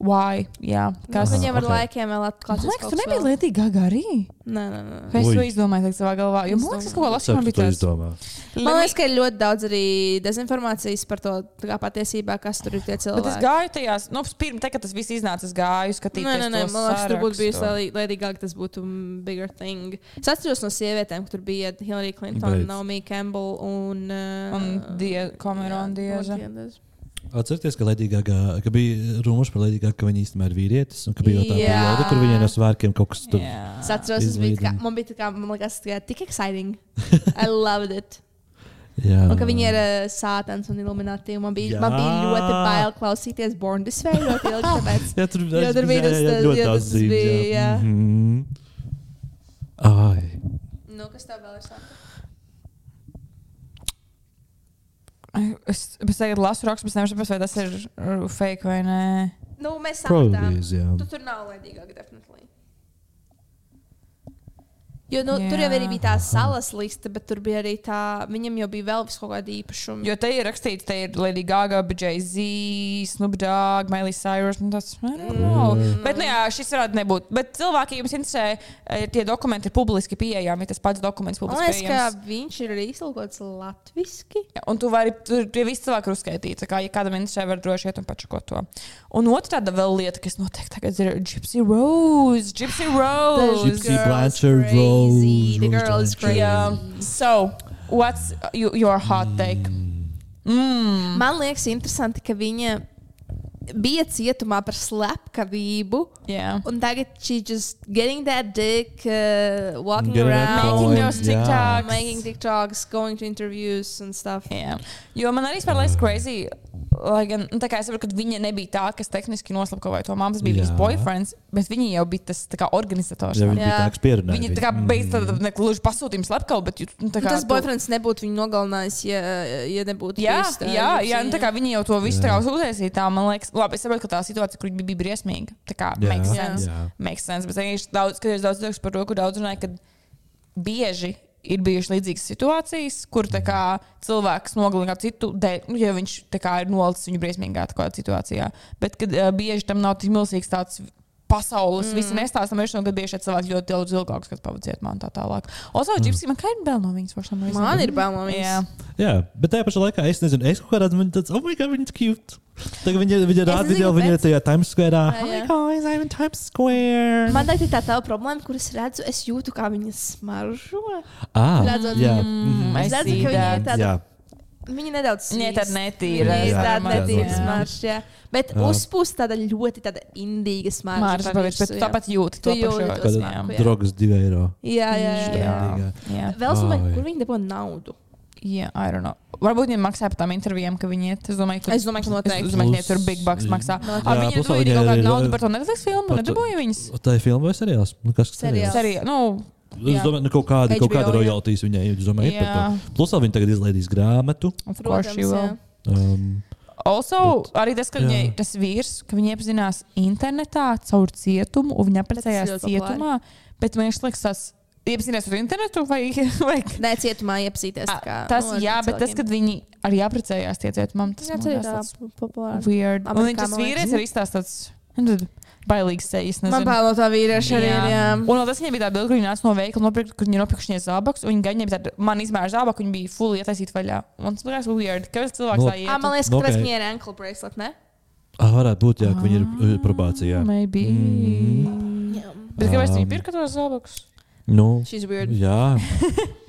Why? Jā, kas Nu, viņam Viņiem ar ok. laikiem vēl Man atklāts. liekas, tur nebija Lady Gaga arī. Nē, nē, nē. Vai Es Ui. to izdomāju tagad savā galvā. Jo, man liekas, kaut ko Saka, lasīju, tu man bija to tāds. izdomā. Man liekas, ka ir ļoti daudz arī dezinformācijas par to, tā kā patiesībā, kas tur ir tie cilvēki. Bet es gāju tajās, nu, pirms tam, kad tas viss iznāca, es gāju skatīties. Nē, nē, nē, to man liekas, tur būtu bijusi sarakstu. Lady- Lady Gaga, tas būtu mm, bigger thing. Es atceros no sievietēm, kur tur bija Hillary Clinton, Beidz. Naomi Campbell un. Uh, Un die, Cameron Dieza. Atcerieties, ka, Lady Gaga- ka bija runas par Lady Gaga, ka viņa īstenībā ir vīrietis, un ka bija jau tā Jā. perioda, kur viņai no svārkiem kaut kas tur Jā. Es atceros, tas bija, tā kā- Izlīdzina. man bija tā kā, man liekas, tā kā tik [LAUGHS] exciting. I loved it. Jā. Un ka viņi ir uh, sātans un illuminati. un Man bija, man bija Ah. Jā. ļoti bail klausīties Born This Way ļoti ilgi. Tāpēc. Jā, tur Jā, tur jā, bija tas- jā, tas- ļoti jā, daudz tas zīmes. bija, jā. jā. Mhm. Ai. Nu, kas tev vēl ir sātans? Ai, Es, es tagad lasu rakstu, bet es nevaru saprast, vai tas ir uh, fake vai nē. Nu, mēs sapratām. Probably, jā. Tu tur nav laidīgāk, definitīvi. Jo nu, Jā. tur jau arī bija tā salas lista, bet tur bija arī tā, viņam jau bija vēl kaut kāda īpašuma. Jo te ir rakstīts, te ir Lady Gaga, BJZ, Snoop Dogg, Miley Cyrus. un Tas, I don't know. Mm. bet, nu, jā, šis varētu nebūt. Bet cilvēki, ja jums interesē, eh, tie dokumenti ir publiski pieejami. Tas pats Man dokuments publiski liekas, pieejams. ka viņš ir arī izlūkots latviešu. Jā, Un tu vari, tur tie visi cilvēki ir uzskaitīti. tā Kā, ja kādam interesē, var droši iet un pačakot to. Un otra tāda vēl lieta, kas notiek tagad, ir Gypsy Rose. Gypsy [GASPS] Rose. Gypsy Blanchard Rose, The Rose girl is Blanchard. crazy. Yeah. So, what's you, your hot take? Mm. Man liekas, interesanti, ka viņa bija cietumā par slepkavību. Yeah. Un tagad she's just getting that dick, uh, walking Getting that around, coin, Making those jā. TikToks. making TikToks, going to interviews and stuff. Mm. Jā. Jo man arī spēlēs crazy Lai gan nu, tā kā es saprotu, ka viņa nebija tā, kas tehniski noslapkavoja to māmu. Tas bija viņas Jā. boyfriends, bet viņa jau bija tas tā kā, organizators. Ja viņi Jā, bija Jā. tāds pieredzējis. viņa tā kā beigās nekluži pasūtīja slepkavu, bet jūs- nu, tā Nu, kā Tas boyfriends nebūtu viņu nogalinājis, ja, ja nebūtu Jā, bijis tā jā, jā, jūsu- nu, tā kā viņi jau to visu Jā. tā kā uztaisīja. tā, Man liekas, labi, es saprotu, ka tā situācija, kur viņi bija, bija briesmīga. Tā kā Jā. makes Jā. sense. Jā. Makes sense. Bet es daudz, skaties daudz cilvēku par to, kur daudz runāja, ka bieži ir bijušas līdzīgas situācijas, kur tā kā, cilvēks nogalina kādu citu, dēļ, nu, ja viņš tā kā, ir nolicis viņu briesmīgā tā kā situācijā. Bet kad, uh, bieži tam nav tik milzīgs tāds. Pasaules mm. visi nestāsta, man ir šodien, kad bieži šie cilvēki ļoti daudz ilgākus, kad pavadījiet man tā tālāk. Ozo, Džipsi, man kā ir bail no viņas, forši. Mm. Man [LAUGHS] ir bail no Jā, viņas. Jā, bet tajā pašā laikā es nezinu, es kaut kādā ziņā tādu, oh, my God, viņa ir cute. Tagad viņa, viņa rāda nezinu, video, viņa ir kāpēc. tajā Times Square. Jā, Oh, my jā. God, I'm in Times Square. Man tā ir tā tā problēma, kuras redzu, es jūtu, kā viņa smaržo. Ah, Redzot, jā. Mm, Es es redzu, ka viņa ir redzu, tāda. Mm-hmm. jā. Viņa nedaudz ka viņi tāda netīra. Jā, ir jā, tāda jā, netīra jā. smarža. jā. Bet Jā. uzpūst tāda ļoti tāda indīga smarža. Mārcis pa Kalniņš, bet visu, tu jā. tāpat jūti to Tu jūti pašu. to Kad jā. smaku, jā. drogas divi eiro. Jā, jā, jā. jā. jā. jā. Vēl es domāju, Ai. kur viņi dabū naudu. Jā, I don't know. Varbūt viņi maksā par tām intervijām, ka viņi iet. Es domāju, ka, Es domāju, ka noteikti. Es domāju, ka Plus- viņi tur big bucks maksā. Jā, Ar viņu plus tur viņai bija kaut ir- eh, kāda nauda par to Netflix filmu, par to- nedabūja viņas. Tā ir filma vai seriāls? Nu, kas tas Seriāls. seriāls? Arī, nu, Es Jā. domāju, nu, kaut kāda, kaut HBO, kāda jā. royalties viņai ir. es Domāju, ir par Jā. to. Plus, vēl viņa tagad izlaidīs grāmatu. of course she will. jā. Um, Also, bet, arī tas, ka jā. viņai, tas vīrs, ka viņi iepazinās internetā caur cietumu, un viņi apprecējās Tas ļoti cietumā, bet man liekas, tas iepazinās ar internetu vai, [LAUGHS] vai Nē, cietumā iepazīties. tā kā, tas, nu, ar jā, bet tas, cilvēkiem. kad viņi arī apprecējās tie cietumam, tas Jā, man tas ir liekas tā tāds populārs. Weird. Un Amerikā, viņš tas man liekas. vīrietis arī izstāstīts tāds - bailīgs sejas. Man bail no tā vīrieša arī. ir, Jā. Un vēl tas viņam bija tā bilde, kur viņi nāca no veikala, nopirka, kur viņi nopirkušie zābakus. un Viņi gan nebija tādi, man izmēra zābaku, viņi bija fully ietaisīti vaļā. Un tas likās weird. Kāpēc cilvēks Nu, tā Ā, Man iet? liekas, Nu, ka tas ok. viņai ir ankle bracelet, ne? ah, varētu būt, jā, ka viņa ir uh, probācijā. Maybe. Mm. Bet kāpēc Um, viņi pirka tos zābakus? Nu, She's weird. [LAUGHS] Jā,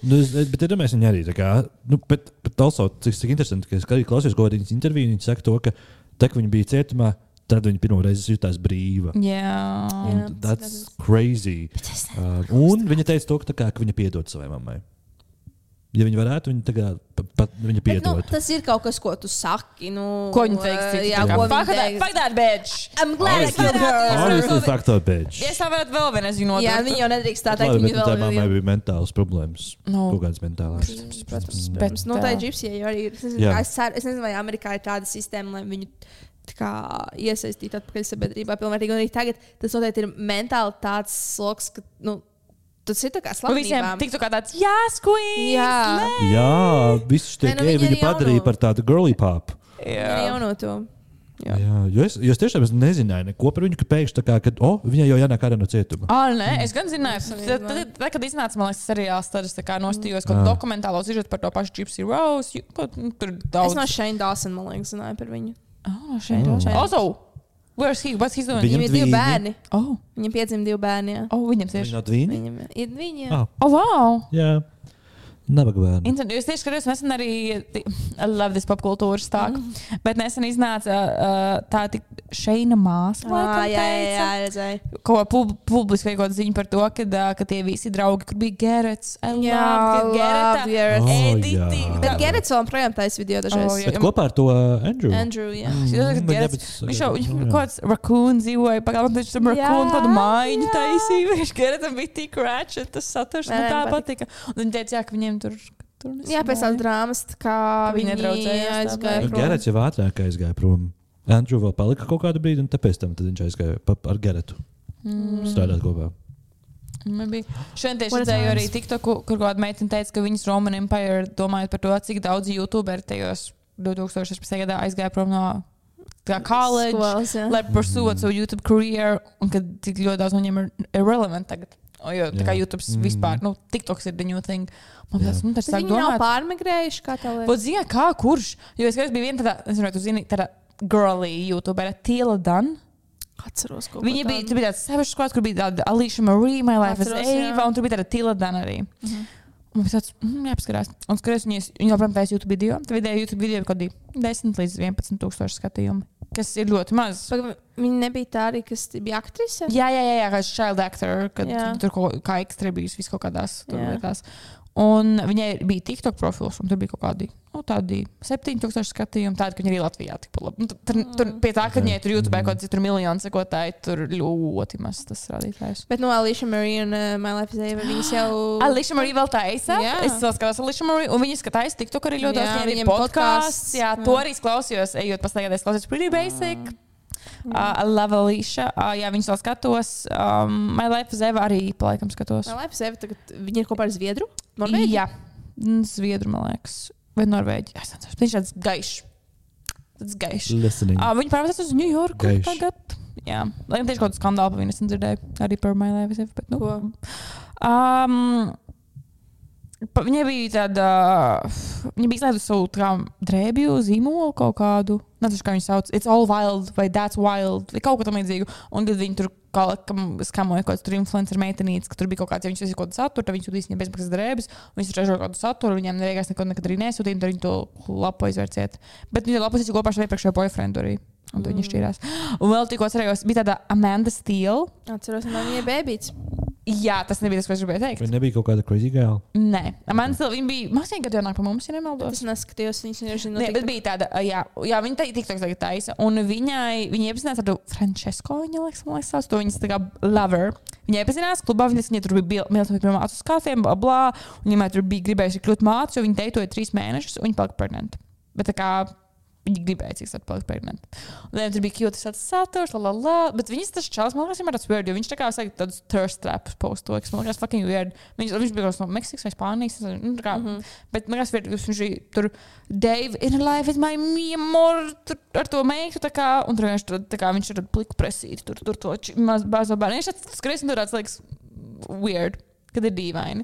nu, es, es- bet iedomājieties, viņa arī tā kā. Nu, bet, bet also, cik, cik interesanti, ka es kā- klausījos kaut kādas intervijas, viņa saka to, ka tā, kad viņa bija cietumā, tad viņa pirmo reizi jutās brīva. Jā. Un Jā, That's crazy. Uh, un viņa teica to, ka, tā kā, ka viņa piedod savai mammai. Ja viņa varētu, viņa tagad pat viņa Bet, nu, piedod. tas ir kaut kas, ko tu saki. Nu, Ko viņi teiks? eh, citu? Jā, Tā kā, ko "Fuck viņi that- teiks. Fuck that bitch! I'm glad I Honestly. killed her. Honestly, fact or bitch. Ja es tā varētu vēl vienu, es zinu, Jā, otru. viņi jau nedrīkst tā Bet labi, teikt. bet Viņi nu, tā vēl mammai ir. bija mentāls problēmas. Nu, Kaut kādas mentālās. protams, Mm, bet- Nu, tā ir tā. gypsija jau arī. ir. Es nezinu, Jā. kā es ceru- es nezinu, vai Amerikā ir tāda sistēma, lai viņu tā kā iesaistītu atpakaļ sabiedrībā. Pilnvērtīgi. Un arī tagad tas noteikti ir mentāli tāds sloks, ka nu, tas ir tā kā Un Nu, visiem slāpīgi. tiktu kā tāds, jā, squeeze! Jā. lē!" Jā, viss šis te Nē, nu, gēji viņa viņa ir padarīja jauno. par tādu girly pop. Arī jau no nu, to. Jā. Jā, jo es, jo es tiešām es nezināju neko par viņu, ka pēkšņi tā kā, kad, oh, viņa jau jānāk ārā no cietuma. Ah, nē, es gan zināju, Es arī tad, tad, tad, kad iznāca man liekas, seriāls, tad es tā kā nostājos kaut Ah. kādā dokumentālā uzzīmēt par to pašu Gypsy Rose. ju- kaut- nu, Tur Es daudz no Shane Dawson, man liekas, zināju par viņu. Oh, šeit, oh. šeit. Also, where's he? What's he doing? Viņam Viņam ir divi dvīņi. bērni. Oh, Viņam piedzima divi bērni. Jā. oh, viņam Viņa tieši. no dvīņa? Viņam ir viņi. Ah. jā. Oh, wow! Jā, nabaga bērna. Inter- Es tieši skatījos, nesen arī I love this popkultūras stāstu. Mm. Bet nesen iznāca uh, tā tik šeina māsa. Ā, laikam Ah, Jā, jā, teica. jā, redzēju. ko pub publiski kaut kāda ziņa par to, ka, uh, ka tie visi draugi, kur bija Gerets, Jā, Gerets, labi, Gerets. jā. Bet Gerets vēl projām taisa video Oh, dažreiz. jā. Bet kopā ar to uh, Andrew. Andrew, jā. Mm, Šis ir bet jā, Gerets. bet- Viņš jau jā. viņam kaut kāds rakūns dzīvoja, pagaidām viņš tam rakūnu tādu mājiņu jā. taisīja. [LAUGHS] Viņš Geretam bija tik ratchet, tas saturs Nē, man tā man patika. Un viņi teica, jā, ka viņiem tur. tur Jā, pēc tās drāmas, tā kā Viņi viņi nedraudzējās, aizgāja. tāpēc. Bet prom. Gerets Nu, jau ātrāk aizgāja prom. Andrew vēl palika kaut kādu brīdi, un tāpēc tam tad viņš aizgāja pa, ar Geretu strādāt kopā. Mm. Man bija. Šodien tieši What a redzēju times. arī TikTok, kur kaut kāda meitene teica, ka viņas Roman Empire domājot par to, cik daudz YouTuberi tajos 2016. gadā aizgāja prom no tā kā college, Skolas, jā. lai pursuot savu YouTube karjeru, un ka tik ļoti daudz no viņiem ir irrelevant tagad. O, jo, tā kā Jā. YouTube Mm. vispār, nu, TikToks ir the new thing. Man Jā. liekas, nu, tas Bet sāk Viņi nav domāt. pārmigrējuši, kā tā liekas. Vot zina, kā kurš. Jo es kādreiz biju viena tāda, es nezinu, vai tu zini, tāda girly YouTubera, Tīla Dan. Atceros, ko Viņa bija, tur bija tāds sevišķs skats, kur bija tāda Alīša Marija, My Life is Atceros, jā. Mhm. Eva, un tur bija tāda Tīla Dan arī. Un Viņš tāds mm, apskatās, un skatās, viņas, viņa joprojām taisa YouTube video. Tad vidēji YouTube video ir kaut kādi 10 līdz 11 tūkstoši skatījumu, kas ir ļoti maz. Viņa nebija tā arī, kas bija aktrise. Jā, jā, jā, jā kā child actor, kad jā. Jā. tur kaut kā ekstrēbijas vis kaut kādās tur Jā. lietās. Un viņai bija TikTok profils, un tur bija kaut kādi nu, tādi 7000 skatījumu. Tāda, ka viņa arī Latvijā tik labi. Nu, Tur, tur, tur pie tā, ka viņai tur YouTube kaut kāds tur miljonu sekotāju, tur ļoti maz tas rādītājs. Bet no Alicia Marie un uh, My Life is Ava viņas jau. Alīša arī vēl taisa. Jā. Jā. Es vēl skatos Alīšu arī, un viņa skatās TikTok arī ļoti Jā, daudz. Viņai arī viņiem podkāsts. podcasts, Jā, jā. Mm. to arī es klausījos, ejot pastaigā, es klausos Pretty Basic. Uh, I love Alīša. Uh, jā, viņas vēl skatos. Um, My Life is Eva arī palaikam skatos. My Life is Ava tagad viņa ir kopā ar Zviedru. Norvēģi? Jā, Mm, Zviedru, man liekas, vai Norvēģi. Jā, es atceros. Viņš ir tāds gaišs. Tas gaišs. Listening. Uh, viņa pārvācās uz New York Gaišs. tagad. Jā, lai gan tieši kaut kādu skandālu par viņu nesen dzirdēju, arī par My Life is Eva. Bet, nu, Ko? Um, pa- Viņai bija tāda. Viņa bija izlaidusi savu tā kā drēbju zīmolu kaut kādu. Nezinu, kā viņu sauc. It's all wild, vai that's wild, vai kaut ko tamlīdzīgu. Un tad viņi tur kaut kam skamoja kaut kāds tur influencer meitenīts, ka tur bija kaut kāds, ja viņš uzsīja kaut kādu saturu, tad viņš sūtīs viņai bezmaksas drēbes, un viņš ražo kaut kādu saturu, viņiem nevienās neko nekad arī nesūtīja, un tad viņi to lapu aizvērciet. Bet viņi to lapu aizvērciet kopā ar savu iepriekšējo boyfriendu arī. Un tad viņi šķīrās. Un vēl tikko cerējos, bija tāda Amanda Steele. Atceros, man viņa bēbīts. Jā, tas nebija tas, ko es gribēju teikt. Vai nebija kaut kāda crazy gala? Nē, man liekas, viņa bija mākslinieka gadījumā, pa mums, ja nemaldos. Es neskatījos viņas, viņa nu, jau Nē, bet bija tāda, jā, jā viņa tā tiktok tagad taisa, un viņai, viņa iepazinās ar to Francesko, viņa liekas, man liekas, sauc, to viņas tā kā lover. Viņa iepazinās klubā, viņas viņa tur bija milzīgi pie mācu skāfieniem, bla, bla, un viņai tur bija gribējusi kļūt mācu, jo viņa deitoja trīs mēnešus, un viņa palika pregnant. Bet tā kā viņa gribēja, cik tas palika pregnant. Un viņai tur bija kļūtas tāds saturs, la, la, la, bet viņas tas čels, man liekas, viņam ir tāds weird, jo viņš tā kā saka tādus thirst traps posto, kas man liekas fucking weird. Viņš, viņš bija kaut kas no Meksikas vai Spānijas, es nezinu, nu, tā kā, mm Mhm. Mhm. -hmm. bet man liekas, weird, ka viņš bija tur Dave in life is my memoir, tur ar to meitu, tā kā, un tur vienkārši tur, tā kā viņš ir pliku presīti, tur, tur to či- maz bāzo bērnu. Viņš tāds skriesni tur tāds, liekas, weird. Kad ir dīvaini.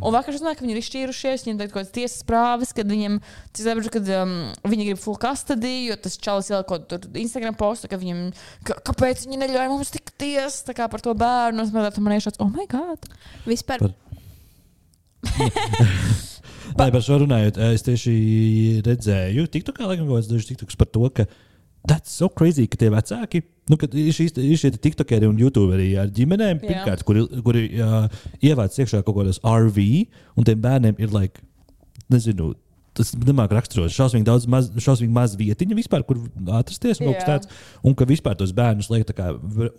Un vakar es domāju, ka viņi ir izšķīrušies. Viņiem ir kaut kādas tiesas prāvas, kad viņiem, cik saprotu, kad um, viņi grib full custody, jo tas čalis ielika kaut kur Instagram postu, ka viņiem, ka, kāpēc viņi neļauj mums tikties tā kā par to bērnu. Un Es domāju, ka man ir šāds, oh, my God! Vispār. Par- Nē, par šo runājot, es tieši redzēju, TikTokā laikam kaut kāds dažs tiktoks par to, ka tas so crazy, ka tie vecāki, nu, kad ir šīs- ir šie tiktokeri un youtuberi ar ģimenēm, Jā. pirmkārt, kuri, kuri uh, ievāc iekšā kaut kādos RV, un tiem bērniem ir, like, nezinu, tas nemāk raksturot, šausmīgi daudz, maz, šausmīgi maz vietiņa vispār, kur atrasties, un kaut kas Jā. tāds, un ka vispār tos bērnus liek tā kā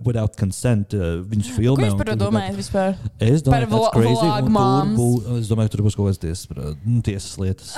without consent, uh, viņus Ko filmē. jūs un par to tur- domājat vispār? Es Par domāju, ka vlo- tas ir vlog moms. grūti. Es domāju, ka tur būs kaut kādas tiesas, pra- nu, tiesas lietas.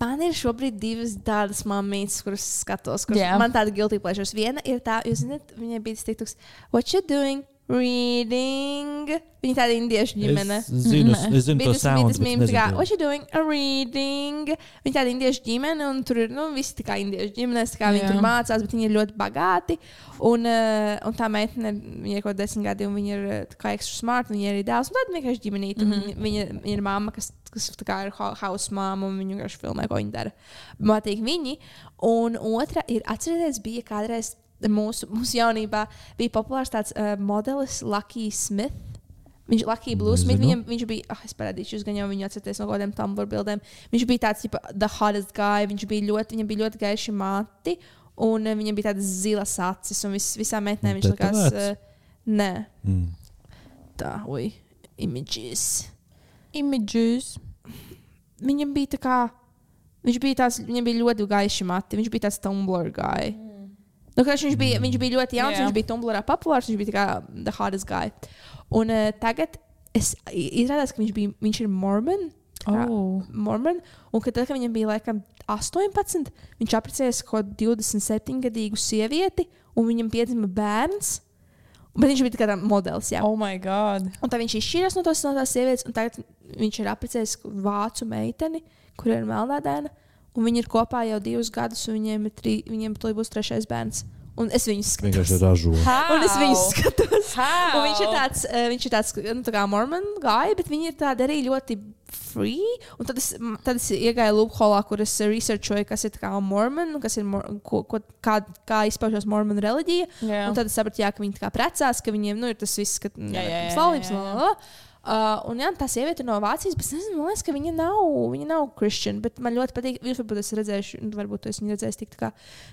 Man ir šobrīd divas tādas mammas, kuras skatos, kuras Jā. yeah. man tāda guilty pleasures. Viena ir tā, jūs zināt, viņai bija tas tiktoks, what you doing? Reading. Viņa tāda indiešu ģimene. Es zinu, Nē. es zinu to Bija tas- bija sound, tas bet mīmīms, nezinu kā, to. what you doing? A reading. Viņa tāda indiešu ģimene, un tur ir nu, visi tā kā indiešu ģimenes, tā kā viņi Jā. tur mācās, bet viņi ir ļoti bagāti. Un, uh, un tā meitene, viņai ir kaut kādi desmit gadi, un viņa ir eh, tā kā ekstra smart, un viņa ir arī dēls. Un tāda vienkārši ģimenīte. Mm -hmm. viņa, viņa ir mamma, kas, kas tā kā ir hau- house māma, un viņa vienkārši filmē, ko viņa dara. Man patīk viņi. Un otra ir, atcerieties, bija kādreiz mūsu, mūsu jaunībā, bija populārs tāds uh, modelis Lucky Smith. Viņš Lucky Blue Smith, Nezinu. viņam Viņam, viņš bija, ah, es parādīšu, jūs gan jau viņu atcerieties no kaut kādiem Tumblr bildēm. Viņš bija tāds, tipo, the hottest guy, viņš bija ļoti, viņam bija ļoti gaiši mati, un eh, viņam bija tādas zilas acis, un vis, visām metnēm Un viņš likās, tetovēts? eh, nē, Mm. tā, ui, images. Images. Viņam bija tā kā, viņš bija tāds, viņam bija ļoti gaiši mati, viņš bija tāds Tumblr guy. Nu, ka viņš, bija, viņš bija ļoti jauns, Jā. yeah. viņš bija Tumblrā populārs, viņš bija tā kā the hottest guy. Un uh, tagad es izrādās, ka viņš, bija, viņš ir mormon. tā kā Oh. Mormon, un ka tad, kad viņam bija laikam 18, viņš apprecējās kaut kādu 27 gadu sievieti, un viņam piedzima bērns. Bet viņš bija tāds modelis, jā. oh, my God! Un tad viņš izšķīrās no tās, no tās sievietes, un tagad viņš ir apprecējis vācu meiteni, kur ir melnā dēna. Un viņi ir kopā jau divus gadus, un viņiem, ir trī, viņiem tur būs trešais bērns. Un es viņus Vienkārši skatos. ražo. [LAUGHS] Un es viņus skatos. How? Un viņš ir tāds, eh, viņš ir tāds nu, tā kā mormon gāja, bet viņi ir tādi arī ļoti free. Un tad es, m, tad es iegāju lūpholā, kur es researchoju, kas ir tā kā mormon, un kas ir, mor, ko, ko, kā, kā izpaužas mormon reliģija. Jā. Un tad es sapratu, jā, ka viņi tā kā precās, ka viņiem nu, ir tas viss, ka jā, jā, slavēms. jā, jā. Uh, un jā, tā sieviete ir no Vācijas, bet es nezinu, man liekas, ka viņa nav, viņa nav kristiāna. Bet man ļoti patīk, jūs varbūt esat redzējuši, un varbūt es viņu redzēju, tik tā kā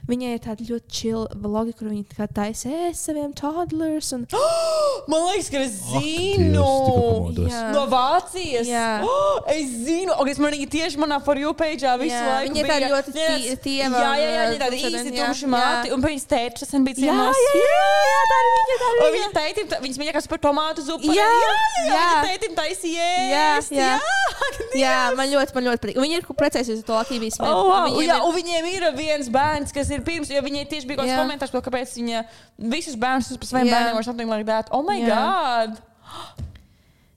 viņai ir tāda ļoti čila vlogi, kur viņa tā kā taisa ēst saviem toddlers. Un... "Oh!" Man liekas, ka es Dievs, zinu. tikko pamodos. Jā. No Vācijas. Jā. Oh, es zinu, un es manīju tieši manā for you page visu Jā, laiku. viņa tā bija- ļoti Jā, tie- tieva, Jā, jā, jā, viņa tāda tumšā īsti diena, jā. tumša māte. Jā. Un viņas tēča sen bija Jā, ciemos. jā, jā, jā, tā ir viņa. Tā ir Un viņa. viņa tētim, tā- viņas mīļākās par tomātu zupu. Jā, jā. jā. Viņa tētim taisīja. Jā, jā. jā. [LAUGHS] Jā, man ļoti, man ļoti patīk. Un Viņa ir precējusies ar to Latvijas monētu. Oh, wow. jā, un viņiem ir viens bērns, kas ir pirms, jo viņai tieši bija kaut kāds Jā. komentārs, par to, kāpēc viņa visus bērnus par saviem Jā. bērniem var something like that. Oh my Jā. god!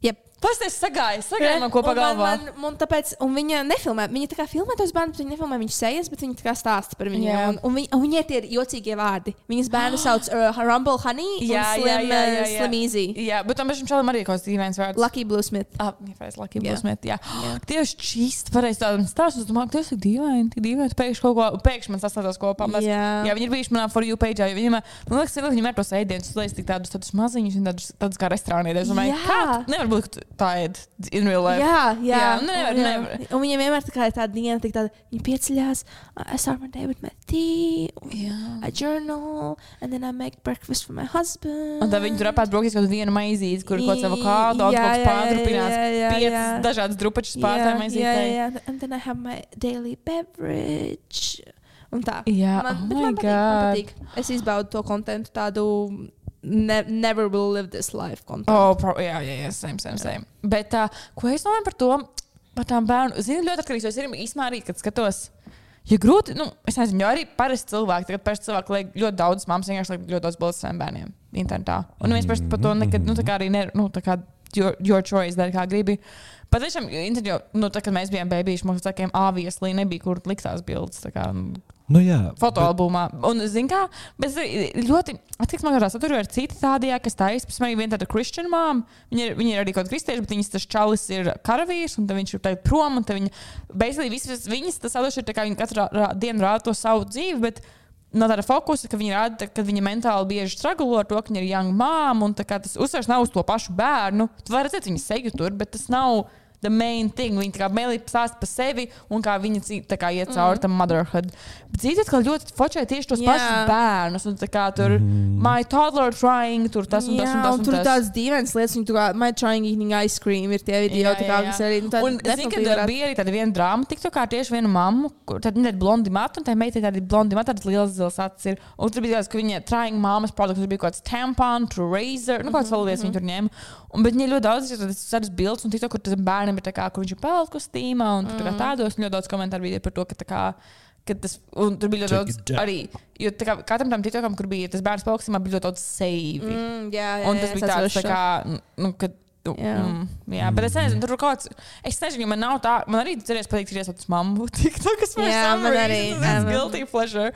Jep. Tas tas sagāja, sagāja man kopā Un man- galvā. Man, man, tāpēc, un viņa nefilmē, viņa tā kā filmē tos bērnus, bet viņa nefilmē viņu sejas, bet viņa tā kā stāsta par viņiem. Jā. Un, un, viņa, un viņai tie ir jocīgie vārdi. Viņas [GASPS] bērnu sauc uh, Rumble Honey, un Jā, jā, Slim, jā, jā, uh, jā. Slim Easy, Jā, bet tam pašam čalam arī ir kaut kāds dīvains vārds. Lucky Blue Smith. Ah, jā, pareizi, Lucky Jā. Blūzmet, jā. [GASPS] Tieši čīst, pareizi tādam stāstam, es domāju, ka tas ir dīvaini, tik dīvaini, pēkšņi kaut ko, pēkšņi man sastāstās kopā. Mēs, Jā. jā, viņi ir bijuši manā For You page, jo viņiem, man liekas, cilvēki vienmēr tos ēdienus uzliek tik tādus, tādus maziņus, un tādus, tādus kā restorānieties. Es domāju, Jā. kā nevar būt, ka tu tā ēd in real life. Jā, jā, Jā, nu nevar, un, jā. nevar. Un viņiem vienmēr tā kā ir tāda diena, tik tāda, viņi pieceļās, "I start my day with my tea, Jā. I journal, and then I make breakfast for my husband. Un tad viņi tur apēd brokastīs kaut kādu vienu maizīti, kur ir kaut kāds I- avokādo, jā, kaut kāds jā, jā, pārdrupināts, jā, jā, piecas jā. dažādas drupačas Yeah, pārtēm yeah, maizītei. yeah. And then I have my daily beverage. Un tā. Jā, man, oh bet my man, patīk, man God. patīk. Es izbaudu to kontentu, tādu ne, never will live this life kontentu. Oh, pro, jā, jā, jā, same, same, same. Bet uh, ko es domāju par to? Par tām bērnu. Zinu, ļoti atkarīgs. jo Es arī īstenībā arī, kad skatos. Ja grūti, nu, es nezinu, jo arī parasti cilvēki, tagad parasti cilvēki liek ļoti daudz, māmas vienkārši liek ļoti daudz bildes saviem bērniem internetā. Un neviens parasti par to nekad, nu, tā kā arī, ne, nu, tā kā your, your choice, dari kā gribi. Pat tiešām, internetā, nu, tā kā mēs bijām bērniši, mums cilvēkiem āvieslī nebija, kur likt tās bildes. tā kā, nu, Nu jā. bet- fotoalbumā. Un, zin kā, bet es ļoti, atcīm redzot, tur ir citi tādi, jā, kas taisa, piemēram, viena tāda kristiešu māma. Viņa ir, viņa ir arī kaut kāda kristieša, bet viņas tas čalis ir karavīrs, un tad viņš ir tagad prom, un tad viņa, beidzīgi, visas viņas tas atdoši ir tā kā viņa katru rā, dienu rāda to savu dzīvi, bet no tāda fokusa, ka viņa rāda, ka viņa mentāli bieži straglo ar to, ka viņa ir young mom, un tā kā tas uzsvers nav uz to pašu bērnu. Tu vari redzēt viņas seju tur, bet tas nav. The main thing. Viņa tā kā mēlīja stāst par sevi un kā viņa cī- tā kā iet cauri mm. tam motherhood. Bet dzīvot, ka ļoti fočē tieši tos yeah. Jā. pašus bērnus. Un tā kā tur mm. my toddler trying, tur tas un tas jā, un tas. un Un tur ir tas. tādas dīvainas lietas, viņi tur kā my trying eating ice cream ir tie video, tā kā, kas arī. Nu, tā un, zin, kad, definitīvi uh, varētu- bija arī tāda viena drāma, tiktu kā tieši viena mamma, kur tad viņa ir blondi matu, un tā meita ir tāda blondi matu, tādas lielas zilas acis ir. Un tur bija tāds, ka viņa trying mammas produkts, tur bija kaut kāds tampon, tur razor, nu kāds vēl lietas viņa tur ņēma. Un, bet viņa ļoti daudz ir tādas tādas bildes, un tiktu, kur tas bērnam ir tā kā, kur viņš ir pelku stīmā, un tur tā kā tādos, un ļoti daudz komentāru bija par to, ka tā kā. Kad tas, un tur bija ļoti Check it daudz out. arī. Jo tā kā katram tam titokam, kur bija tas bērns paaugstinājumā, bija ļoti daudz sevi. Mm. Mm, jā, jā, Un tas jā, bija es tāds, atceros tā kā, nu, kad. nu, Jā. mm, Jā, bet es nezinu, tur ir kaut kas. Es nezinu, jo man nav tā, man arī cerēs pateikt, ir iesaistīts mammu. [LAUGHS] Tik tā, kas man ir. Jā, man arī, jā, Tas ir man- guilty pleasure.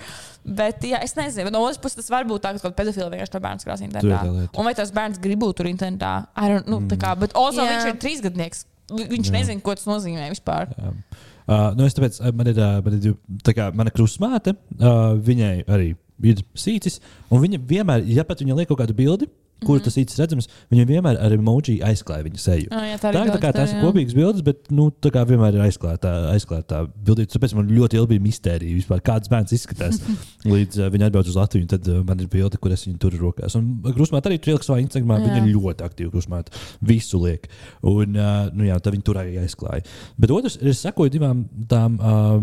Bet, jā, es nezinu, bet no otras puses tas var būt tā, ka kaut kāda pedofila vienkārši to bērnu skrās tā internetā. lieta. Un vai tas bērns grib būt tur internetā? I don't know, tā kā, bet also Jā. viņš ir trīsgadnieks. Vi- Viņš Mm. Jā. nezina, ko tas nozīmē vispār. Um, Uh, nu es tāpēc, uh, man ir, uh, man ir div- tā kā mana krusmāte, uh, viņai arī ir sīcis. Un viņa vienmēr, ja pat viņa liek kaut kādu bildi, kur mm -hmm. tas īcis redzams, viņa vienmēr ar emoji aizklāja viņa seju. Ah, jā, Tā, tā tā, arī ir tā kā daudz tās tur, ir jā. kopīgas bildes, bet nu, tā kā vienmēr ir aizklāta, aizklāta bildīte. Tāpēc man ļoti ilgi bija mistērija, vispār, kāds bērns [LAUGHS] izskatās. Līdz uh, viņa atbrauc uz Latviju, un tad uh, man ir bilde, kur es viņu turu rokās. Un krusmāte arī tur ieliks savā Instagramā. Viņa Jā. ir ļoti aktīva krusmāte. Visu liek. Un uh, nu, jā, tā viņi tur arī aizklāja. Bet otrs, es sekoju divām tām, uh,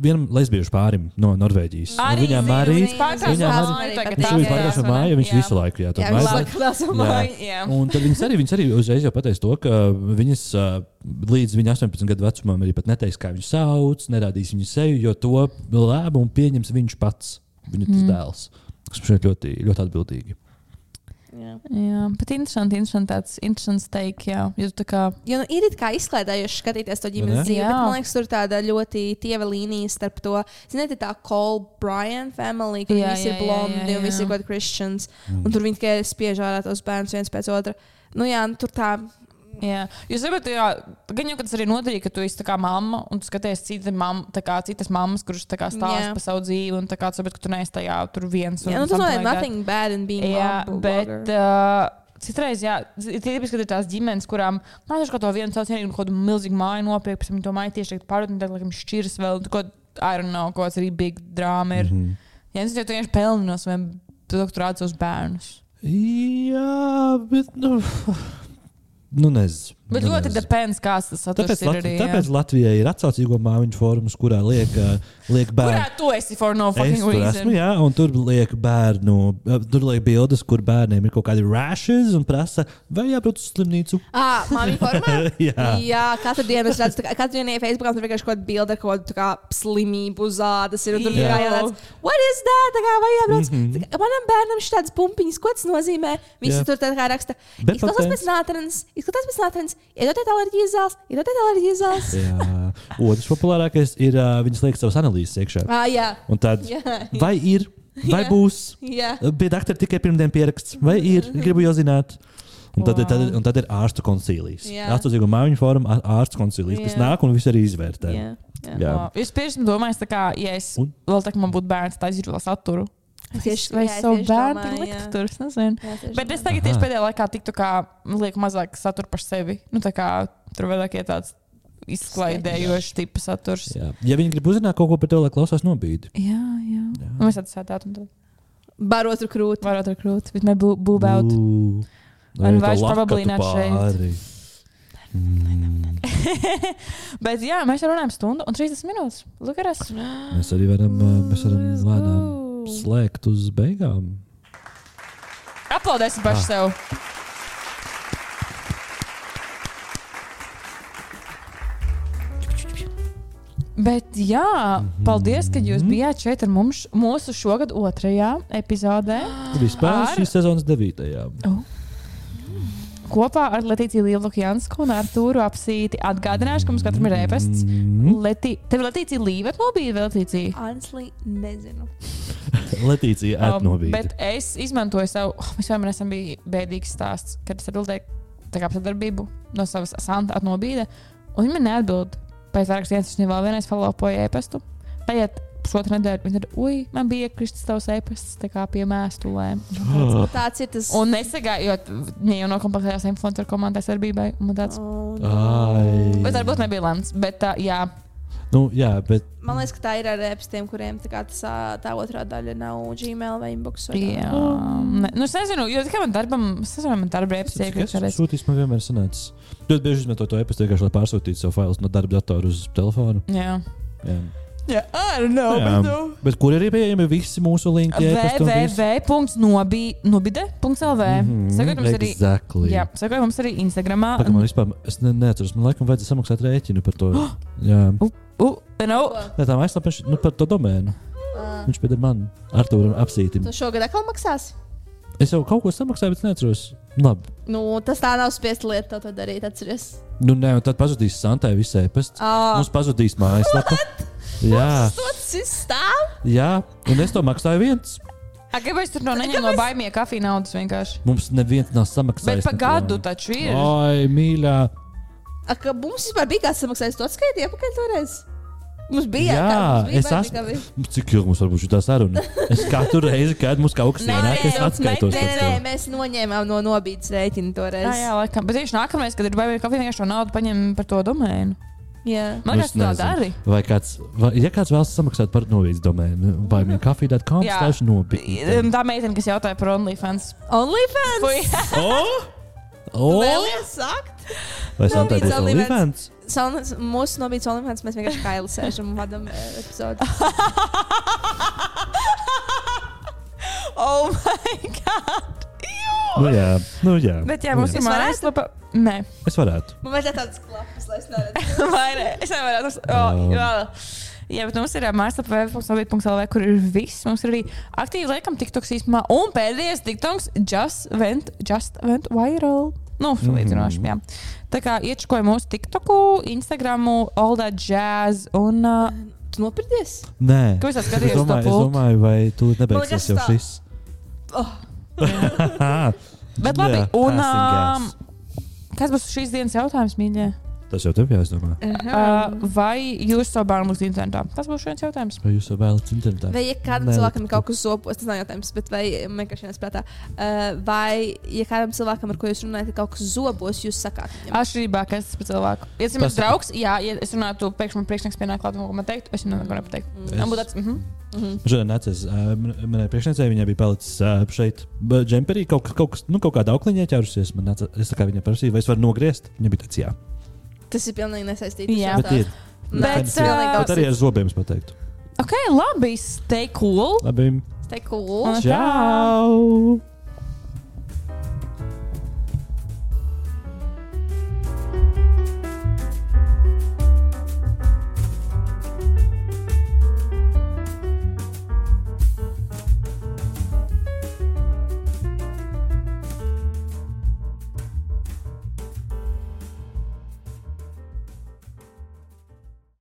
vienam lesbiešu pārim no Norvēģijas. Un Viņām zinu, arī. viņas pārtrauc viņām māju arī- tagad Viņš jau ir atcerās, pārgājis no vai ne? mājas, viņš Jā. visu laiku jā, tur Jā, viņš mājas laiku vēl savu Jā. māju. Jā. Un tad viņas arī, viņas arī uzreiz jau pateica to, ka viņas uh, līdz viņa 18 gadu vecumam arī pat neteiks, kā viņu sauc, nerādīs viņu seju, jo to lēmumu pieņems viņš pats, viņa Mhm. mm. dēls. Tas man šķiet ļoti, ļoti atbildīgi. Jā. Jā, bet interesanti, interesanti tāds, interesants teik, jā. Jo tu tā kā, Jo nu, ir it kā izklaidējoši skatīties to Vai ne? ģimenes dzīvi, Jā. bet man liekas, tur ir tāda ļoti tieva līnija starp to, ziniet, ir tā Cole Bryan family, kur Jā, visi jā, ir jā, blondi jā, un visi jā. ir kaut kādi kristians, un tur viņi tikai spiež ārā tos bērnus viens pēc otra. Nu jā, nu, tur tā. Jā, jūs zināt, jā, gan jau tas arī noderīgi, ka tu esi tā kā mamma un tu skaties cita mam, tā kā, citas mammas, kuras tā kā stāsta Jā. par savu dzīvi un tā kā tu saproti, ka tu neesi tajā tur viens. Jā, nu, un tas something nav like that. nothing bad in being Jā, mom, bet blogger. uh, Citreiz, jā, ir tipiski, kad ir tās ģimenes, kurām mācās kaut ko vienu saucienu, kaut kādu milzīgu māju nopirkt, pēc tam viņi to māju tieši tagad pārdod, un tad, laikam, šķiras vēl, kaut ko, I don't know, kaut kāds arī big drama ir. Mhm. Ja es jau tā vienkārši pelnu no saviem doktorāts uz bērnus. Jā, bet. Nu, nu nezinu. Bet nu, ļoti nezinu. depends, kāds tas Tāpēc, saturs ir Lat arī. jā. tāpēc Latvijai ir atsaucīgo māmiņu fórums, kurā liek, ā, liek bērnu. Kurā tu esi for no Es fucking tur esmu, reason? jā, un tur liek bērnu, tur liek bildes, kur bērniem ir kaut kādi rashes un prasa, vai jābrauc uz [LAUGHS] slimnīcu. Ah, māmiņa formā? [LAUGHS] jā, Jā, katru dienu es redzu, ka katru dienu ir Facebookā un tur vienkārši kaut kāda bilde, ko tā kā slimību zādas ir. un Tur Jā. jau tāds, what is that? Tā kā vai jābrauc? Mm -hmm. Manam bērnam šāds pumpiņas, ko tas nozīmē? Visi Mhm. Jā. yeah. tur tā kā raksta, Bet izklausās pateic- pēc nātrens, izklausās pēc nātrens, iedotiet alerģijas zāles, iedotiet alerģijas zāles. jā. Otrs populārākais ir, ā, viņas liek savas analīzes iekšā. Ah, jā, Un tad, jā, jā. vai ir, vai Jā. būs, jā. bija doktora tikai pirmdien pieraksts, vai ir, gribu jau zināt. Un tad, wow. tad, Wow. ir- un tad ir ārstu koncilijas. Jā. Atsaucīgo māmiņu fórumu ā- ārstu koncilijas, kas Jā. nāk un visu arī izvērtē. jā. jā. Jā. Es pirms domāju, tā kā, ja es Un? vēl tā kā man būtu bērns, tad es ir vēl saturu. Es Tieši, tieši- vai jā, es savu tieši bērnu domāju, tur likt jā. tur, es nezinu. Jā, tieši Bet es domāju. tagad tieši Aha. pēdējā laikā tiktu, kā lieku mazāk satura par sevi. Nu, tā kā tur vairāk ir tāds izklaidējošs tipa saturs. Jā. Ja viņi grib uzzināt kaut ko par tevi, lai klausās nobīdi. Jā, jā. jā. Mēs tad sēdētu un tad Baro tur krūti. varētu ar krūti, bet mēs būvētu out. Ooh. Vai And to why laka probably tu not shaved? pāri? Mm. [LAUGHS] Bet jā, mēs jau runājam stundu un 30 minūtes. Lūk, ar es. Mēs arī varam, ā, mēs varam lēnām slēgt uz beigām. Aplaudēsim Ah. paši sev. Bet, jā, Mhm. paldies, ka jūs bijāt šeit ar mums mūsu šogad otrajā epizodē. Vispār Ar- šīs sezonas devītajā. Kopā ar Latīciju Līvloku Jansku un Artūru apsīti atgādināšu, ka mums katram ir ēpasts. Mhm. Mm. Leti... Tev Latīcija Līvet nobīja vai Latīcija? Honestly, nezinu. Letīcija atnobīda. [GASPS] Um, bet es izmantoju savu, oh, mēs jau esam bijuši bēdīgs stāsts, kad es atbildēju tā kā par sadarbību no savas santa atnobīda, un viņi man neatbild. Pēc vairākas dienas viņa vēl vienreiz palapoja ēpastu. Paiet pusotru nedēļu, viņa ir, ui, man bija iekristis tavs ēpasts, tā kā pie mēstulēm. Tāds ir tas. Un nesagāju, jo viņa jau nokomplektējās influencer komandai sadarbībai, un man tāds. Oh, Ai. Bet varbūt nebija lēmts, bet tā, jā, Nu, jā, bet Man liekas, ka tā ir ar ēpstiem, kuriem tā, kā tas, ā, tā otrā daļa nav Gmail vai Inbox. Vai jā. tā. Ne, nu, es nezinu, jo tikai man darbam, es nezinu, vai man darba ēpasts tas iekristis. sūtījums man vienmēr sanāca. Ļoti bieži izmanto to e-pastu vienkārši, lai pārsūtītu savu failus no darba datora uz telefonu. Jā, Jā. jā, I don't know, Jā. bet nu. Bet kur ir pieejami visi mūsu linki? www.nobide.lv. Mhm. Sekojiet mums arī. Exactly. Jā, sekojiet mums arī Instagramā. Pagaidām, man vispār, es ne, neatceros, man laikam vajadzēja samaksāt rēķinu par [GASPS] to. Jā, U, nu. no, Nē, tā aizslēpšanās, nu par to domēnu. Uh. Viņš pieder man, Arturam, apsītim. Tu šogad atkal maksās? Es jau kaut ko samaksāju, bet es neatceros. Labi. Nu, tas tā nav spiest lieta tev to darīt, atceries. Nu, nē, un tad pazudīs Santai visai pēc. Ah. Mums pazudīs mājaslapa. Jā, Tas ir stāv! jā, un es to maksāju viens. kāpēc tur no neņem no baimie kafijas naudas vienkārši? Mums neviens nav Bet samaksājis. pa gadu taču ir. Ai, mīļā. A, ka mums vispār bija kāds samaksājis to atskaiti atpakaļ toreiz. Mums bija Jā, kā- mums bija es baigi, ka esmu. bija. Cik ilgi mums var būt šī saruna? Es katru reizi, kad mums kaut kas Nē, ienāk, es nē, atskaitos. Nē, par nē, to. nē, mēs noņēmām no nobīdes rēķina toreiz. Jā, Ah, jā, laikam. Bet tieši nākamreiz, kad ir baimīgi kafija, vienkārši to naudu paņem par to domēnu. jā. Man Nu, es liekas, tu tā nezinu. dari. Vai kāds, vai, ja kāds vēlas samaksāt par novīdu domēnu, vai man kafija.com Jā. slash Um, nobīdi. Tā meitene, kas jautāja par OnlyFans. Fui. [LAUGHS] OnlyFans! O! O! Vēlies sakt! Vai Santai būs Nobīdes OnlyFans? Salons, mūsu nobīdes OnlyFans mēs vienkārši [LAUGHS] kaili sēžam un vadam eh, epizodi. oh my god! Jū! Nu jā, nu jā. Bet jā, nu mums ir mājaslapa. Nē. Es varētu. Man vajadzēja tādas klapas, lai es neredzētu. [LAUGHS] Vai ne? Es nevaru atrast. Um. Oh, jā. jā, bet mums ir mājaslapa www.nobīt.lv, kur ir viss. Mums ir arī aktīvi laikam TikToks īstenībā. Un pēdējais TikToks just went, just went viral. Nu, Mhm. salīdzinoši, jā. Tā kā iečakoju mūsu TikToku, Instagramu, all that jazz un... Uh, Tu nopirties? Nē, Ko es tā Es skatījos to domāju, es pultu? domāju, vai tu Man nebeigsies liekas, jau tā. šis. bet [LAUGHS] labi, Jā, un... passing Um, kas būs šīs dienas jautājums, mīļie? Tas jau tev jāizdomā. Uh, vai jūs savu bērnu būsiet internetā? Tas būs viens jautājums. Vai jūs vēlaties internetā? Vai ja kādam Nē, cilvēkam tu- ir kaut kas zopos, tas nav jautājums, bet vai man vienkārši nāca prātā, uh, vai ja kādam cilvēkam, ar ko jūs runājat, ir kaut kas zobos, jūs sakāt, viņam, Atšķirībā, ka es esmu par cilvēku. Ja esmu Tas- tas... draugs, jā, ja es runātu, pēkšņi man priekšnieks pienāk klāt, un ko man teikt, es viņam neko nepateiktu. Es- Man būtu tāds, mhm. Šodien nācis uh, manai priekšniecei, viņai bija palicis uh, šeit b- džemperī, kaut, kas- kaut, kas- nu, kaut kāda aukliņa ķērusies. Man nāca, es tā kā viņai prasīju, vai es varu nogriezt. Viņa bija tāds, jā. tas ir pilnīgi nesaistīts. Jā. Bet, ir, Nē, Bet, tas ā, ir pilnīgi bet kaut arī ar zobiem es pateiktu. Ok, labi, stay cool. tá Labi. kas tāds. Un- Čau!